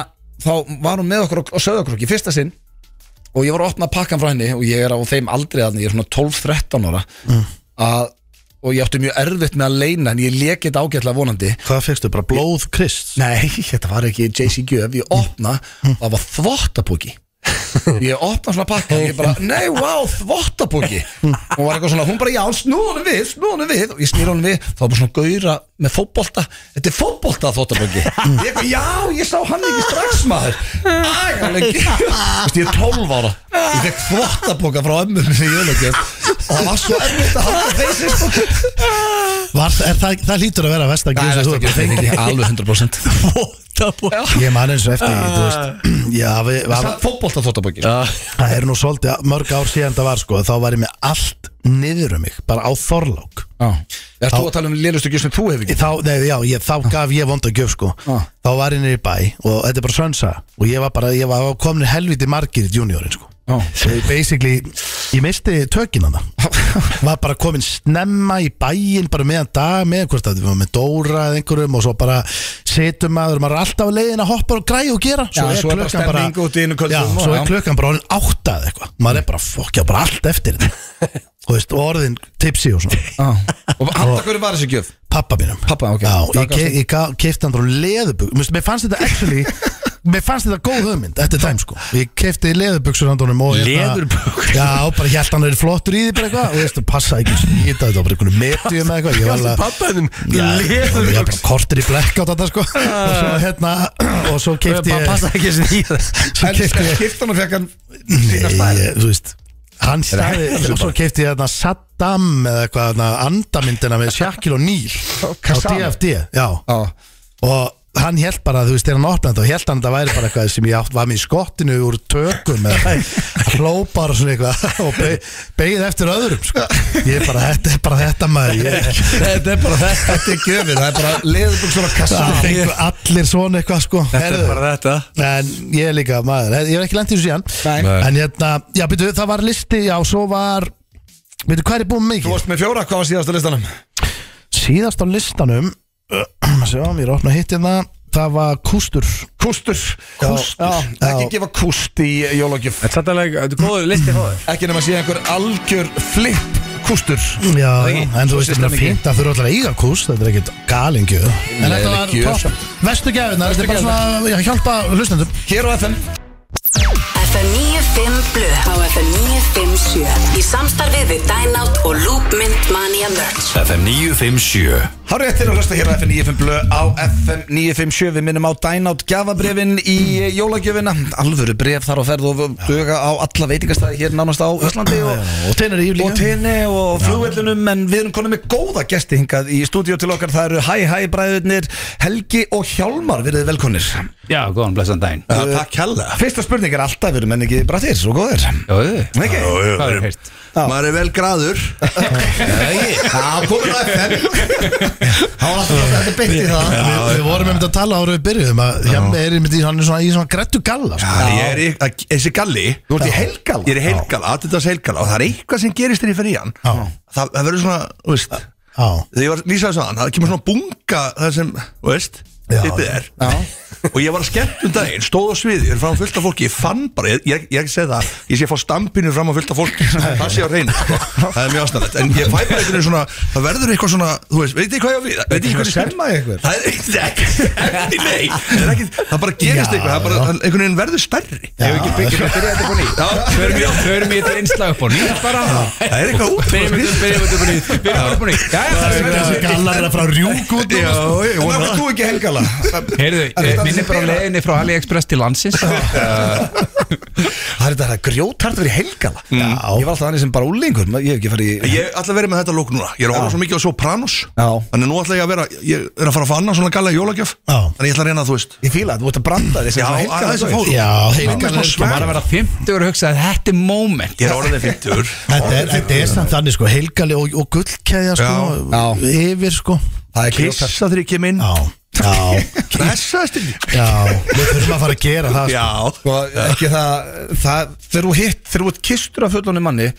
þá var hún með okkur og- og sögðu okkur ekki, fyrsta sinn og ég var að opna pakkan frá henni og ég er á þeim aldrei þannig, ég er svona 12-13 ára að, og ég átti mjög erfitt með að leina en ég lekið ágætlega vonandi
Hvað fyrstu, bara blóð krist?
Nei, þetta var ekki Jay-Z Gjöf Ég opna, það var þvottabóki Ég opna svona pakka og Ég bara, nei, wow, þvottabóki Hún var eitthvað svona, hún bara, já, snúðunum við Snúðunum við, og ég snýr honum við Það var bara svona gauðra með fótbolta Þetta er fótbolta þvottabóki Ég eitthvað, já, ég sá hann ekki strax maður Ægæleg Vist, ég er 12 ára Ég fekk þvottabóka frá ömmunum sem ég lögum Og það var svo erfitt að halda þessi
Var, er, það, það hlýtur að vera að versta gjöf sem þú hefur fengið
alveg 100%
Votabók Ég man eins og eftir því, þú veist Já, við, við,
Fótbolta þóttabókir
það er nú svolítið mörg ár síðan það var sko Þá var ég með allt niður um mig Bara á þorlák
Er þú að tala um lélustu gjöf sem þú hefur ekki?
Þá, nei, já, ég, þá gaf ég vonda gjöf sko
Ah.
Þá var ég niður í bæ Og þetta er bara sönsa Og ég var bara, ég var komin helviti margir í juniorin sko
Já.
Þegar basically, ég misti tökin hana Var bara komin snemma í bæinn Bara meðan dag með hvort að við varum með Dóra eða einhverjum Og svo bara setum maður Maður er alltaf á leiðin að hoppa og græja og gera Svo
Já,
er
svo er bara
klukkan bara
stemning út í einu kvöldum
Já,
og-
svo
já.
er klukkan bara orðin átta eða eitthvað Maður er bara fokkja bara allt eftir þetta Og veist, og orðin tipsi og svona
Já. Og handa hverju var þessi gjöf?
Pappa mínum
Pabba, ok.
Já,
Hvað
ég,
gafstu?
ke ég gaf- kefti hann bara leðubug Mér fannst þetta actually Mér fannst þetta góð hugmynd eftir tæm sko Ég kefti leðubugsur handunum
Leðurbuxur?
hérna- Já, bara ég held hann er flottur í því bara eitthvað Og veist, það passaði ekki svona í þetta Þetta var bara einhvern metjum eða eitthvað Ég var alveg
Pappaðum
Já, ég var bara
Leðurbuxur
kortur í blekkátt þetta sko Og svo hérna Og svo kefti
Bara
ég
passa ekki þessi í það
Svo kefti ég
Skiptan og fekk hann
Nei, ég- þú veist Hann stæði, og svo kefti ég þarna Saddam eða eitthvað, þarna andamyndina með Shaquille O'Neal á
Kassan.
DFD, já
Já.
og hann held bara, þú veist, þegar hann opnaði þá held hann að það væri bara eitthvað sem ég átt var með í skottinu úr tökum eða hlópar og svona eitthvað og be, beigð eftir öðrum sko. ég er bara, þetta er bara þetta maður ég,
Þetta er bara þetta Þetta er gjöfin Það er bara leðubugsur og kassa
það fengu allir svona eitthvað sko
Þetta er
Heyrðu,
bara þetta
En ég er líka maður, ég er ekki lendið þessu síðan
Nei.
Nei.
En hérna, já byrju, það var listi, já, svo var Byrju, hvað er ég búin
Þú
með mikið?
varst með fjóra Hvað var síðasta listanum?
Síðast á listanum Sjá, mér er opnað hitt hérna Það var kústur
Kústur Kústur
Já, já.
Ekki gefa kúst í jólagjöf
Þetta er sattalega, þetta er góður listi fóður
Ekki nema að sé einhver algjör flip kústur
Já, en þú veist,
sést
það er
mikið.
fínt að þurfa alltaf að eiga kúst Þetta er ekkit galingju En þetta
Leiðileg
var
gjöf.
topp Vestu gæfinar, þetta er bara
Verstu
svona já, Hjálpa hlustendum
Hér á FM
FM 95 Blu á FM 957 í samstarfið við Dynout og Loop Mint Mania Merch
FM 957
Há rétt til að hlusta hér á FM 95 blö á FM 957 Við minnum á Dynout gafabrefin í jólagjöfina Alvöru bref þar á ferð og duga á alla veitingastæði hér nánast á Íslandi og,
Og tennir í líka
og tinni og flugvellunum En við erum konum með góða gesti hingað í stúdíu til okkar Það eru hæ hæ bræðurnir Helgi og Hjálmar verið velkonir
Já, góðan, blessan daginn
Já, takk hella Fyrsta spurning er alltaf, við erum enn ekki brættir og góðir
Jó, þið,
Ekki?
hvað er heilt?
Maður er vel graður
Já, komin á FM Það var alltaf þetta beitt í það
Við, við vorum einmitt að tala ára við byrjuðum að Hjemmi er einmitt í hann er svona, í svona grættu galla sko.
Ég er í, að- þessi galli
Þú ert í helgala
Ég er í heilgala, Adidas heilgala Og það er eitthvað sem gerist þegar ég fer í hann
Já.
Það, það verður svona, þú veist
Já,
Þegar ég var lýsaði svo hann, það kemur svona bunga Það sem, þú veist,
Já.
tippið er Og ég var að skemmt um daginn Stóð á sviði, ég er fram á fullt af fólki Ég fann bara, ég, ég, ég segi það Ég sé að fá stampinu fram á fullt af fólki Það sé á reyna, það er mjög astanlegt En ég fæ bara einhvern veginn svona, það verður eitthvað svona Þú veist, veit ekki hvað ég á við, veit ekki hvað ég
Semma ykkur
Það er ekkert, ekki, nei, það er ekkert, það bara gerist
Já,
eitthvað, það bara, það- einhvern veginn verður stærri.
já,
Já,
Förum í- förum í þetta einslag upp á nýtt bara
það er eitthvað út.
Byrjum við byrjum við upp á nýtt Byrjum við upp á nýtt Já, já, það er
Þessi gallar er að fara að rjúk út
Já,
En
ég
það
vona
var þú ekki helgala Það
Heyrðu, eh, minn er bara á leiðinni frá AliExpress til landsins
er þetta grjótart að vera í helgala Ég var alltaf þannig sem bara úlingur Ég hef ekki farið í
Ég ætla að vera með þetta lók núna, ég er að horfa svo mikið á Sopranos,
Já.
þannig nú ætla ég að vera, ég er að fara að fá annan svona galla í jólagjöf,
Já.
þannig ég ætla að reyna að þú veist.
Ég fíla það, þú ert að branda þig
Já, aðeins að fá þú.
Já,
Mamma er
heilgalla
smá svær.
Bara að vera 50 og hugsa að þetta er moment
Ég er orðið fyrtur.
Þetta er, þetta er samt þannig sko, helgali og, og gullkeðja sko,
Já.
yfir sko
Það er grjótart
Kissa þegar ég kem inn.
Já, já,
Kessaðist inn.
já, við þurfum að fara að gera það sko.
Já.
Sko, ekki það, það Þegar þú hitt, þegar þú ert kistur af fullunni manni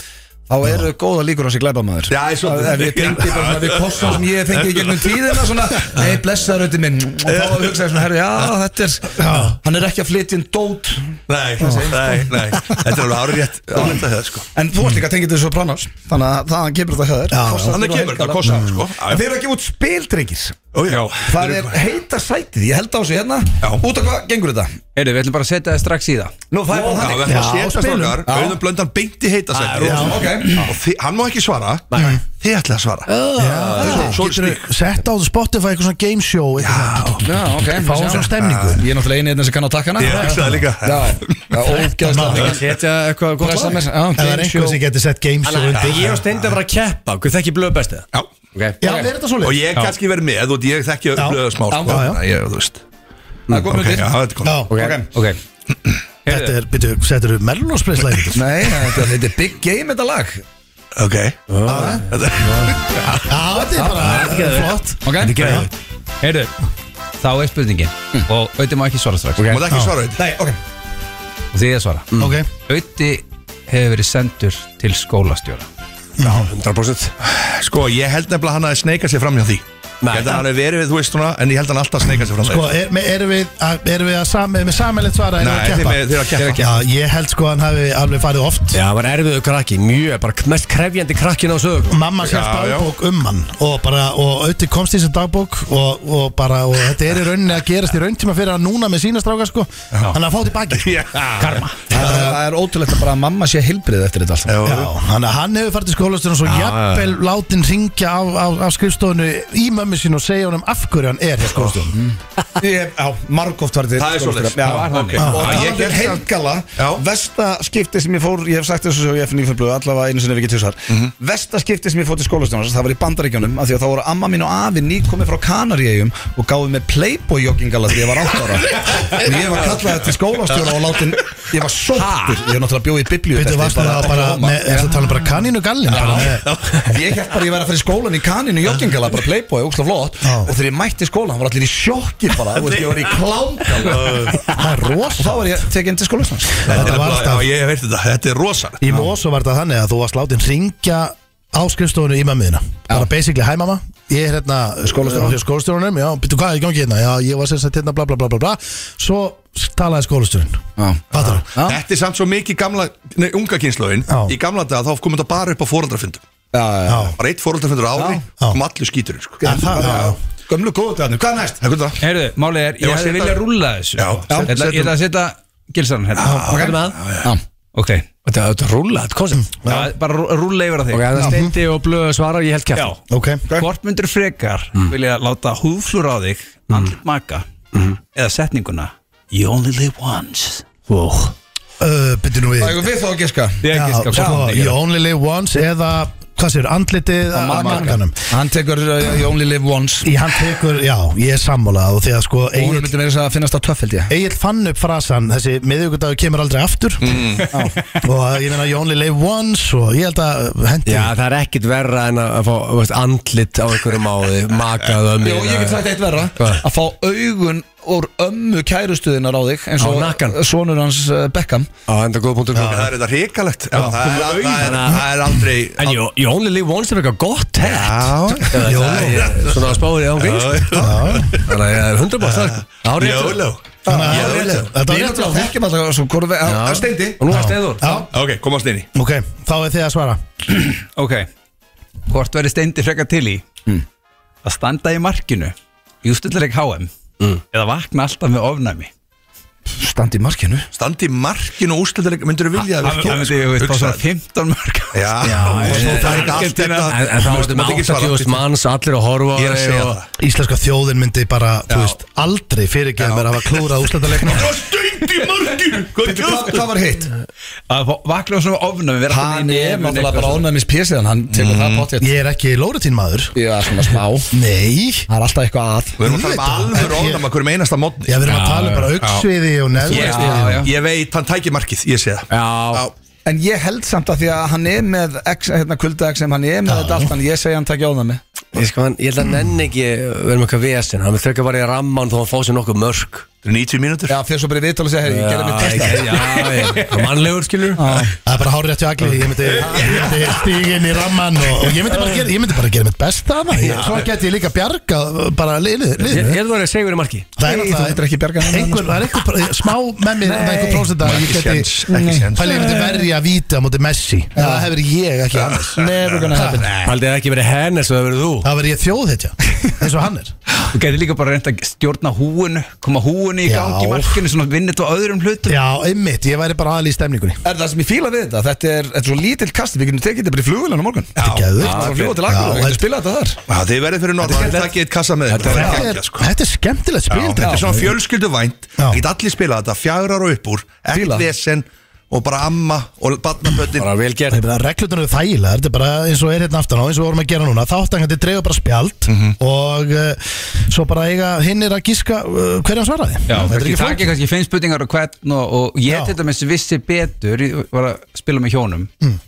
Þá eru góða líkur á sig glæbamaður
Já, ég svo-
Ef ég tengdi bara svona við kostum sem ég hef fengið í gegnum tíðina svona Nei, blessaður auðvitað minn Og þá hugsaði ég svona, herru, já, þetta er Hann er ekki að flytja inn dót
Nei, nei, nei, þetta er alveg árið rétt, árið þetta sko.
En þú ert líka tengið þessu Sopranos Þannig að þaðan kemur þetta höður
já. Þannig kemur þetta, kostar, sko. Já, já.
En þeir eru ekki út spildrengis
Ó, já.
Það er heita sætið, ég held á þessu hérna
Já.
Út af hvað gengur þetta?
Heyrðu, við ætlum bara að setja það strax í það
Nú, það er bara þannig
Já, við ætlum að setja
spilum.
strákar Auðun Blöndan beint í heita sæti
Já, ok.
Og þi- hann má ekki svara Þið ætlaði að svara
Já,
Svo
getur
stík.
við Ah, sett á Spotify eitthvað svona game show eitthvað.
Já, ok
Fá svona stemningu
Ég er náttúrulega einið þetta sem kann á takkana
Ég hugsaði það líka.
Já, já ógæðslega
Setja eitthvað gott
Pressa
lag
mér- já,
Það er
game
einhver
show.
sem getur sett game show undir
Ég og Steindi að vera að keppa, hvað þekki blöð bestið
Já,
Já, okay. er þetta svo
Og ég kannski verið með, þú veit, ég þekki
Já.
blöða smá
Já, já,
sko,
já.
þannig að ég, þú veist
Það er komið
Ok,
til
já, þetta er komið.
Já,
Ok, ok
þetta er, byrju, setur þú mellunarspreinslæði
Nei, þetta þetta er big game þetta lag
Ok Þetta
Já, þetta er bara flott
Ok,
geðveikt.
heyrðu Þá er
Mm.
spurningin Og auðvitað má ekki svara strax
Má það ekki
Já.
svara þetta?
Nei, ok
Og því að svara
Mm.
Ok,
Auði hefur verið sendur til skólastjóra
100%
Sko, ég held nefnilega hann að sneika sér fram hjá því Ég held að hann er verið við, þú veist svona En ég held hann alltaf að sneika sér fram hjá
sko, er, me- erum við, að- erum við að sami, með samilegt svara erum við
Nei,
að
þeir
keppa?
með- þeir að keppa.
Já, ég held sko að hann hafi alveg farið oft
Já, það var erfiðu krakki, mjög, bara mest krefjandi krakkin á sögum
Mamma sérst
Já, já.
dagbók um hann og bara, og auðvitað komst í þessi dagbók og, og bara, og þetta er í rauninni að gerast í rauntíma fyrir hann núna með sína stráka sko Þannig að fá tilbaki
því Já.
Karma
Það er- það er ótrúlegt að bara að mamma sé heilbrið eftir þetta allt saman.
Já, hann, hann hefur farið til skólastunum svo jafnvel látin ringja af, af, af skrifstofunni í mömmu sín og segja honum af hverju hann er sko. hjá skólastunum
Ég- Já, margóft var þetta
Það er svoleiðis.
Já,
Það var þannig.
ok Og
Já, ég
talandi um
gerði
heilgala
Já.
Vesta skipti sem ég fór Ég hef sagt þessu svo ég FNÍ fyrir blöð Allavega einu sinni við getur þessar
Mhm.
Vesta skipti sem ég fór til skólastjónars Það var í bandaríkjónum af Því að þá voru amma mín og afi ný komið frá Kanaríegjum Og gáði með playboy joggingala Því ég var átt ára En ég var kallaði til skólastjóra og látin Ég var sóttur Ég er náttúrulega bjóð í biblíu
Veitu, varstu það bara, með, er það tala um bara kaninu gallin bara með,
Ég held bara að ég væri að fyrir skólan í kaninu joggingala, bara playboy, ógslag flott
Já.
og þegar ég mætti skólan, var allir í sjokki bara, þú veist, ég var í klángala
Það er
og þá
rosa
var ég tekinn til skólasnars
Þetta er
Þetta var
bara-
alltaf-
Já, ég hef veit þetta, þetta er rosan
Í Mosó var þetta þannig að þú varst látin ringja á skrifstofunni í mömmuðina Bara basically, hæ mamma, ég er hérna
Skólastjóranum.
hjá Skólastjóranum, já, býttu hvað er í gangi hérna Já, ég var sem sagt hérna bla bla bla bla bla Svo talaði skólastjórinn Fattar þú?
Já.
Þetta er samt svo mikið gamla, nei, unga kynslóðin
Já.
Í gamla dag þá kom þetta bara upp á foreldrafundum
Já,
Bara eitt foreldrafundur á ári
Já.
Kom allir skítur sko.
En það, já, já
Gömlu góðu dæðinu, hvað er næst?
Það er gott það
Heyrðu, málið er,
Ég
ég
var að
hefði
setja-
viljað rúlla þessu
Já,
Ég ætla- ég ætla að setja gilsan hérna
Hvað er með það?
Ok,
Þetta er auðvitað rúla, þetta koncept
Mm.
það er bara rú- rúlla yfir að
Ok,
þig
það steindi og blöð svara og ég held Mm.
Já,
kæft
Ok,
hvort myndur frekar vilja láta húflur á þig
Mm.
andlit maka eða setninguna You only live once
uh, býttu nú við
Ægum við þá að giska
Ég
Já,
giska á
sko,
hvað
You only live once eða hvað sér, andlitið að manganum
Hann tekur uh, You Only Live Once
Í hann tekur, já, ég er sammálað og því að sko
Og hún
Egil
myndi meira að finnast á töffeldi
Egil fann upp frasan, þessi miðvíkudagur kemur aldrei aftur og ég meina you only live once og ég held að uh, hendi
Já, það er ekkit verra en að fá þú veist, andlit á einhverjum á því, makað ömmu
Jó, ég get sagt eitt verra
Hvað?
Að fá augun úr ömmu kærustuðinar á þig eins
Á nakkan.
og sonur hans uh, Beckham
Á, enda góð punktur
Það er þetta hrikalegt Já, Það er- það er- það er aldrei
En you, you only live once er eitthvað gott tett
Já,
eh, Svona að spáður ég án gríns Þannig að eh, ég er 100% það Á réttu
Jóló
Þetta var
Við
rétt
náttúrulega þekkjum alltaf svo hvort við Það er steindi
Og nú er steður
Já,
Ok, komast inn í
ok, þá er þið að svara
Ok, hvort verður steindi frekar til í að standa í markinu í ústillarleik HM eða vakna alltaf með ofnæmi
Standi í markinu
Standi í markinu og úrslitaðleik Myndur þú vilja að
Það
virka?
myndi ég veist bara
Hugsaðu.
svona 15 mörg
Já, og svo það er ekki allt
Argentína.
þetta
En, en þá
Þú veist,
ertu
maður
með
ekki svara.
80.000 manns Allir að horfa á
Ég er að
þig
segja
og-
það
Íslenska þjóðin myndi bara, þú veist, aldrei fyrirgeða mér að hafa klúrað úslandaleikna
Það steindi í markinu Hvað er
Hvað
það?
hvað var hitt?
að fá- vakna svona ofnæmi vera
Hann
alltaf í
er
nefinu
náttúrulega
eitthvað
bara
svona. Mm.
ónæmis pjesiðan Hann tekur það potið
Ég er ekki lóritín maður
Já, svona smá
Nei
Það er alltaf eitthvað að
Við erum að tala um alveg
Ég-
rónum að hverjum einasta mótni
Já, við erum að tala um bara
já.
auksviði og
Ég-
neðvæðsviði
Já, já.
Ég veit, hann tækir markið, ég sé það
Já,
En ég held samt að því að hann er með X, hérna, kulda X hann er með þetta allt en ég segi hann takk jáðan mig
ég, sko, hann, ég held að nenn ekki verðum eitthvað vesen Hann þurfa bara í ramman þó að hann fá sér nokkuð mörg
Þetta er 90 mínútur
Já, fyrir svo bara í viðtal og segja, hey, ég gerði mitt
Já,
testa
já, já, mannlegur skilur
Það er bara hárið eftir agli, ég myndi, ég myndi stíga inn í ramman og, og ég myndi bara gera, ég myndi bara gera mitt besta hana Svo geti ég líka bjarga bara liðinu
Ég
liðinu.
ég held að það er segur í marki
Það er
Nei, þú myndir
náttúrulega
ekki bjarga hann
einhver, það er einhver, pr- smá með mér, það er einhver prósenda að Ég geti,
Ekki séns, ekki séns
pæli ég myndi verja að víta á móti Messi Það hefur ég ekki annars
Never gonna happen
Haldið það ekki verið hennes og það verið þú
Það verður ég þjóðhetja, eins og hann er
Þú getur líka bara reynd að stjórna húinu koma húinu í
Já.
gangi í markinu svona vinnit á öðrum hlutum
Já, einmitt, ég væri bara aðal í stemningunni
Er það sem ég fíla við þetta? Þetta er, þetta er svo lítill kasti, við getum tekið þetta bara í flugvélana á morgun
Þetta er geðveikt.
Það er bara að fljúa til
Já,
akkur, við
þetta-
getum spilað þetta þar
Já, Þið verðið fyrir norðan, takk eitt kassa með ykkur.
Þetta
Það er ekki
er,
ekki, sko.
þetta er skemmtilegt
Já,
spil
Þetta er svona fjölskylduvænt
Já.
Ekkert allir spila þetta, fjagrar og upp úr
Fíla.
Ekkert vesen og bara amma og barnaböndin
Bara vel
Það
gert
er bara reglutinu þægilegar, þetta er bara eins og er hérna aftan á, eins og við vorum að gera núna, þáttangandi dregur bara spjald og uh, svo bara eiga hinn er að gíska uh, hverjum svaraði.
Já,
þetta er
kannski
ekki flókið.
takja kannski fimm spurningar og hvern og, og ég
Já.
til dæmis vissi betur ég var að spila með hjónum mm.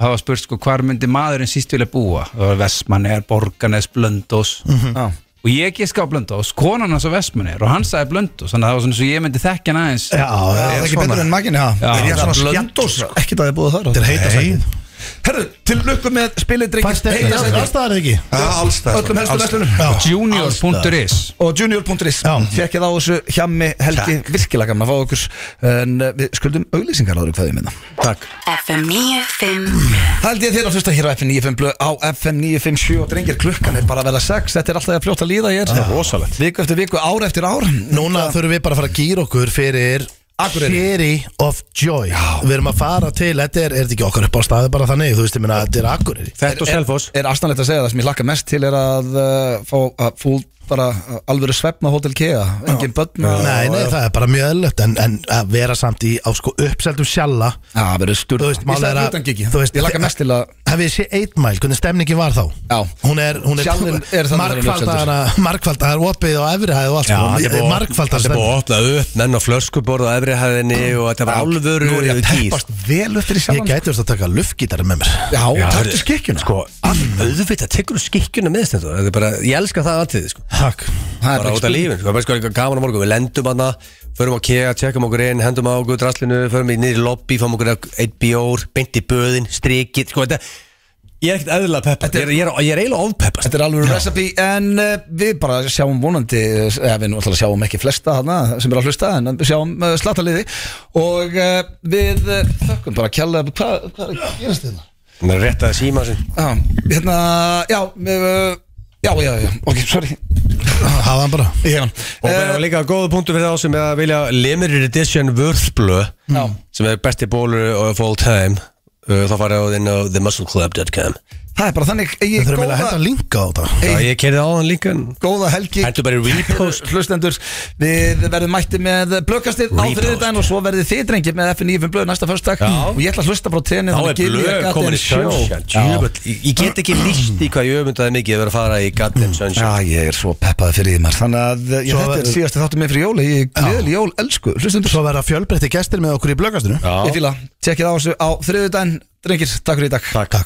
það var spurt sko hvar myndi maðurinn síst vilja búa það var Vestmanneir, Borganes, Blöndós
Já.
og ég giska á Blöndós konan hans á Vestmanneir og hann sagði Blöndós þannig að það var svona svo ég myndi þekkja hann aðeins
Já, já,
Það er ekki
svona.
betur en maginni, já
Já,
Er ég
það
svona
er blönd-
skjandós?
Ekki það að ég búið þar
þetta er heita sætið.
Herru, til lukku með spilið
Fannst
drikki
þetta aðstæðar eða ekki?
Alls það
Öllum helstu verslunum
Já.
junior.is
Og junior.is
Já.
Fekk ég það á þessu hjammi helgi Virkilega gaman að fá okkur En uh, við skuldum auglýsingar áður hvað ég minna Takk
FM 95
Það held ég þér að hlusta hér á FM 95 blöð á FM 957 og drengir klukkan er bara að vera 6 Þetta er alltaf að fljóta að líða ég er Þetta er rosalegt Viku eftir viku, ár eftir ár
Núna þurfum við bara að fara að gýra okkur fyrir
Akureyri.
Sherry of Joy Við erum að fara til, þetta er, er þetta ekki okkar upp á staði bara þannig, þú veist, ég minna, þetta er Akureyri
Þetta og Selfoss
Er astanlegt að segja það sem ég lakka mest til er að uh, fá að fúl bara uh, alvöru svefna á Hotel Kea Engin börna
Nei, nei, það er bara mjög eðlögt en, en að vera samt í á sko uppseldum sjalla
Já, það verður sturt
Þú veist,
Ég
málið er
sagði
að-
hlutan gigi
þú veist,
Ég lakka mest til að
Hafið þið sé 8 mile, hvernig stemningi var þá?
Já.
Hún er, hún er,
Sjallinn er þannig að vera
markfaldar Markfaldar opið og efrihæð og allt sko. Margfaldar
Þetta er
stemning
búið að opna upp menn á flöskuborð og efri hæðinni og þetta var alvöru
Nú er ég að
dýr.
teppast vel upp fyrir
Ég
sjálfan
gæti þess að taka luftgítari með mér
Já,
Já,
takk
heyrðu,
til skikkjuna
Sko, all, auðvitað tekur þú skikkjuna með stendur Þetta er bara, ég elska það aðtið sko.
Takk
Bara út af lífin, sko, bara sko eitthvað gaman á morgun Við lendum hana, förum á kega, tjekkum okkur inn Hendum á okkur draslinu, förum í niður í lobby Fáum okkur eitt bjór, beint í böðin Strikið, sko þetta Ég er ekkert eðlilega peppa, ég er, ég er, ég er eiginlega ofpeppast
Þetta er alveg recipe en uh, við bara sjáum vonandi eh, eða við náttúrulega sjáum ekki flesta hana sem er að hlusta en við sjáum uh, slattaliði og uh, við uh, þökkum bara kjalla hvað hva er að gerast þetta?
Það er rétt að síma sinn
Já, hérna, já við, uh, já, já, já, ok, sorry
Hafa hann bara
Ég hérna. Eh, hef hann
Og það var líka góða punktu fyrir þá sem er að vilja Limited Edition Vörðblö
Já.
Sem er besti bólur of all time Uh, Þá farið á þinn á themuscleclub.com
Það er bara þannig
Við
eigi
þurfum eiginlega að
góða,
henda linka á þetta
Já, ég kerði á hann líka en
góða helgi
Hentu bara í repost
hlustendur Við verðum mætti með blökastið á
Repost.
þriðdæn og svo verðið þið drengir með FN9 blöð næsta fyrstak og ég ætla að hlusta bara á tenni
Þá er blöð komin í Sunshine Djöfull, ég- Ég get ekki líst í hvað ég öfundaði mikið að vera að fara í Goddamn Sunshine
Já, ég er svo peppaði fyrir því maður Þannig að ég,
Svo-
þetta er síðasti þáttu með fyrir jóli Ég gleðil jól, elsku, hlustendur
Svo verða fjölbreytti gestir með okkur í blöggastinu
Ég fíla, tjekkið á þessu á þriðudaginn Drengir, takk fyrir í dag Takk